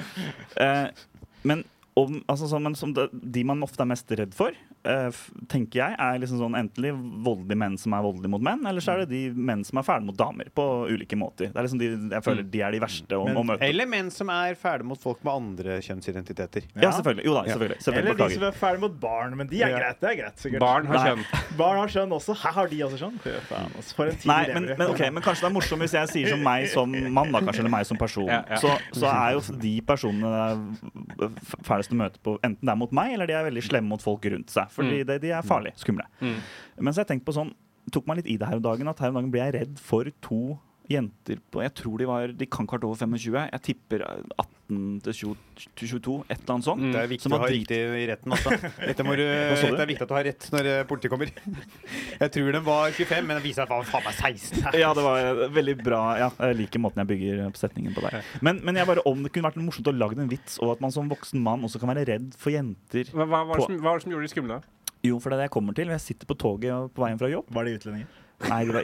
[SPEAKER 5] Eh, men om, altså, sånn, men som det, de man ofte er mest redd for, eh, f- tenker jeg, er liksom sånn enten de voldelige menn som er voldelige mot menn, eller så er det de menn som er fæle mot damer på ulike måter. Det er liksom de, jeg føler de er de verste å,
[SPEAKER 2] Men-
[SPEAKER 5] å møte.
[SPEAKER 4] Eller menn som er ferdig mot folk med andre kjønnsidentiteter.
[SPEAKER 5] Ja, selvfølgelig. Jo da, selvfølgelig. selvfølgelig
[SPEAKER 2] Eller de som
[SPEAKER 5] beklager.
[SPEAKER 2] er ferdig mot barn, men de er
[SPEAKER 4] Ja.
[SPEAKER 2] greit. Det er greit, sikkert.
[SPEAKER 1] Barn har kjønn.
[SPEAKER 2] Barn har skjønn også. Her har de også skjønn. Fy faen, altså, For en tid
[SPEAKER 5] Nei,
[SPEAKER 2] vi
[SPEAKER 5] men,
[SPEAKER 2] lever i.
[SPEAKER 5] men, ok, men kanskje det er morsomt hvis jeg sier som meg som mann, da, kanskje, eller meg som person.
[SPEAKER 1] Ja, ja.
[SPEAKER 5] Så, så er jo de personene det er f- fælest å møte på, enten det er mot meg, eller de er veldig slemme mot folk rundt seg. Fordi
[SPEAKER 1] Mm.
[SPEAKER 5] de, de er farlige, skumle. Men så har jeg tenkt på sånn, tok meg litt i det her om dagen, at her om dagen ble jeg redd for to jenter på Jeg tror de var De kan ikke ha vært over 25. Jeg tipper 18 til 20 til 22, et eller annet sånt.
[SPEAKER 4] Det
[SPEAKER 1] Mm,
[SPEAKER 4] er viktig
[SPEAKER 5] Som
[SPEAKER 4] å
[SPEAKER 5] var
[SPEAKER 4] ha
[SPEAKER 5] drit-
[SPEAKER 4] riktig i retten. Altså. Dette må du,
[SPEAKER 5] sa du?
[SPEAKER 4] det er viktig at du har rett når eh, politiet kommer. (laughs) Jeg tror den var 25, men den viser seg faen- faen meg 16.
[SPEAKER 5] Ja, det var eh, veldig bra. Ja, jeg liker måten jeg bygger opp setningen på der. Men, men jeg bare, om det kunne vært morsomt å lage en vits, og at man som voksen mann også kan være redd for jenter.
[SPEAKER 1] Hva, hva, var det som, hva var det som gjorde de skumle?
[SPEAKER 5] Jo, for det er det jeg kommer til. Jeg sitter på toget og- på veien fra jobb.
[SPEAKER 2] Var de utlendinger?
[SPEAKER 5] Nei, det var,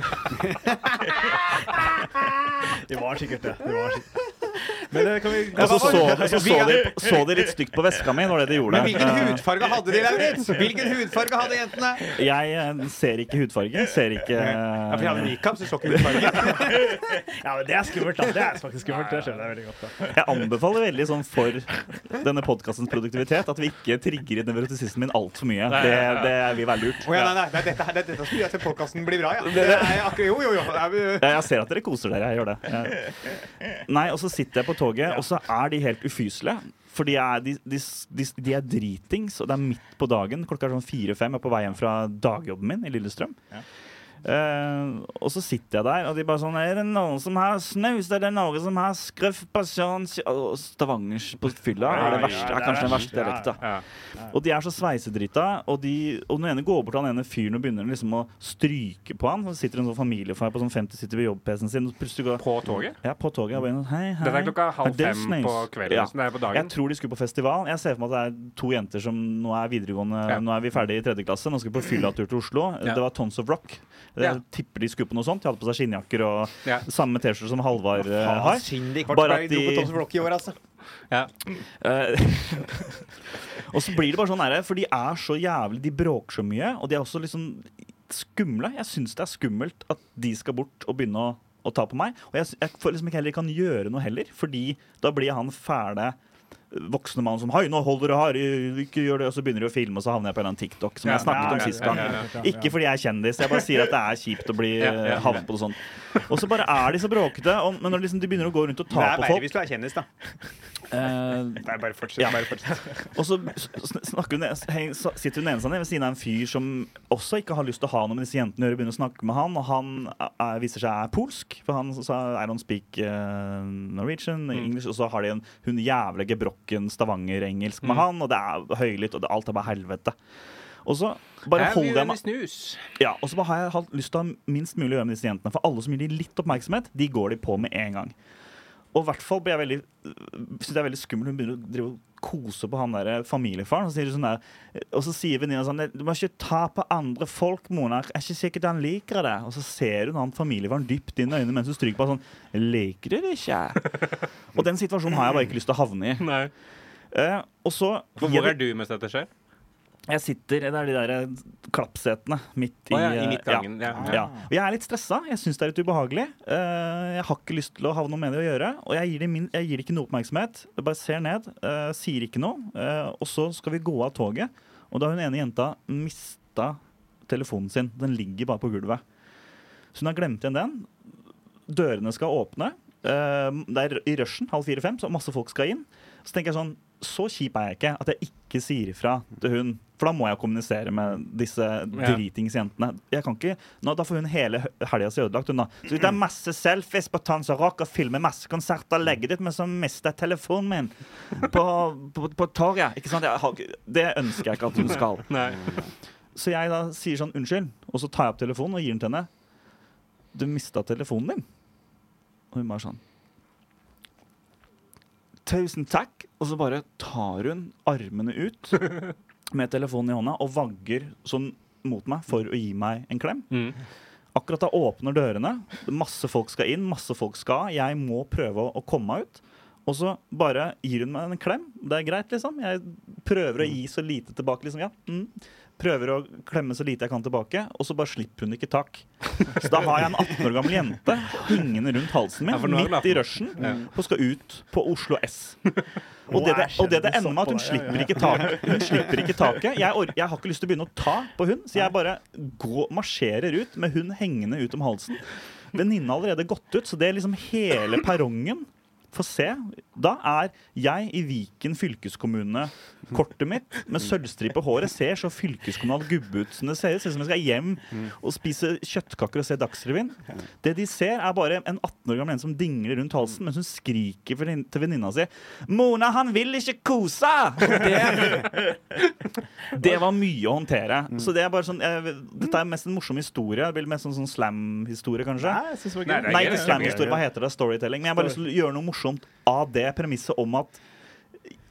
[SPEAKER 2] De var sikkert det. De var sikkert. Men det kan vi
[SPEAKER 5] og så så, så, så, de, så de litt stygt på veska mi, når det de gjorde.
[SPEAKER 4] Men hvilken hudfarge hadde de, Lauritz? Hvilken hudfarge hadde jentene?
[SPEAKER 5] Eh, Jeg eh, ser ikke hudfarge. Ser ikke
[SPEAKER 4] Ja, for de hadde
[SPEAKER 5] eh,
[SPEAKER 4] nikab, så så ikke hudfarge.
[SPEAKER 2] Ja, men det er skummelt, da. Det er faktisk skummelt. Det skjønner jeg veldig godt. da.
[SPEAKER 5] Jeg anbefaler veldig sånn for denne podkastens produktivitet at vi ikke trigger nevrotisismen min altfor mye. Det, det vil være lurt.
[SPEAKER 4] Å ja, nei, nei, det er dette, her- det er dette som gjør at podkasten blir bra, ja. Det er akkurat, jo, jo, jo. Det er, vi-
[SPEAKER 5] (laughs) Ja, jeg ser at dere koser dere. Jeg gjør det. Jeg- Nei, og så sitter jeg på toget, og så er de helt ufyselige. For de er, de, de, de, de er dritings, og det er midt på dagen. Klokka er sånn fire-fem. Jeg er på vei hjem fra dagjobben min i Lillestrøm. Eh, og så sitter jeg der, og de bare sånn Er det noen som har snus? Er det noen som har skruff pasjans? Og Stavangers på fylla er, det verste, er kanskje den verste dialekta. Og de er så sveisedrita, og, de, og den ene går bort til han ene fyren og begynner liksom å stryke på han. Så sitter en sånn familiefar på sånn 50 sitter ved jobb-PC-en sin, og plutselig går
[SPEAKER 6] På toget?
[SPEAKER 5] ja, på toget. Jeg bare, hei, hei.
[SPEAKER 6] Dette er klokka halv
[SPEAKER 5] det
[SPEAKER 6] fem
[SPEAKER 5] snus?
[SPEAKER 6] på kvelden, så det er på dagen.
[SPEAKER 5] Jeg tror de skulle på festival. Jeg ser for meg at det er to jenter som nå er videregående
[SPEAKER 6] Ja.
[SPEAKER 5] Nå er vi ferdig i tredje klasse, nå skal vi på fyllatur til Oslo.
[SPEAKER 6] Ja.
[SPEAKER 5] Det var Tons of Rock. Jeg
[SPEAKER 6] Ja.
[SPEAKER 5] tipper de skulle på noe sånt. De hadde på seg skinnjakker og
[SPEAKER 6] Ja.
[SPEAKER 5] samme T-skjorte som Halvard eh, har.
[SPEAKER 4] Synd de ikke
[SPEAKER 5] Bare
[SPEAKER 4] var
[SPEAKER 5] at
[SPEAKER 4] de... dro
[SPEAKER 5] de-
[SPEAKER 4] på Thomas Rock i år, altså.
[SPEAKER 6] Ja.
[SPEAKER 5] Eh, (laughs) og så blir det bare sånn her, for de er så jævlig De bråker så mye, og de er også liksom skumle. Jeg syns det er skummelt at de skal bort og begynne å, å ta på meg. Og jeg, s- jeg føler liksom ikke heller jeg kan gjøre noe heller, fordi da blir han fæle voksne mannen som Hei, nå holder det her, ikke gjør det. Og så begynner de å filme, og så havner jeg på en eller annen TikTok, som jeg snakket om sist gang. Ikke fordi jeg er kjendis, jeg bare sier at det er kjipt å bli
[SPEAKER 6] ja.
[SPEAKER 5] havne på noe sånt. Og så bare er de så bråkete, og, men når liksom de begynner å gå rundt og
[SPEAKER 4] Det
[SPEAKER 5] ta
[SPEAKER 4] er
[SPEAKER 5] på
[SPEAKER 4] verre
[SPEAKER 5] folk
[SPEAKER 4] hvis du er kjendis, da.
[SPEAKER 5] eh,
[SPEAKER 4] Nei, bare fortsett.
[SPEAKER 5] Ja.
[SPEAKER 4] Bare fortsett.
[SPEAKER 5] og så sn- snakker hun, heng- sa- sitter hun ene seg ned ved siden av en fyr som også ikke har lyst til å ha noe med disse jentene å gjøre. Begynner å snakke med han, og han er, viser seg er polsk. For han sa I don't speak eh, Norwegian, English. Og så har de en hun jævla gebrokken stavangerengelsk med han, og det er høylytt, og det, alt er bare helvete. Og så bare
[SPEAKER 6] Her blir
[SPEAKER 5] holder
[SPEAKER 6] det
[SPEAKER 5] jeg meg
[SPEAKER 6] med snus.
[SPEAKER 5] ja, og så bare har jeg hatt lyst til å ha minst mulig å gjøre med disse jentene. For alle som gir de litt oppmerksomhet, de går de på med en gang. Og i hvert fall blir jeg veldig synes jeg er veldig skummel. Hun begynner å drive og kose på han der eh, familiefaren. Og så sier, hun sånn der, og så sier venninna sånn Du må ikke ta på andre folk, Mona. Jeg er ikke sikkert han liker det. Og så ser hun han familiefaren dypt inn i øynene mens hun stryker på han sånn Liker du det ikke? og den situasjonen har jeg bare ikke lyst til å havne i.
[SPEAKER 6] Nei.
[SPEAKER 5] Eh, og så
[SPEAKER 6] For hvor er du mens dette skjer?
[SPEAKER 5] jeg sitter Det er de der eh, klappsetene midt i,
[SPEAKER 6] Å ja, i
[SPEAKER 5] eh,
[SPEAKER 6] midtgangen, ja.
[SPEAKER 5] ja. Og jeg er litt stressa. Jeg syns det er litt ubehagelig. Eh, jeg har ikke lyst til å ha noe med det å gjøre. Og jeg gir det, min, jeg gir det ikke noe oppmerksomhet. Jeg bare ser ned, eh, sier ikke noe. eh, og så skal vi gå av toget, og da har hun ene jenta mista telefonen sin. Den ligger bare på gulvet. Så hun har glemt igjen den. Dørene skal åpne. Eh, det er i rushen, halv fire-fem, så masse folk skal inn. Så tenker jeg sånn Så kjip er jeg ikke at jeg ikke sier ifra til hun. For da må jeg kommunisere med disse dritingsjentene. Jeg kan ikke, nå, Da får hun hele helga si ødelagt. Hun da. Så det er masse selfies på Tans og Rock og filmer masse konserter, legger ditt, men så mister jeg telefonen min på, på, på torget. Ikke sant? Jeg har, ikke- det ønsker jeg ikke at hun skal.
[SPEAKER 6] (laughs) Nei.
[SPEAKER 5] Så jeg da sier sånn unnskyld, og så tar jeg opp telefonen og gir den til henne. Du mista telefonen din. Og hun bare sånn Tusen takk. Og så bare tar hun armene ut med telefonen i hånda og vagger sånn mot meg for å gi meg en klem.
[SPEAKER 6] Mm.
[SPEAKER 5] Akkurat da åpner dørene. Masse folk skal inn, masse folk skal. Jeg må prøve å, å komme meg ut. Og så bare gir hun meg en klem. Det er greit, liksom. Jeg prøver å
[SPEAKER 6] Mm.
[SPEAKER 5] gi så lite tilbake. liksom, ja. Mm. Prøver å klemme så lite jeg kan tilbake, og så bare slipper hun ikke tak. Så da har jeg en 18 år gammel jente hengende rundt halsen min,
[SPEAKER 6] Ja, for nå er det
[SPEAKER 5] midt
[SPEAKER 6] lappen.
[SPEAKER 5] i rushen, og skal ut på Oslo S. Og det, det, og det det ender med at hun slipper ikke taket. Hun slipper ikke taket. Jeg, or jeg har ikke lyst til å begynne å ta på hun, så jeg bare går, marsjerer ut med hun hengende ut om halsen. Venninna har allerede gått ut, så det er liksom hele perrongen får se. Da er jeg i Viken fylkeskommune. Kortet mitt med sølvstripe håret ser så fylkeskommunal gubbe ut som det ser ut. Ser ut som jeg skal hjem og spise kjøttkaker og se Dagsrevyen. Det de ser, er bare en 18 år gammel en som dingler rundt halsen mens hun skriker for- til venninna si 'Mona, han vil ikke kose!' Det, det var mye å håndtere. Så det er bare sånn jeg, Dette er mest en morsom historie. Det blir mest sånn, sånn slam-historie, kanskje.
[SPEAKER 2] Nei, jeg synes det var
[SPEAKER 6] Nei,
[SPEAKER 2] gøy.
[SPEAKER 6] det er
[SPEAKER 5] Nei,
[SPEAKER 6] gøy,
[SPEAKER 5] ikke
[SPEAKER 6] det.
[SPEAKER 5] slamhistorie. Hva heter det? Storytelling. Men jeg har bare lyst til å gjøre noe morsomt av det premisset om at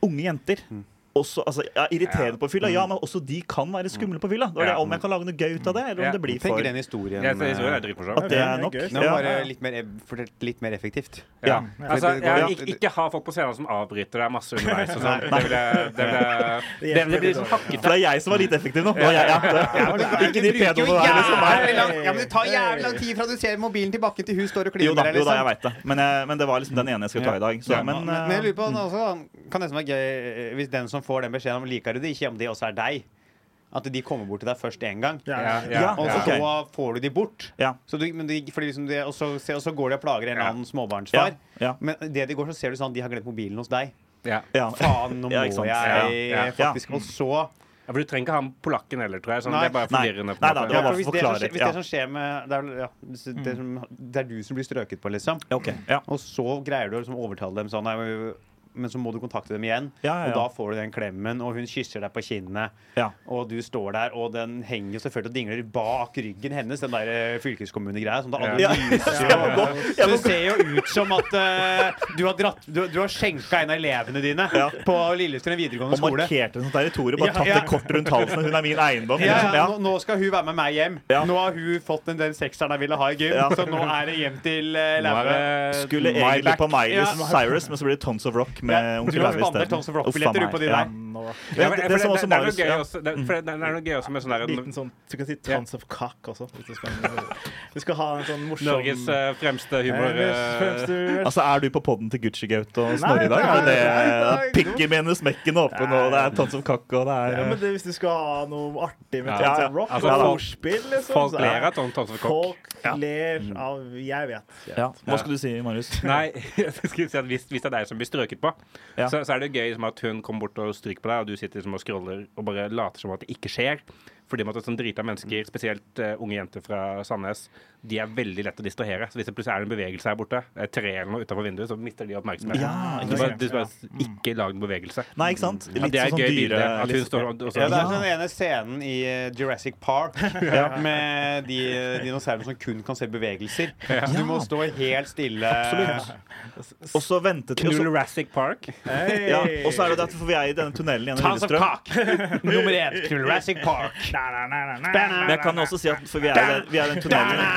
[SPEAKER 5] unge jenter
[SPEAKER 7] Mm.
[SPEAKER 5] også, altså, ja, irriterende på fylla, ja, men også de kan være skumle på fylla. Det var det
[SPEAKER 6] Ja.
[SPEAKER 5] om jeg kan lage noe gøy ut av det, eller om
[SPEAKER 6] Ja.
[SPEAKER 5] det blir
[SPEAKER 7] Tenker
[SPEAKER 5] for
[SPEAKER 7] den historien
[SPEAKER 6] Jeg synes det
[SPEAKER 7] eh,
[SPEAKER 6] er dritmorsomt.
[SPEAKER 5] At det er nok.
[SPEAKER 2] Det er
[SPEAKER 7] Nå
[SPEAKER 5] Ja.
[SPEAKER 7] var det litt mer, ev- fortalt litt mer effektivt.
[SPEAKER 5] Ja.
[SPEAKER 6] Altså,
[SPEAKER 7] det går
[SPEAKER 6] jeg,
[SPEAKER 7] jo-
[SPEAKER 6] ikke, ikke ha folk på scenen som avbryter deg masse underveis. Og sånn. det, vil jeg, det, vil jeg, det,
[SPEAKER 2] hjelper
[SPEAKER 6] det blir liksom hakket
[SPEAKER 5] For det er jeg som var litt effektiv nå. Det var jeg, (laughs) ja. det, ikke de pedoene der. Liksom.
[SPEAKER 7] Jævlig lang, ja, men det tar jævlig lang tid fra du ser mobilen til bakken til hun står og
[SPEAKER 5] Jo da,
[SPEAKER 7] kliner liksom.
[SPEAKER 5] jo da, jeg veit det. liksom- Men, jeg, men det var liksom den ene jeg skulle ta i dag. Så, men,
[SPEAKER 7] Men jeg
[SPEAKER 5] eh,
[SPEAKER 7] lurer på, nå også, kan nesten være gøy eh, hvis den som får den beskjeden om liker du det ikke, om det også er deg. At de kommer bort til deg først én gang,
[SPEAKER 2] Ja,
[SPEAKER 6] Ja, ja,
[SPEAKER 5] Ja,
[SPEAKER 7] og
[SPEAKER 6] ja.
[SPEAKER 5] ok.
[SPEAKER 7] så får du de bort.
[SPEAKER 5] ja,
[SPEAKER 7] Så du, men de, fordi liksom de, og, så, se- og så går de og plager en eller annen
[SPEAKER 5] ja,
[SPEAKER 7] småbarnsfar.
[SPEAKER 5] ja,
[SPEAKER 7] Men det de går, så ser du sånn de har glemt mobilen hos deg.
[SPEAKER 6] ja.
[SPEAKER 5] ja.
[SPEAKER 7] Faen, nå må
[SPEAKER 5] Ja, ikke sant.
[SPEAKER 7] jeg
[SPEAKER 6] Ja, ja.
[SPEAKER 7] faktisk Og så
[SPEAKER 1] Ja, for du trenger ikke ha med polakken heller, tror jeg. Sånn,
[SPEAKER 7] Nei.
[SPEAKER 1] det er bare
[SPEAKER 5] Nei.
[SPEAKER 1] forvirrende. på en
[SPEAKER 5] Nei da,
[SPEAKER 1] måte.
[SPEAKER 5] det var
[SPEAKER 7] Ja,
[SPEAKER 5] bare
[SPEAKER 7] for hvis,
[SPEAKER 5] for å
[SPEAKER 7] det som,
[SPEAKER 5] forklare.
[SPEAKER 7] skje- hvis det som skjer med det er, ja, hvis det, som, det er du som blir strøket på, liksom.
[SPEAKER 5] Ja, ok. Ja.
[SPEAKER 7] Og så greier du å liksom overtale dem sånn nei, men- men så må du kontakte dem igjen.
[SPEAKER 5] Ja, ja, ja.
[SPEAKER 7] Og da får du den klemmen, og hun kysser deg på kinnet.
[SPEAKER 5] Ja.
[SPEAKER 7] Og du står der, og den henger jo selvfølgelig og dingler bak ryggen hennes, den der eh, fylkeskommunegreia. Som det
[SPEAKER 5] (laughs)
[SPEAKER 7] aldri
[SPEAKER 5] Ja.
[SPEAKER 7] lyser jo. Så det ser jo ut som at eh, du har, dratt- du, du har skjenka en av elevene dine på Lillestrøm videregående
[SPEAKER 5] Og
[SPEAKER 7] skole.
[SPEAKER 5] markerte en sånn territorium. Bare
[SPEAKER 7] Ja,
[SPEAKER 5] tatt
[SPEAKER 7] ja.
[SPEAKER 5] det kort rundt halsen. Hun er min eiendom.
[SPEAKER 7] Ja, ja,
[SPEAKER 5] Ja.
[SPEAKER 7] Nå, nå skal hun være med meg hjem.
[SPEAKER 5] Ja.
[SPEAKER 7] Nå har hun fått den, den sekseren jeg ville ha i gym,
[SPEAKER 5] Ja.
[SPEAKER 7] så nå er det hjem til
[SPEAKER 1] Nå er
[SPEAKER 7] uh, læreren.
[SPEAKER 1] det-
[SPEAKER 5] Skulle
[SPEAKER 1] Eh, My
[SPEAKER 5] egentlig
[SPEAKER 1] back.
[SPEAKER 5] på Miley
[SPEAKER 7] Ja.
[SPEAKER 5] Cyrus, men så ble det Tons of Rock med
[SPEAKER 7] Ja,
[SPEAKER 5] onkel
[SPEAKER 7] du har
[SPEAKER 5] Lauritz
[SPEAKER 7] spandert
[SPEAKER 5] isteden.
[SPEAKER 7] Tons of Rock
[SPEAKER 5] Uff, faen
[SPEAKER 7] billetter
[SPEAKER 5] meg.
[SPEAKER 7] ut på de
[SPEAKER 5] Ja.
[SPEAKER 7] der.
[SPEAKER 2] Nå,
[SPEAKER 5] Ja,
[SPEAKER 1] Ja, for
[SPEAKER 5] det,
[SPEAKER 1] det,
[SPEAKER 5] det
[SPEAKER 1] for
[SPEAKER 5] som
[SPEAKER 1] det,
[SPEAKER 5] også
[SPEAKER 1] det er noe
[SPEAKER 5] Marius
[SPEAKER 1] gøy
[SPEAKER 5] ja.
[SPEAKER 1] også, det, for det, det er noe gøy også med sånn der
[SPEAKER 2] Liten sånn Du kan si tons of cock også. Hvis du, skal, du skal ha en sånn morsom
[SPEAKER 1] Norges eh, fremste humor... eh,
[SPEAKER 2] humor.
[SPEAKER 5] Altså, Er du på podden til Gucci Gaute og
[SPEAKER 2] Nei,
[SPEAKER 5] Snorre i dag? Er det
[SPEAKER 2] nei, nei.
[SPEAKER 5] det? Pinky mener smekken åpen, og det er Tons of Kakk, og det
[SPEAKER 2] Ja,
[SPEAKER 5] er
[SPEAKER 2] men det, hvis du skal ha noe artig med
[SPEAKER 1] Ja,
[SPEAKER 2] Tons
[SPEAKER 5] ja.
[SPEAKER 2] of Rock,
[SPEAKER 1] Altså,
[SPEAKER 2] og
[SPEAKER 1] folk-
[SPEAKER 2] ordspill, liksom,
[SPEAKER 1] Folk
[SPEAKER 2] så er-
[SPEAKER 1] ler av Tom Thomsen Kokk.
[SPEAKER 2] Folk ler av Jeg vet.
[SPEAKER 5] eh, ja. Hva skulle du si, Marius?
[SPEAKER 1] (laughs) Nei, jeg skulle si at hvis, hvis det er deg som blir strøket på,
[SPEAKER 5] Ja.
[SPEAKER 1] så, så er det gøy som at hun kommer bort og stryker på deg, og du sitter liksom og scroller og bare later som at det ikke skjer. Fordi man er sånn drita mennesker, spesielt eh, unge jenter fra Sandnes, de er veldig lett å distrahere. Så hvis det plutselig er en bevegelse her borte, et tre eller noe utenfor vinduet, så mister de oppmerksomheten.
[SPEAKER 5] Ja,
[SPEAKER 1] du
[SPEAKER 5] ikke
[SPEAKER 1] bare,
[SPEAKER 5] sant.
[SPEAKER 1] du bare ikke lag en bevegelse.
[SPEAKER 5] Nei, ikke sant?
[SPEAKER 1] Ja,
[SPEAKER 5] Litt
[SPEAKER 1] det er et
[SPEAKER 5] sånn
[SPEAKER 1] gøy
[SPEAKER 5] dyre
[SPEAKER 1] bilde. At hun
[SPEAKER 5] litt-
[SPEAKER 1] står og, og så,
[SPEAKER 7] Ja, det er den ene scenen i eh, Jurassic Park med de eh, dinosaurene som kun kan se bevegelser. Du må stå helt stille.
[SPEAKER 5] Og så ventet og så-
[SPEAKER 1] Jurassic Park.
[SPEAKER 2] Hey.
[SPEAKER 5] ja, Og så er det derfor vi er i denne tunnelen gjennom
[SPEAKER 7] Tons of
[SPEAKER 5] Lillestrøm.
[SPEAKER 7] cock! Nummer én. Jurassic Park.
[SPEAKER 5] Men jeg kan jo også si at for vi er i den- vi er i den tunnelen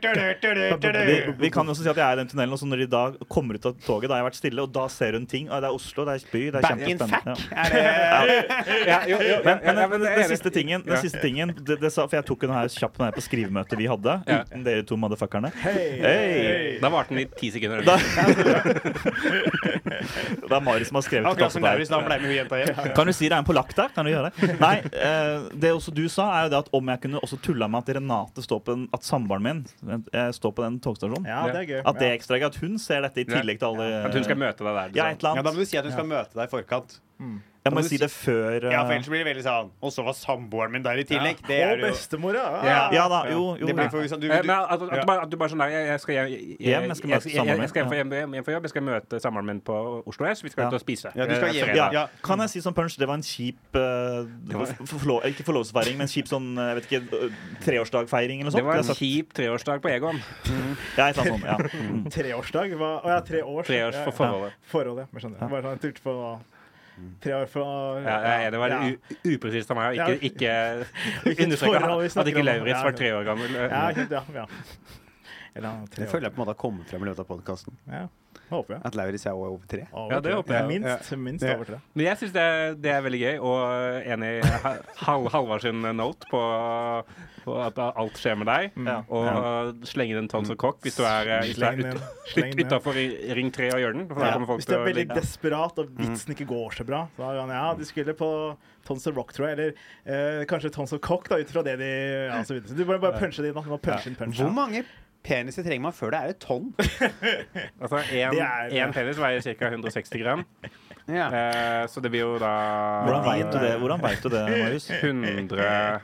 [SPEAKER 5] vi, vi kan jo også si at jeg er i den tunnelen, og så når de da kommer ut av toget, da har jeg vært stille, og da ser hun ting. Ah, Det er Oslo, det er by, det er
[SPEAKER 7] Back in fact.
[SPEAKER 5] kjempespennende. (laughs) Ja.
[SPEAKER 7] Er det
[SPEAKER 1] Ja, jo, jo, ja,
[SPEAKER 5] Men, men,
[SPEAKER 1] ja,
[SPEAKER 5] men
[SPEAKER 1] det
[SPEAKER 5] den
[SPEAKER 1] er det.
[SPEAKER 5] siste tingen, den siste tingen det, det sa, For jeg tok den her kjapt den her på skrivemøtet vi hadde,
[SPEAKER 1] Ja.
[SPEAKER 5] uten dere to motherfuckerne. Hey.
[SPEAKER 2] Hey.
[SPEAKER 1] Da varte den i ti sekunder.
[SPEAKER 5] Da, (laughs) det er Mari som har skrevet
[SPEAKER 7] Akkurat som
[SPEAKER 5] til
[SPEAKER 7] Lauritz,
[SPEAKER 5] deg.
[SPEAKER 7] da ble med hun jenta hjem.
[SPEAKER 5] Kan du si det er en polakk der? Kan du gjøre det? Nei, eh, det også du sa, er jo det at om jeg kunne også tulla med at Renate står på den, at samboeren min eh, står på den togstasjonen
[SPEAKER 2] Ja, det er gøy.
[SPEAKER 5] At det er ekstra gøy, at hun ser dette i tillegg til alle
[SPEAKER 1] At hun skal møte deg der.
[SPEAKER 5] Ja, et eller
[SPEAKER 7] Ja, da
[SPEAKER 5] annet.
[SPEAKER 7] må du si at hun skal møte deg i forkant.
[SPEAKER 5] Jeg må
[SPEAKER 7] du
[SPEAKER 5] si det før eh,
[SPEAKER 7] Ja, for ellers blir det veldig sånn Og så var samboeren min der i tillegg. Det
[SPEAKER 2] Og
[SPEAKER 7] er jo
[SPEAKER 2] bestemora. Ah.
[SPEAKER 7] Ja.
[SPEAKER 5] Ja da, jo, jo.
[SPEAKER 7] Det blir for, du,
[SPEAKER 1] Eh, Men
[SPEAKER 7] du,
[SPEAKER 1] at, at, du bare, at du bare sånn der Jeg, jeg skal hjem jeg,
[SPEAKER 5] Hjem, jeg skal
[SPEAKER 1] jeg,
[SPEAKER 5] møte
[SPEAKER 1] jeg,
[SPEAKER 5] samboeren min,
[SPEAKER 1] skal hjem,
[SPEAKER 5] ja.
[SPEAKER 1] hjem, hjem, hjem fra jobb. Jeg skal møte samboeren min på Oslo S. Vi skal
[SPEAKER 5] Ja.
[SPEAKER 1] ut og spise.
[SPEAKER 7] ja, du
[SPEAKER 1] Eh,
[SPEAKER 7] skal hjem.
[SPEAKER 1] fredag.
[SPEAKER 5] Ja. Kan jeg si som punch, det var en kjip eh, forlo- Ikke forlovelsesfeiring, men kjip sånn eh, jeg vet ikke, eh, treårsdagfeiring eller noe sånt.
[SPEAKER 1] Det var
[SPEAKER 5] Jeg
[SPEAKER 1] en
[SPEAKER 5] sa-
[SPEAKER 1] kjip treårsdag på Egon.
[SPEAKER 5] Ja, jeg sa sånn, ja.
[SPEAKER 2] Treårsdag? Hva? Å ja, tre år.
[SPEAKER 1] Tre års
[SPEAKER 2] Ja, ja.
[SPEAKER 1] for forholdet. Mm.
[SPEAKER 2] Forholdet, men skjønner. Bare sånn, jeg turte på tre år fra
[SPEAKER 1] Ja, jeg er enig, det var
[SPEAKER 2] Ja.
[SPEAKER 1] u- upresist av meg å ikke, ikke
[SPEAKER 2] Hvilket
[SPEAKER 1] understreke
[SPEAKER 2] forhold vi
[SPEAKER 1] at
[SPEAKER 2] snakker
[SPEAKER 1] ikke
[SPEAKER 2] om.
[SPEAKER 1] Lauritz
[SPEAKER 2] Ja,
[SPEAKER 1] var tre år gammel. Eh,
[SPEAKER 2] Ja, ikke sant, ja, ja. Eller tre
[SPEAKER 7] det
[SPEAKER 2] år.
[SPEAKER 7] føler jeg på en måte har kommet frem i løpet av podkasten.
[SPEAKER 2] Ja, håper jeg.
[SPEAKER 7] At Lauritz er over tre.
[SPEAKER 2] Over
[SPEAKER 1] Ja, det
[SPEAKER 2] tre.
[SPEAKER 1] håper jeg.
[SPEAKER 2] Minst, minst
[SPEAKER 7] Ja.
[SPEAKER 2] over tre.
[SPEAKER 1] Men jeg syns det, det er veldig gøy, og enig i Ha- Hal Halvard sin note på, på at alt skjer med deg.
[SPEAKER 5] Ja.
[SPEAKER 1] Og slenge inn en tons of cock hvis du er, eh, hvis du
[SPEAKER 2] Sleng den
[SPEAKER 1] er
[SPEAKER 2] inn. Sleng den inn.
[SPEAKER 1] utafor Ring 3 og gjør den. For da
[SPEAKER 2] Ja.
[SPEAKER 1] kommer folk
[SPEAKER 2] Hvis du
[SPEAKER 1] til
[SPEAKER 2] er
[SPEAKER 1] å
[SPEAKER 2] veldig
[SPEAKER 1] ligge-
[SPEAKER 2] desperat og vitsen ikke går så bra, så er han ja, de skulle på Tons of Rock, tror jeg, eller eh, kanskje Tons of Cock, da, ut fra det de ja, så, videre. så Du må bare punche det inn. da. Du må punche inn punch.
[SPEAKER 7] Hvor mange peniser trenger man før det er et tonn?
[SPEAKER 1] Altså, en,
[SPEAKER 2] Det er-
[SPEAKER 1] en penis veier ca. 160 gram,
[SPEAKER 7] (laughs) Ja.
[SPEAKER 1] eh, så det blir jo da
[SPEAKER 5] Hvordan veit du det, Hvordan vet du det Marius?
[SPEAKER 1] 100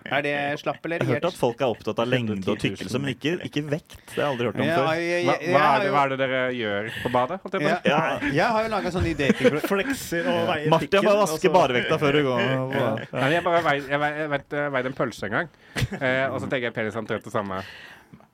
[SPEAKER 7] Er det slapp eller
[SPEAKER 5] Jeg har hørt
[SPEAKER 7] erigert?
[SPEAKER 5] at folk er opptatt av lengde og tykkelse, men ikke, ikke vekt. Det har jeg aldri hørt om
[SPEAKER 7] Ja,
[SPEAKER 5] før.
[SPEAKER 7] jeg-
[SPEAKER 1] hva, hva, er det,
[SPEAKER 7] jeg- jeg
[SPEAKER 1] hva
[SPEAKER 7] har
[SPEAKER 1] er det dere gjør på badet? Holdt
[SPEAKER 7] jo-
[SPEAKER 1] jeg på? å si?
[SPEAKER 7] Ja, Jeg har jo laga sånn ny datingprogram.
[SPEAKER 2] Flekser og veier altså.
[SPEAKER 5] Martin
[SPEAKER 2] pikken,
[SPEAKER 5] må
[SPEAKER 2] og
[SPEAKER 1] altså.
[SPEAKER 5] vaske
[SPEAKER 2] så-
[SPEAKER 5] barevekta før du
[SPEAKER 1] (laughs)
[SPEAKER 5] går.
[SPEAKER 1] Nei, jeg bare veide, jeg veide, jeg vet, jeg veide en pølse en gang, eh, og så tenker jeg penis er omtrent det samme.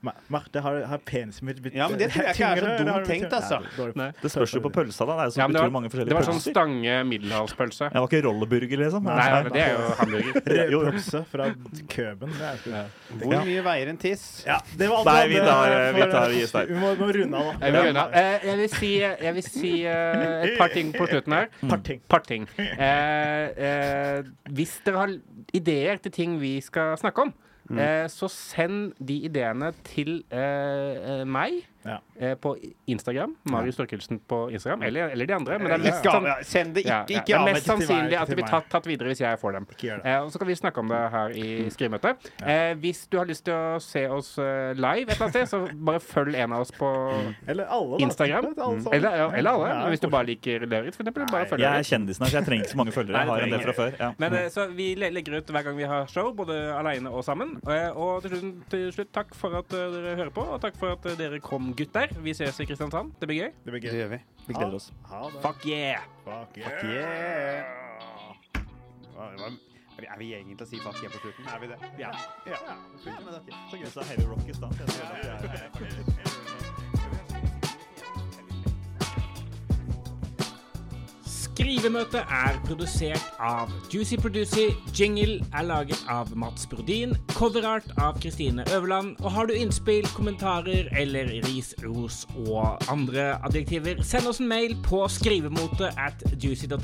[SPEAKER 2] Ma- Marte, har, har penisen min blitt
[SPEAKER 7] Ja, men det tror jeg ikke er
[SPEAKER 2] tyngre,
[SPEAKER 7] så
[SPEAKER 2] eller har
[SPEAKER 7] dumt
[SPEAKER 2] den blitt
[SPEAKER 7] tenkt, altså.
[SPEAKER 2] tyngre? Nei, dårlig.
[SPEAKER 5] Det spørs jo på pølsa, da. Det er jo så
[SPEAKER 1] Ja, men det,
[SPEAKER 5] utrolig mange
[SPEAKER 1] var, det
[SPEAKER 5] forskjellige
[SPEAKER 1] var sånn
[SPEAKER 5] pølser.
[SPEAKER 1] stange middelhavspølse.
[SPEAKER 5] Jeg var ikke rolleburger, liksom.
[SPEAKER 1] Nei, men det er jo hamburger.
[SPEAKER 5] Jo, jo.
[SPEAKER 2] Pølse fra Køben. Det er ikke
[SPEAKER 7] Hvor mye veier en tiss?
[SPEAKER 2] Ja, det var alt
[SPEAKER 5] Nei,
[SPEAKER 2] vi hadde
[SPEAKER 5] vi tar-
[SPEAKER 2] for-
[SPEAKER 5] vi tar- gir stein.
[SPEAKER 2] Vi må, må runde av, da.
[SPEAKER 1] Jeg vil, begynne. Eh, jeg vil si, jeg vil si eh, et par ting på slutten her.
[SPEAKER 2] Parting.
[SPEAKER 1] Parting. Eh, eh, hvis dere har ideer til ting vi
[SPEAKER 2] Mm.
[SPEAKER 1] skal snakke om, eh, så send de ideene til eh, eh, meg.
[SPEAKER 2] Ja.
[SPEAKER 1] eh, på Instagram. Marius Torkelsen på Instagram. Eller, eller de andre. Men det er mest,
[SPEAKER 2] Ikke av-
[SPEAKER 1] sann-
[SPEAKER 2] ja,
[SPEAKER 4] Send det
[SPEAKER 1] ja,
[SPEAKER 4] ikke,
[SPEAKER 1] ja,
[SPEAKER 4] ikke
[SPEAKER 1] det er
[SPEAKER 4] av meg.
[SPEAKER 1] mest
[SPEAKER 2] til meg,
[SPEAKER 1] sannsynlig
[SPEAKER 2] ikke
[SPEAKER 1] at det
[SPEAKER 2] til
[SPEAKER 1] blir
[SPEAKER 2] meg.
[SPEAKER 1] tatt, tatt videre hvis jeg får dem.
[SPEAKER 2] Ikke gjør det. Mm.
[SPEAKER 1] Eh, og så kan vi snakke om det her i skrivemøtet. Eh, hvis du har lyst til å se oss eh, live et eller annet sted, så bare følg en av oss på
[SPEAKER 2] Eller alle, da.
[SPEAKER 1] Instagram.
[SPEAKER 2] Vet du, Mm. alle sammen.
[SPEAKER 1] Eller, ja, eller alle.
[SPEAKER 2] Ja,
[SPEAKER 1] Men hvis du bare liker Lauritz, for eksempel. Bare følg
[SPEAKER 5] Jeg er
[SPEAKER 1] Lauritz.
[SPEAKER 5] kjendisen her, så jeg trenger ikke så mange følgere. Jeg har en del fra før. Ja.
[SPEAKER 6] Men eh, så vi le- legger ut hver gang vi har show, både aleine og sammen. Eh, Og til slutt, til slutt takk for at eh, dere hører på, og takk for at eh, dere kom, gutter. Vi ses i Kristiansand. Det blir gøy.
[SPEAKER 2] Det blir
[SPEAKER 7] Det
[SPEAKER 2] gøy.
[SPEAKER 7] gjør vi.
[SPEAKER 5] Vi gleder oss.
[SPEAKER 2] Ha det.
[SPEAKER 6] Fuck yeah!
[SPEAKER 2] Fuck
[SPEAKER 7] Yeah. Hva- hva- Er vi egentlig å si fuck yeah på slutten? Er vi det? Ja. ja. Slutten med det. Så gøy.
[SPEAKER 5] Så heavy rock i stad.
[SPEAKER 8] Skrivemøtet er produsert av Juicy Producy. Jingle er laget av Mats Brodin. Coverart av Kristine Øverland. Og har du innspill, kommentarer eller ris, ros og andre adjektiver, send oss en mail på skrivemote at juicy.no.